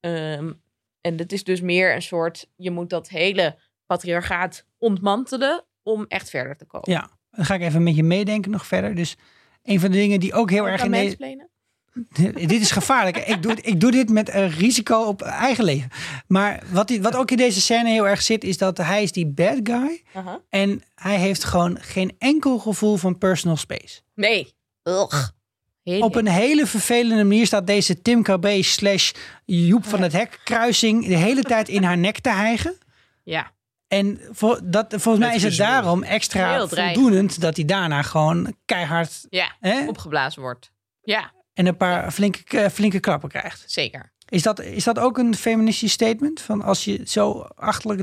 B: Ehm, en het is dus meer een soort... je moet dat hele patriarchaat ontmantelen om echt verder te komen.
D: Ja, Dan ga ik even met je meedenken nog verder. Dus een van de dingen die ook heel
B: Kan ik
D: erg
B: dan
D: in deze...
B: mansplainen?
D: dit is gevaarlijk. hè? ik, doe, ik doe dit met eh, risico op eigen leven. Maar wat, die, wat ook in deze scène heel erg zit, is dat hij is die bad guy.
B: Aha.
D: En hij heeft gewoon geen enkel gevoel van personal space.
B: Nee. Ugh. Heel
D: Op een hele vervelende manier staat deze Tim KB slash Joep van het Hek kruising de hele tijd in haar nek te hijgen.
B: Ja.
D: En vol- dat, volgens mij
A: Het
D: is het
A: visueel.
D: daarom
B: Heel
D: extra
B: dreigend.
D: voldoenend dat hij daarna gewoon keihard
B: ja,
D: hè,
B: opgeblazen wordt. Ja,
D: en een paar flinke, eh, flinke klappen krijgt.
B: zeker.
D: Is dat, is dat ook een feministisch statement? Van als je zo achterlijk.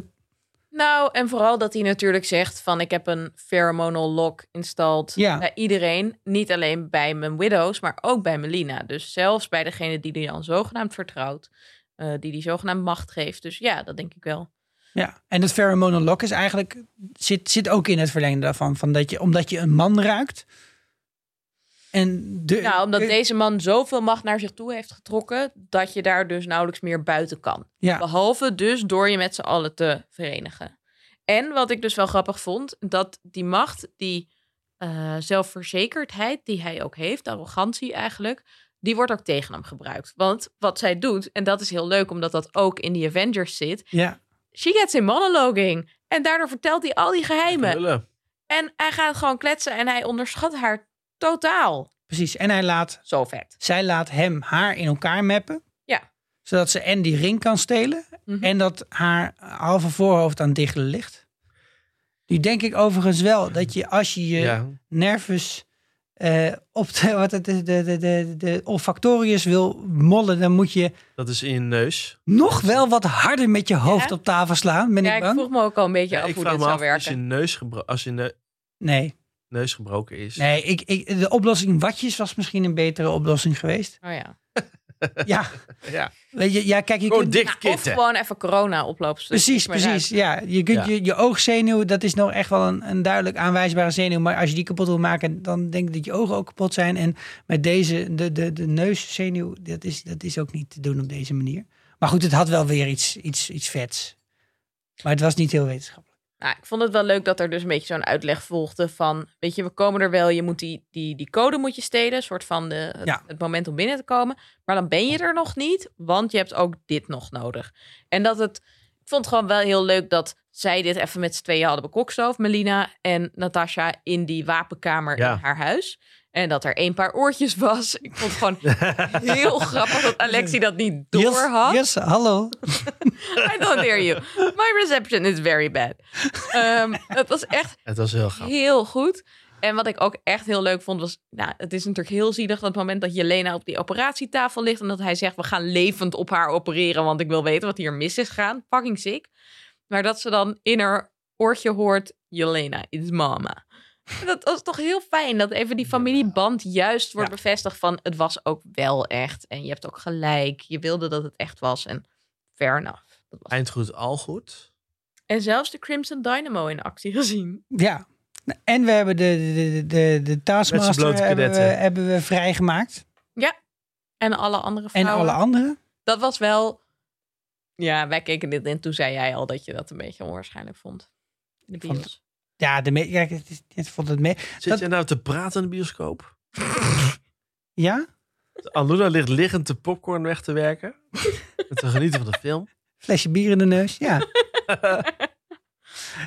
B: Nou, en vooral dat hij natuurlijk zegt van ik heb een pheromonal lock installed
D: Ja.
B: bij iedereen. Niet alleen bij mijn widows, maar ook bij Melina. Dus zelfs bij degene die hij dan zogenaamd vertrouwt. eh, die die zogenaamd macht geeft. Dus ja, dat denk ik wel.
D: Ja. En dat pheromonal lock is eigenlijk. Zit, zit ook in het verlengde daarvan. Van dat je, omdat je een man raakt. En de,
B: nou, omdat
D: eh,
B: deze man zoveel macht naar zich toe heeft getrokken... dat je daar dus nauwelijks meer buiten kan.
D: Ja.
B: Behalve dus door je met z'n allen te verenigen. En wat ik dus wel grappig vond, dat die macht, die eh, zelfverzekerdheid die hij ook heeft, de arrogantie eigenlijk, die wordt ook tegen hem gebruikt. Want wat zij doet, en dat is heel leuk omdat dat ook in die Avengers zit,
D: Ja.
B: she gets in monologuing. En daardoor vertelt hij al die geheimen.
A: Lullen.
B: En hij gaat gewoon kletsen en hij onderschat haar totaal.
D: Precies. En hij laat,
B: Zo vet.
D: zij laat hem haar in elkaar mappen.
B: Ja.
D: Zodat ze en die ring kan stelen.
B: Mhm.
D: En dat haar halve voorhoofd aan het diggelen ligt. Nu denk ik overigens wel dat je als je je
A: Ja.
D: nervus eh, op de, wat het, is, de, de, de, de olfactorius wil mollen, dan moet je
A: Dat is in je neus.
D: nog wel wat harder met je hoofd
B: Ja?
D: op tafel slaan. Ben
B: Ja,
D: ik
B: ik
D: bang?
B: vroeg me ook al een beetje
A: Ja,
B: af
A: ik
B: hoe
A: vraag
B: dit
A: me
B: zou
A: af, als je,
B: werken.
A: neus gebro- als je ne-
D: Nee,
A: neus gebroken is.
D: nee ik, ik, de oplossing watjes was misschien een betere oplossing geweest.
B: Oh ja.
D: ja,
A: Ja.
D: weet je, ja, kijk, je
A: Gewoon
D: kunt...
A: dik
B: Nou, of
A: kitten.
B: gewoon even corona oplopen. zodat je
D: Precies,
B: niks meer ruikt.
D: precies. Ja, je kunt
A: Ja.
D: Je, je oogzenuw, dat is nog echt wel een, een duidelijk aanwijsbare zenuw. Maar als je die kapot wil maken, dan denk ik dat je ogen ook kapot zijn. En met deze, de, de, de neuszenuw, dat is, dat is ook niet te doen op deze manier. Maar goed, het had wel weer iets, iets, iets vets. Maar het was niet heel wetenschappelijk.
B: Nou, ik vond het wel leuk dat er dus een beetje zo'n uitleg volgde van, weet je, we komen er wel, je moet die, die, die code moet je stelen, een soort van de, het,
D: Ja.
B: het moment om binnen te komen. Maar dan ben je er nog niet, want je hebt ook dit nog nodig. En dat het, ik vond het gewoon wel heel leuk dat zij dit even met z'n tweeën hadden bekokstoofd, Melina en Natasha, in die wapenkamer
A: Ja.
B: in haar huis. En dat er een paar oortjes was. Ik vond het gewoon heel grappig dat Alexi dat niet door had.
D: Yes, yes, hallo.
B: I don't hear you. My reception is very bad. Ehm, het was echt
A: Het was heel grappig.
B: heel goed. En wat ik ook echt heel leuk vond was... Nou, het is natuurlijk heel zielig dat het moment dat Jelena op die operatietafel ligt... en dat hij zegt, we gaan levend op haar opereren... want ik wil weten wat hier mis is gegaan. Fucking sick. Maar dat ze dan in haar oortje hoort... Jelena is mama. En Dat was toch heel fijn dat even die familieband juist wordt
D: Ja.
B: bevestigd van... het was ook wel echt en je hebt ook gelijk. Je wilde dat het echt was en fair enough. Dat was...
A: Eindgoed, al goed.
B: En zelfs de Crimson Dynamo in actie gezien.
D: Ja. Nou, En we hebben de, de, de, de, de Taskmaster
A: blote
D: hebben we,
A: kadetten.
D: hebben we vrijgemaakt.
B: En alle andere
D: En
B: vrouwen.
D: alle anderen.
B: dat was wel. Ja, wij keken dit in. Toen zei jij al dat je dat een beetje onwaarschijnlijk vond. De
D: vond-
B: Beatles.
D: Ja, de me- kijk, het is, het vond het mee.
A: Zit
D: Dat-
A: jij nou te praten in de bioscoop?
D: Ja?
A: Aluna ligt liggend de popcorn weg te werken. En te genieten van de film.
D: Flesje bier in de neus, ja.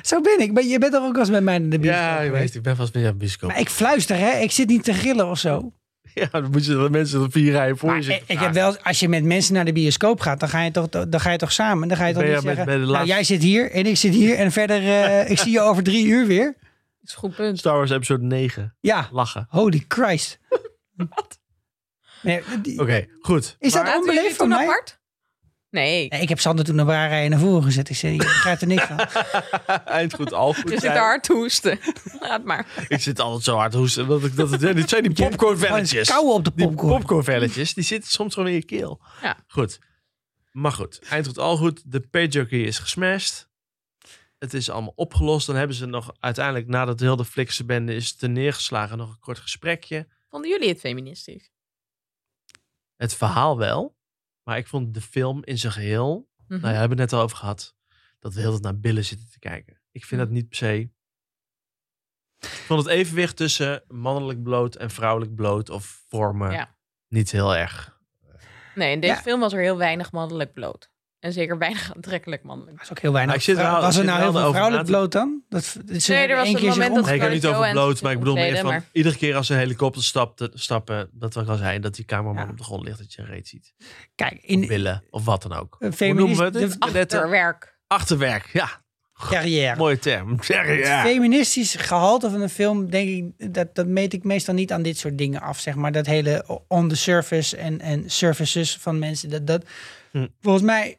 D: Zo ben ik. Maar je bent toch ook wel eens met mij in de bioscoop
A: Ja, ik
D: geweest?
A: weet, ik ben vast meer in de bioscoop.
D: Maar ik fluister, hè. Ik zit niet te gillen of zo.
A: Ja, dan moet je de mensen er vier rijen voor
D: Maar
A: je
D: ik,
A: zitten
D: ik heb
A: vragen.
D: wel, als je met mensen naar de bioscoop gaat, dan ga je toch, dan ga je toch samen. Dan ga je
A: Ben
D: toch niet
A: je met-
D: zeggen,
A: bij de
D: nou,
A: laatste-
D: jij zit hier en ik zit hier en verder, eh, ik zie je over drie uur weer.
B: Dat is een goed punt.
A: Star Wars episode 9.
D: Ja,
A: Lachen.
D: holy Christ. Nee, die-
A: Oké, goed.
D: Is dat
A: Maar-
B: Zaten jullie
D: onbeleefd van
B: toen
D: mij?
B: apart? Nee.
D: Nee, ik heb Sander toen naar waar rijden naar voren gezet. Ik zei, je begrijpt er niks van.
A: Eindgoed, al goed.
B: Je zit
A: zijn.
B: daar te hoesten. Laat maar.
A: Ik zit altijd zo hard te hoesten. Dat ik, dat het, ja, dit zijn die
D: Je-
A: popcornvelletjes.
D: Gewoon kauwen op de
A: Die
D: popcorn.
A: popcornvelletjes, die zitten soms gewoon in je keel.
B: Ja.
A: Goed. Maar goed, eindgoed al goed. De pagejockey is gesmashed. Het is allemaal opgelost. Dan hebben ze nog uiteindelijk, nadat heel de flikse bende is te neergeslagen, nog een kort gesprekje.
B: Vonden jullie het feministisch?
A: Het verhaal wel. Maar ik vond de film in zijn geheel
B: Mhm.
A: Nou ja, we hebben het net al over gehad. Dat we heel de tijd naar billen zitten te kijken. Ik vind dat niet per se. Ik vond het evenwicht tussen mannelijk bloot en vrouwelijk bloot of vormen
B: Ja.
A: niet heel erg.
B: Nee, in deze
D: Ja.
B: film was er heel weinig mannelijk bloot. En zeker weinig aantrekkelijk mannelijk.
D: Dat is ook heel weinig.
A: Maar ik zit er wel- ik
D: was er
A: zit
D: nou
A: er
D: heel
A: wel
D: veel
A: over
D: vrouwelijk
A: na te-
D: bloot dan? Dat, dat ze
B: Nee, er
D: hebben
B: was
D: één
B: een
D: keer zich
B: moment dat-
D: omge-
A: Nee, ik heb niet
B: Scarlett
A: over
B: Johansson
A: bloot, maar ik bedoel meer
B: ontkleeden,
A: van
B: maar-
A: iedere keer als ze een helikopter stapt, stappen, dat wat ik al zei, dat die cameraman
D: Ja.
A: op de grond ligt, dat je een reet ziet.
D: Kijk,
A: In,
D: in
A: billen of wat dan ook.
D: een
A: Hoe noemen we
D: feminist,
A: het?
D: de
A: Kadetten?
B: Achterwerk.
A: Achterwerk, ja.
D: carrière.
A: Mooie term.
D: Het
A: Ja.
D: feministische gehalte van een film, denk ik, dat, dat meet ik meestal niet aan dit soort dingen af, zeg maar. Dat hele on the surface en, en services van mensen. Dat, dat,
A: Hm.
D: Volgens mij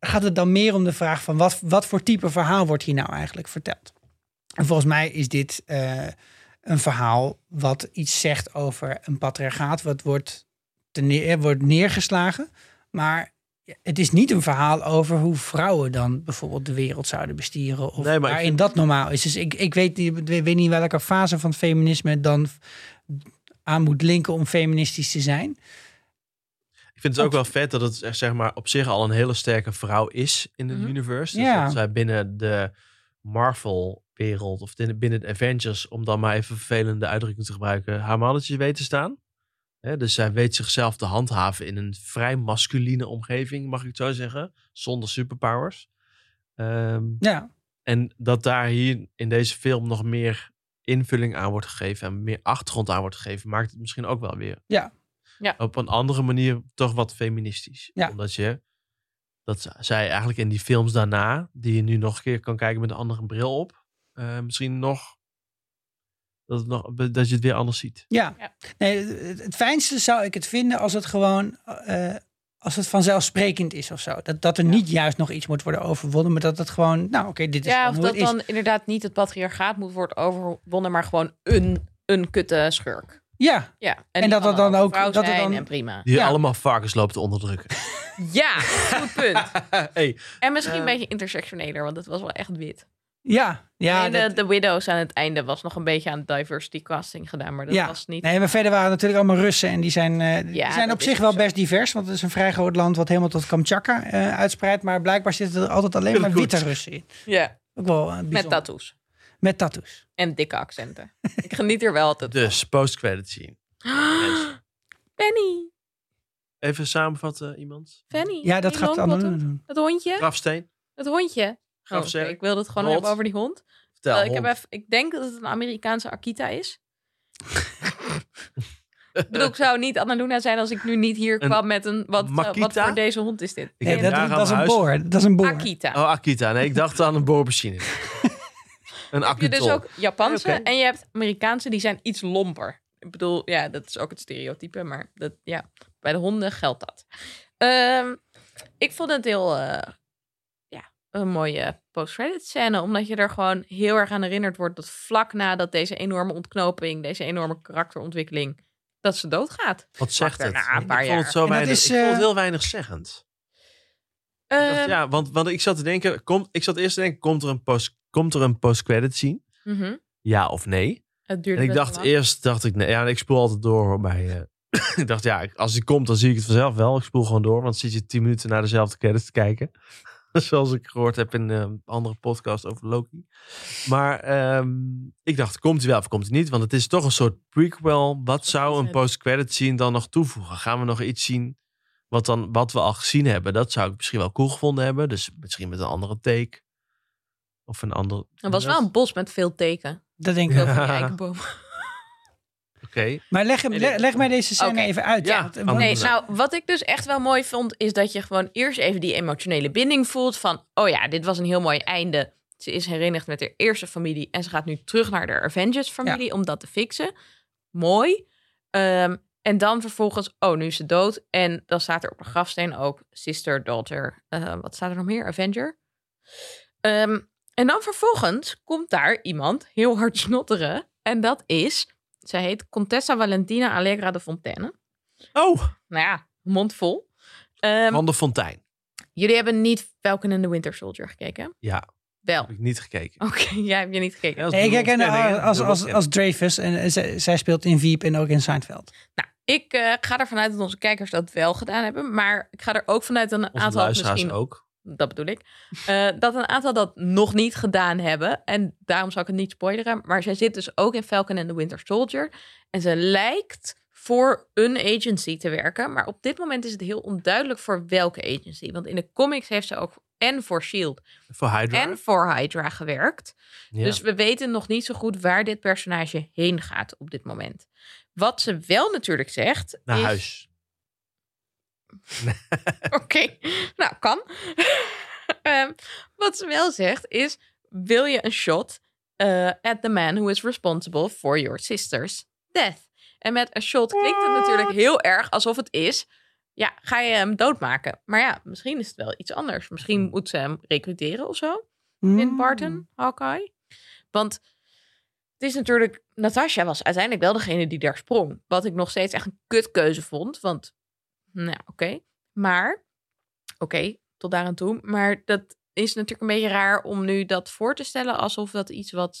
D: gaat het dan meer om de vraag van wat, wat voor type verhaal wordt hier nou eigenlijk verteld? En volgens mij is dit eh, een verhaal wat iets zegt over een patriarchaat, wat wordt, te neer, eh, wordt neergeslagen, maar... Het is niet een verhaal over hoe vrouwen dan bijvoorbeeld de wereld zouden bestieren. Of
A: Nee, maar ik
D: waarin
A: vind-
D: dat normaal is. Dus ik, ik weet, niet- ik weet niet welke fase van het feminisme dan aan moet linken om feministisch te zijn.
A: Ik vind het ook wel vet dat het echt, zeg maar, op zich al een hele sterke vrouw is in het
B: Mhm.
A: universe. Dus
D: Ja.
A: dat zij binnen de Marvel-wereld of binnen binnen de Avengers, om dan maar even vervelende uitdrukking te gebruiken, haar mannetjes weet te staan. Hè, dus zij weet zichzelf te handhaven in een vrij masculine omgeving, mag ik het zo zeggen, zonder superpowers. Ehm,
D: Ja,
A: en dat daar hier in deze film nog meer invulling aan wordt gegeven en meer achtergrond aan wordt gegeven, maakt het misschien ook wel weer
D: Ja.
B: Ja.
A: op een andere manier toch wat feministisch.
D: Ja.
A: Omdat je dat z- zij eigenlijk in die films daarna, die je nu nog een keer kan kijken met een andere bril op, eh, misschien nog dat, het nog dat je het weer anders ziet.
D: ja.
B: Ja.
D: Nee, het, het fijnste zou ik het vinden als het gewoon, eh, als het vanzelfsprekend is of zo. Dat, dat er
B: Ja.
D: niet juist nog iets moet worden overwonnen, maar dat het gewoon, nou oké, dit is
B: Ja,
D: gewoon
B: of
D: hoe
B: dat
D: het is.
B: dan inderdaad niet het patriarchaat moet worden overwonnen, maar gewoon een, een kutte schurk.
D: Ja,
B: Ja. En,
D: En
B: die
D: dat
B: kan
D: er dan
B: een
D: ook-
B: vrouw
D: dat er
B: zijn
D: dan-
B: en prima.
A: Die
D: Ja.
A: allemaal varkens loopt te onderdrukken.
B: Ja, goed punt.
A: hey,
B: En misschien een
A: Eh.
B: beetje intersectioneler, want het was wel echt wit.
D: ja, ja.
B: en de,
D: dat-
B: de Widows aan het einde was nog een beetje aan diversity casting gedaan, maar dat
D: Ja.
B: was niet.
D: Nee, maar verder waren het natuurlijk allemaal Russen. En die zijn, eh, die
B: Ja,
D: zijn
B: dat
D: op
B: is
D: zich
B: ook
D: wel
B: zo.
D: best divers. Want het is een vrij groot land wat helemaal tot Kamchatka eh, uitspreidt. Maar blijkbaar zitten er altijd alleen
A: Heel
D: maar
A: goed.
D: witte Russen in.
B: Ja.
D: Ook wel eh, bijzonder.
B: Met tattoos.
D: Met tattoos.
B: En dikke accenten. ik geniet er wel altijd.
A: Dus, post-credit scene. Mensen.
B: Penny.
A: Even samenvatten, iemand.
B: Fanny.
D: Ja, dat
B: Fanny
D: gaat
B: Longbottom.
D: Annalena doen.
B: Het hondje.
A: Grafsteen,
B: Het hondje.
A: Graf
B: Oh,
A: Zerk.
B: ik wilde het gewoon
A: Rot.
B: hebben over die hond.
A: vertel.
B: Eh, ik, heb
A: hond.
B: even, ik denk dat het een Amerikaanse Akita is. ik bedoel, ik zou niet Annaluna zijn als ik nu niet hier
A: Een
B: kwam met een... Wat, eh, wat
A: Makita?
B: voor deze hond is dit?
A: Ik
D: Nee,
A: heb
D: dat,
A: daar
D: dat
A: aan
D: is een
A: mijn huis-
D: boor. Dat is een boor.
B: Akita.
A: Oh, Akita. Nee, ik dacht aan een boormachine. een
B: heb je
A: akutol.
B: dus ook Japanse
A: Nee, oké.
B: en je hebt Amerikaanse, die zijn iets lomper. Ik bedoel, ja, dat is ook het stereotype, maar dat, ja, bij de honden geldt dat. Ehm, ik vond het heel, eh, ja, een mooie post-credit scène, omdat je er gewoon heel erg aan herinnerd wordt dat vlak nadat deze enorme ontknoping, deze enorme karakterontwikkeling, dat ze doodgaat.
A: Wat zegt
B: Vlak
A: het?
B: daarna, een
A: Ik
B: paar
A: vond het
B: jaar.
A: zo
D: En dat
A: weinig.
D: is,
A: Ik vond
D: eh,
A: het heel weinig zeggend. Ik dacht,
B: Ehm,
A: ja, want, want ik zat te denken, komt, ik zat eerst te denken, komt er een post, komt er een post-credit scene?
B: mhm.
A: Ja of nee?
B: Het duurde
A: En ik
B: best
A: dacht
B: wel lang.
A: eerst, dacht ik, nee, ja, en ik spoel altijd door hoor, bij. eh, ik dacht, ja, ik- als die komt, dan zie ik het vanzelf wel. Ik spoel gewoon door, want dan zit je tien minuten naar dezelfde credits te kijken. Zoals ik gehoord heb in eh, een andere podcast over Loki. Maar ehm, ik dacht, komt hij wel of komt hij niet? Want het is toch een soort prequel. Wat zou een post-credit scene dan nog toevoegen? Gaan we nog iets zien wat, dan, wat we al gezien hebben? Dat zou ik misschien wel cool gevonden hebben. Dus misschien met een andere take. Of een ander...
B: Er was wel een bos met veel teken.
D: Dat denk ik
B: Heel
A: Ja.
D: ook.
B: veel eikenbomen.
A: Oké.
D: Maar leg, hem- le- leg mij deze scène
B: Oké.
D: even uit.
A: Ja,
D: want-
A: nee,
D: want-
B: Nee,
A: Ja.
B: nou, wat ik dus echt wel mooi vond, is dat je gewoon eerst even die emotionele binding voelt van, oh ja, dit was een heel mooi einde. Ze is herinnerd met haar eerste familie en ze gaat nu terug naar de Avengers-familie om dat te fixen. Mooi. Ehm, en dan vervolgens, oh, nu is ze dood. En dan staat er op de grafsteen ook sister, daughter, eh, wat staat er nog meer? Avenger. Ehm, en dan vervolgens komt daar iemand heel hard snotteren. En dat is, zij heet Contessa Valentina Allegra de Fontaine
A: Oh,
B: nou ja, mondvol. Ehm,
A: Van de Fontein.
B: jullie hebben niet Falcon and the Winter Soldier gekeken? hè?
A: Ja.
B: Wel.
A: Heb ik niet gekeken.
B: Oké, jij hebt je niet gekeken.
A: Ja,
D: Nee, ik
A: dubbel
D: herken haar
A: ontkenning, hè?
D: eh, als,
A: Dubbel
D: als, als Dreyfus. En, eh, zij, zij speelt in Wiep en ook in Seinfeld.
B: Nou, ik eh, ga ervan uit dat onze kijkers dat wel gedaan hebben. Maar ik ga er ook vanuit dat een
A: Onze
B: aantal
A: luisteraars
B: misschien...
A: ook.
B: Dat bedoel ik. eh, dat een aantal dat nog niet gedaan hebben. En daarom zal ik het niet spoileren. Maar zij zit dus ook in Falcon and the Winter Soldier. En ze lijkt voor een agency te werken. Maar op dit moment is het heel onduidelijk voor welke agency. Want in de comics heeft ze ook en voor S.H.I.E.L.D.
A: Voor Hydra.
B: en voor Hydra gewerkt.
A: Ja.
B: Dus we weten nog niet zo goed waar dit personage heen gaat op dit moment. Wat ze wel natuurlijk zegt.
A: Naar
B: is-
A: huis.
B: Oké, nou kan. Ehm, wat ze wel zegt is: wil je een shot eh, at the man who is responsible for your sister's death? En met een shot klinkt het natuurlijk heel erg alsof het is. Ja, ga je hem doodmaken? Maar ja, misschien is het wel iets anders.
A: Hmm.
B: Misschien moet ze hem recruteren of zo.
A: Mm.
D: Hmm.
B: in Barton, Hawkeye. Want het is natuurlijk... Natasha was uiteindelijk wel degene die daar sprong. Wat ik nog steeds echt een kutkeuze vond. Want, nou oké. Maar, oké, tot daar aan toe. Maar dat is natuurlijk een beetje raar om nu dat voor te stellen... alsof dat iets wat,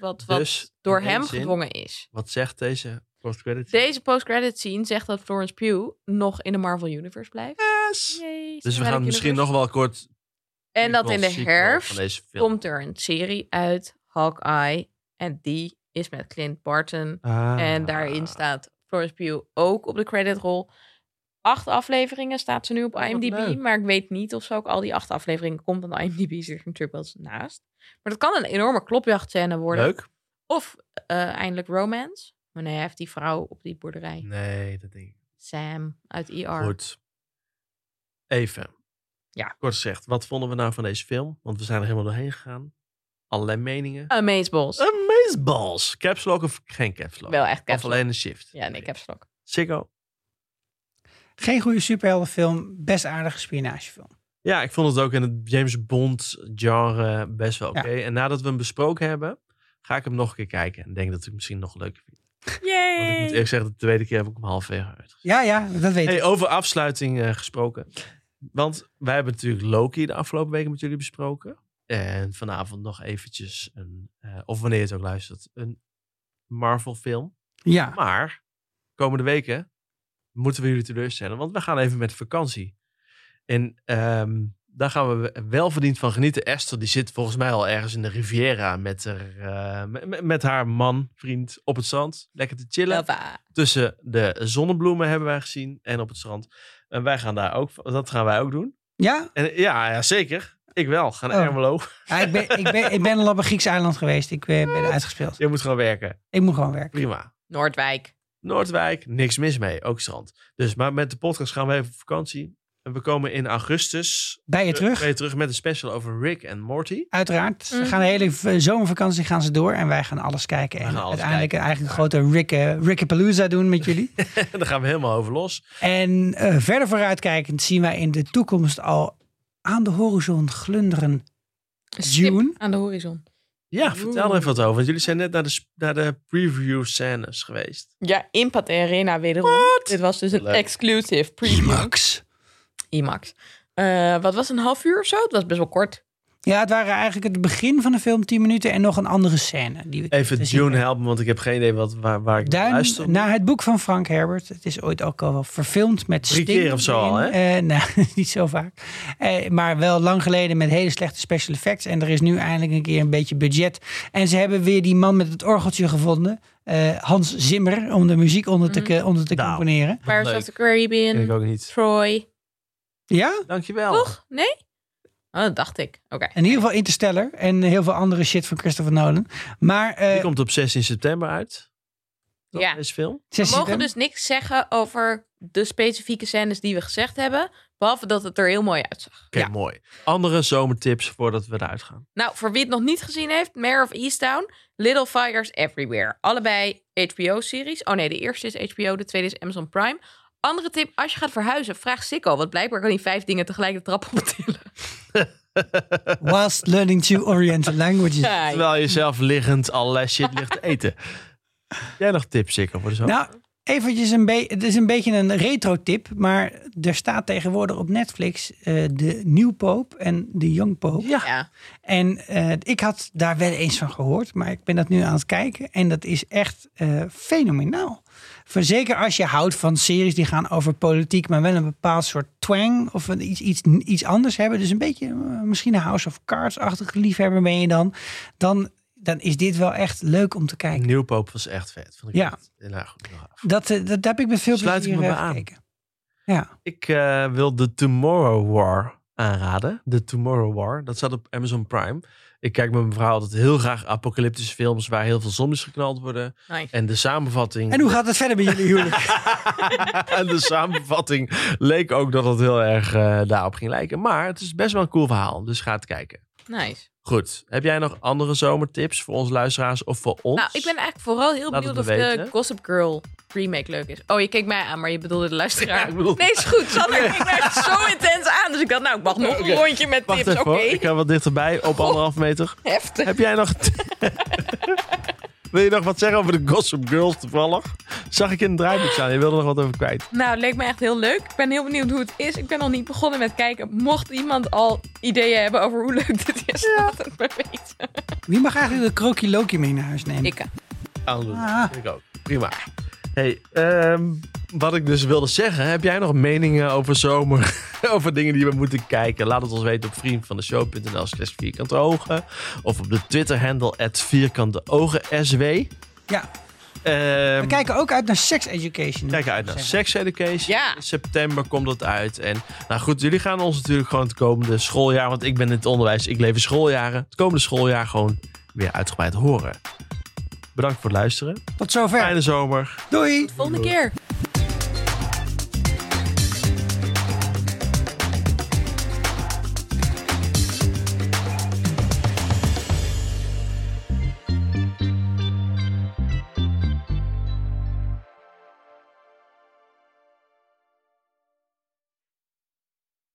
B: wat, wat
A: Dus, in
B: door
A: één
B: hem
A: zin,
B: gedwongen is.
A: Wat zegt deze post-credit?
B: Deze post-credit scene zegt dat Florence Pugh nog in de Marvel Universe blijft.
A: Yes!
B: Yay,
A: Dus we
B: cinematic
A: gaan misschien nog
B: universe.
A: wel kort...
B: En dat in de
A: sequel
B: herfst
A: Van deze film.
B: komt er een serie uit, Hawkeye. En die is met Clint Barton.
A: Ah.
B: En daarin staat Florence Pugh ook op de creditrol. Acht afleveringen staat ze nu op
A: Oh, wat
B: IMDb.
A: leuk.
B: Maar ik weet niet of ze ook al die acht afleveringen komt. Want IMDb zit er natuurlijk wel eens naast. Maar dat kan een enorme klopjachtscène worden.
A: Leuk?
B: Of eh, eindelijk romance. Maar nee, hij heeft die vrouw op die boerderij.
A: Nee, dat denk ik.
B: Sam uit E ER.
A: Goed. Even.
B: Ja.
A: Kort gezegd, wat vonden we nou van deze film? Want we zijn er helemaal doorheen gegaan. Allerlei meningen.
B: Amazeballs.
A: Amazeballs. Caps lock of geen caps lock?
B: Oh. Wel echt
A: Of
B: capsule.
A: alleen een shift?
B: Ja, nee, capslok.
A: Ziggo.
D: Geen goede superheldenfilm. Best aardige spionagefilm.
A: Ja, ik vond het ook in het James Bond genre best wel oké. En nadat we hem besproken hebben, ga ik hem nog een keer kijken. En denk dat ik het misschien nog leuker vind. Want ik moet
B: Yay!
A: eerlijk zeggen, de tweede keer heb ik hem halfweg uitgezien.
D: Ja, ja, dat weet ik.
A: Hey, over afsluiting eh, gesproken. Want wij hebben natuurlijk Loki de afgelopen weken met jullie besproken. En vanavond nog eventjes een, eh, of wanneer je het ook luistert, een Marvel film.
D: Ja.
A: Maar komende weken moeten we jullie teleurstellen, want we gaan even met vakantie. En ehm, Daar gaan we wel verdiend van genieten. Esther die zit volgens mij al ergens in de Riviera met haar, eh, met- met, met haar man, vriend op het strand. Lekker te chillen.
B: Lava.
A: Tussen de zonnebloemen hebben wij gezien en op het strand. En wij gaan daar ook, dat gaan wij ook doen.
D: Ja?
A: En eh, ja, ja zeker. Ik wel. Ga naar
D: Oh.
A: Ermelo.
D: Ja, ik, ben, ik, ben, ik ben al op een Grieks eiland geweest. Ik eh, ben uitgespeeld.
A: Je moet gaan werken.
D: Ik moet gewoon werken.
A: Prima.
B: Noordwijk.
A: Noordwijk, niks mis mee. Ook strand. Dus maar met de podcast gaan we even op vakantie. En we komen in augustus eh,
D: Bij je terug.
A: weer terug met een special over Rick en Morty.
D: Uiteraard. Ze
B: Mhm.
D: gaan de hele v- zomervakantie gaan ze door en wij gaan alles kijken.
A: We
D: En
A: gaan alles
D: uiteindelijk
A: kijken.
D: eigenlijk een grote Rick, eh, Rickapalooza doen met jullie.
A: En daar gaan we helemaal over los.
D: en eh, verder vooruitkijkend zien wij in de toekomst al aan de horizon glunderen.
B: Een stip
D: June?
B: Aan de horizon.
A: Ja, vertel er even wat over. Want jullie zijn net naar de, sp- naar de preview scènes geweest.
B: Ja, Impact Arena wederom. Dit was dus een
A: Leuk.
B: exclusive preview.
D: Max.
B: IMAX. Eh, wat was het, een half uur of zo? Het was best wel kort.
D: Ja, het waren eigenlijk het begin van de film, 10 minuten en nog een andere scène. Die we
A: Even
D: te zien
A: June
D: hebben.
A: helpen, want ik heb geen idee wat, waar, waar ik naar
D: Duin,
A: luister.
D: naar het boek van Frank Herbert. Het is ooit ook al wel verfilmd met
A: Drie
D: Sting
A: keer of zo al,
D: erin. Eh, nou, niet zo vaak. Eh, maar wel lang geleden met hele slechte special effects. En er is nu eindelijk een keer een beetje budget. En ze hebben weer die man met het orgeltje gevonden. eh, Hans Zimmer, om de muziek onder
B: Mhm.
D: te, ke- onder te
A: Nou.
D: componeren.
B: Pirates
A: leuk.
B: of the
A: Ken ik
B: Caribbean,
A: ook niet.
B: Troy.
D: Ja,
A: Dankjewel.
B: Toch? Nee? Oh, dat dacht ik. Oké.
D: in ieder geval Interstellar. En heel veel andere shit van Christopher Nolan. Maar eh,
A: Die komt op 16 september uit. Toch,
B: Ja.
A: Deze film.
B: We
D: zes
B: mogen
D: zitten.
B: dus niks zeggen over de specifieke scènes die we gezegd hebben. Behalve dat het er heel mooi uitzag.
A: Oké,
D: Ja.
A: mooi. Andere zomertips voordat we eruit gaan.
B: Nou, voor wie het nog niet gezien heeft, Mayor of Easttown, Little Fires Everywhere. Allebei HBO-series. Oh nee, de eerste is HBO, de tweede is Amazon Prime. Andere tip, als je gaat verhuizen, vraag Sikko. Want blijkbaar kan hij vijf dingen tegelijk de trap optillen. dus-
D: Whilst learning two oriental languages.
B: Ja,
A: Terwijl je zelf liggend allerlei shit ligt te eten. Jij nog tips, zeker voor de zomer?
D: Nou, eventjes een beetje. Het is een beetje een retro tip. Maar er staat tegenwoordig op Netflix eh, de Nieuw Poop en de Young Poop.
A: ja.
D: En eh, ik had daar wel eens van gehoord. Maar ik ben dat nu aan het kijken. En dat is echt eh, fenomenaal. Voor Zeker als je houdt van series die gaan over politiek, maar wel een bepaald soort twang of een iets, iets, iets anders hebben. Dus een beetje eh, misschien een House of Cards-achtige liefhebber ben je dan. dan. Dan is dit wel echt leuk om te kijken.
A: Nieuwpoop was echt vet. Vond ik
D: Nou, Ja.
A: echt- nou, goed, nog af.
D: Dat, eh, dat, daar heb ik met veel
A: Sluit ik
D: plezier
A: me
D: eh,
A: bij aan.
D: gekeken. Ja,
A: Ik eh, wil de Tomorrow War aanraden. De Tomorrow War. Dat staat op Amazon Prime. Ik kijk met mijn vrouw altijd heel graag apocalyptische films waar heel veel zombies geknald worden.
B: nice.
A: En de samenvatting.
D: en hoe gaat het verder bij jullie huwelijk?
A: en de samenvatting leek ook dat het heel erg eh, daarop ging lijken. Maar het is best wel een cool verhaal. Dus ga het kijken.
B: nice.
A: Goed. Heb jij nog andere zomertips voor onze luisteraars of voor ons?
B: Nou, ik ben eigenlijk vooral heel
A: Laat het
B: benieuwd of
A: me
B: de
A: weten.
B: Gossip Girl remake leuk is. Oh, je keek mij aan, maar je bedoelde de luisteraar.
A: Ja, ik bedoel-
B: Nee, is goed. Sander keek mij echt zo intens aan. Dus ik dacht, nou, ik mag nog een rondje met
A: Wacht
B: tips. Oké,
A: even hoor. Ik ga wat dichterbij op anderhalf meter.
B: heftig.
A: Heb jij nog... Wil je nog wat zeggen over de Gossip Girls toevallig? Zag ik in het draaiboek staan. Je wilde nog wat over kwijt.
B: Nou, het leek me echt heel leuk. Ik ben heel benieuwd hoe het is. Ik ben nog niet begonnen met kijken. Mocht iemand al ideeën hebben over hoe leuk dit is, laat het me weten.
D: Wie mag eigenlijk de Kroki Loki mee naar huis nemen?
B: Ik,
A: Aandoen.
D: Ah.
A: Ik ook. Prima. Hey, ehm, wat ik dus wilde zeggen. Heb jij nog meningen over zomer? over dingen die we moeten kijken? Laat het ons weten op vriendvandeshow.nl slash vierkante ogen. Of op de Twitter handle at vierkante ogen SW.
D: Ja,
A: Ehm,
D: we kijken ook uit naar Sex Education.
A: Kijk uit naar Sex Education.
B: Ja.
A: In september komt dat uit. En nou goed, jullie gaan ons natuurlijk gewoon het komende schooljaar, want ik ben in het onderwijs, ik leef in schooljaren, het komende schooljaar gewoon weer uitgebreid horen. Bedankt voor het luisteren.
D: Tot zover.
A: Fijne zomer.
D: Doei.
B: volgende keer.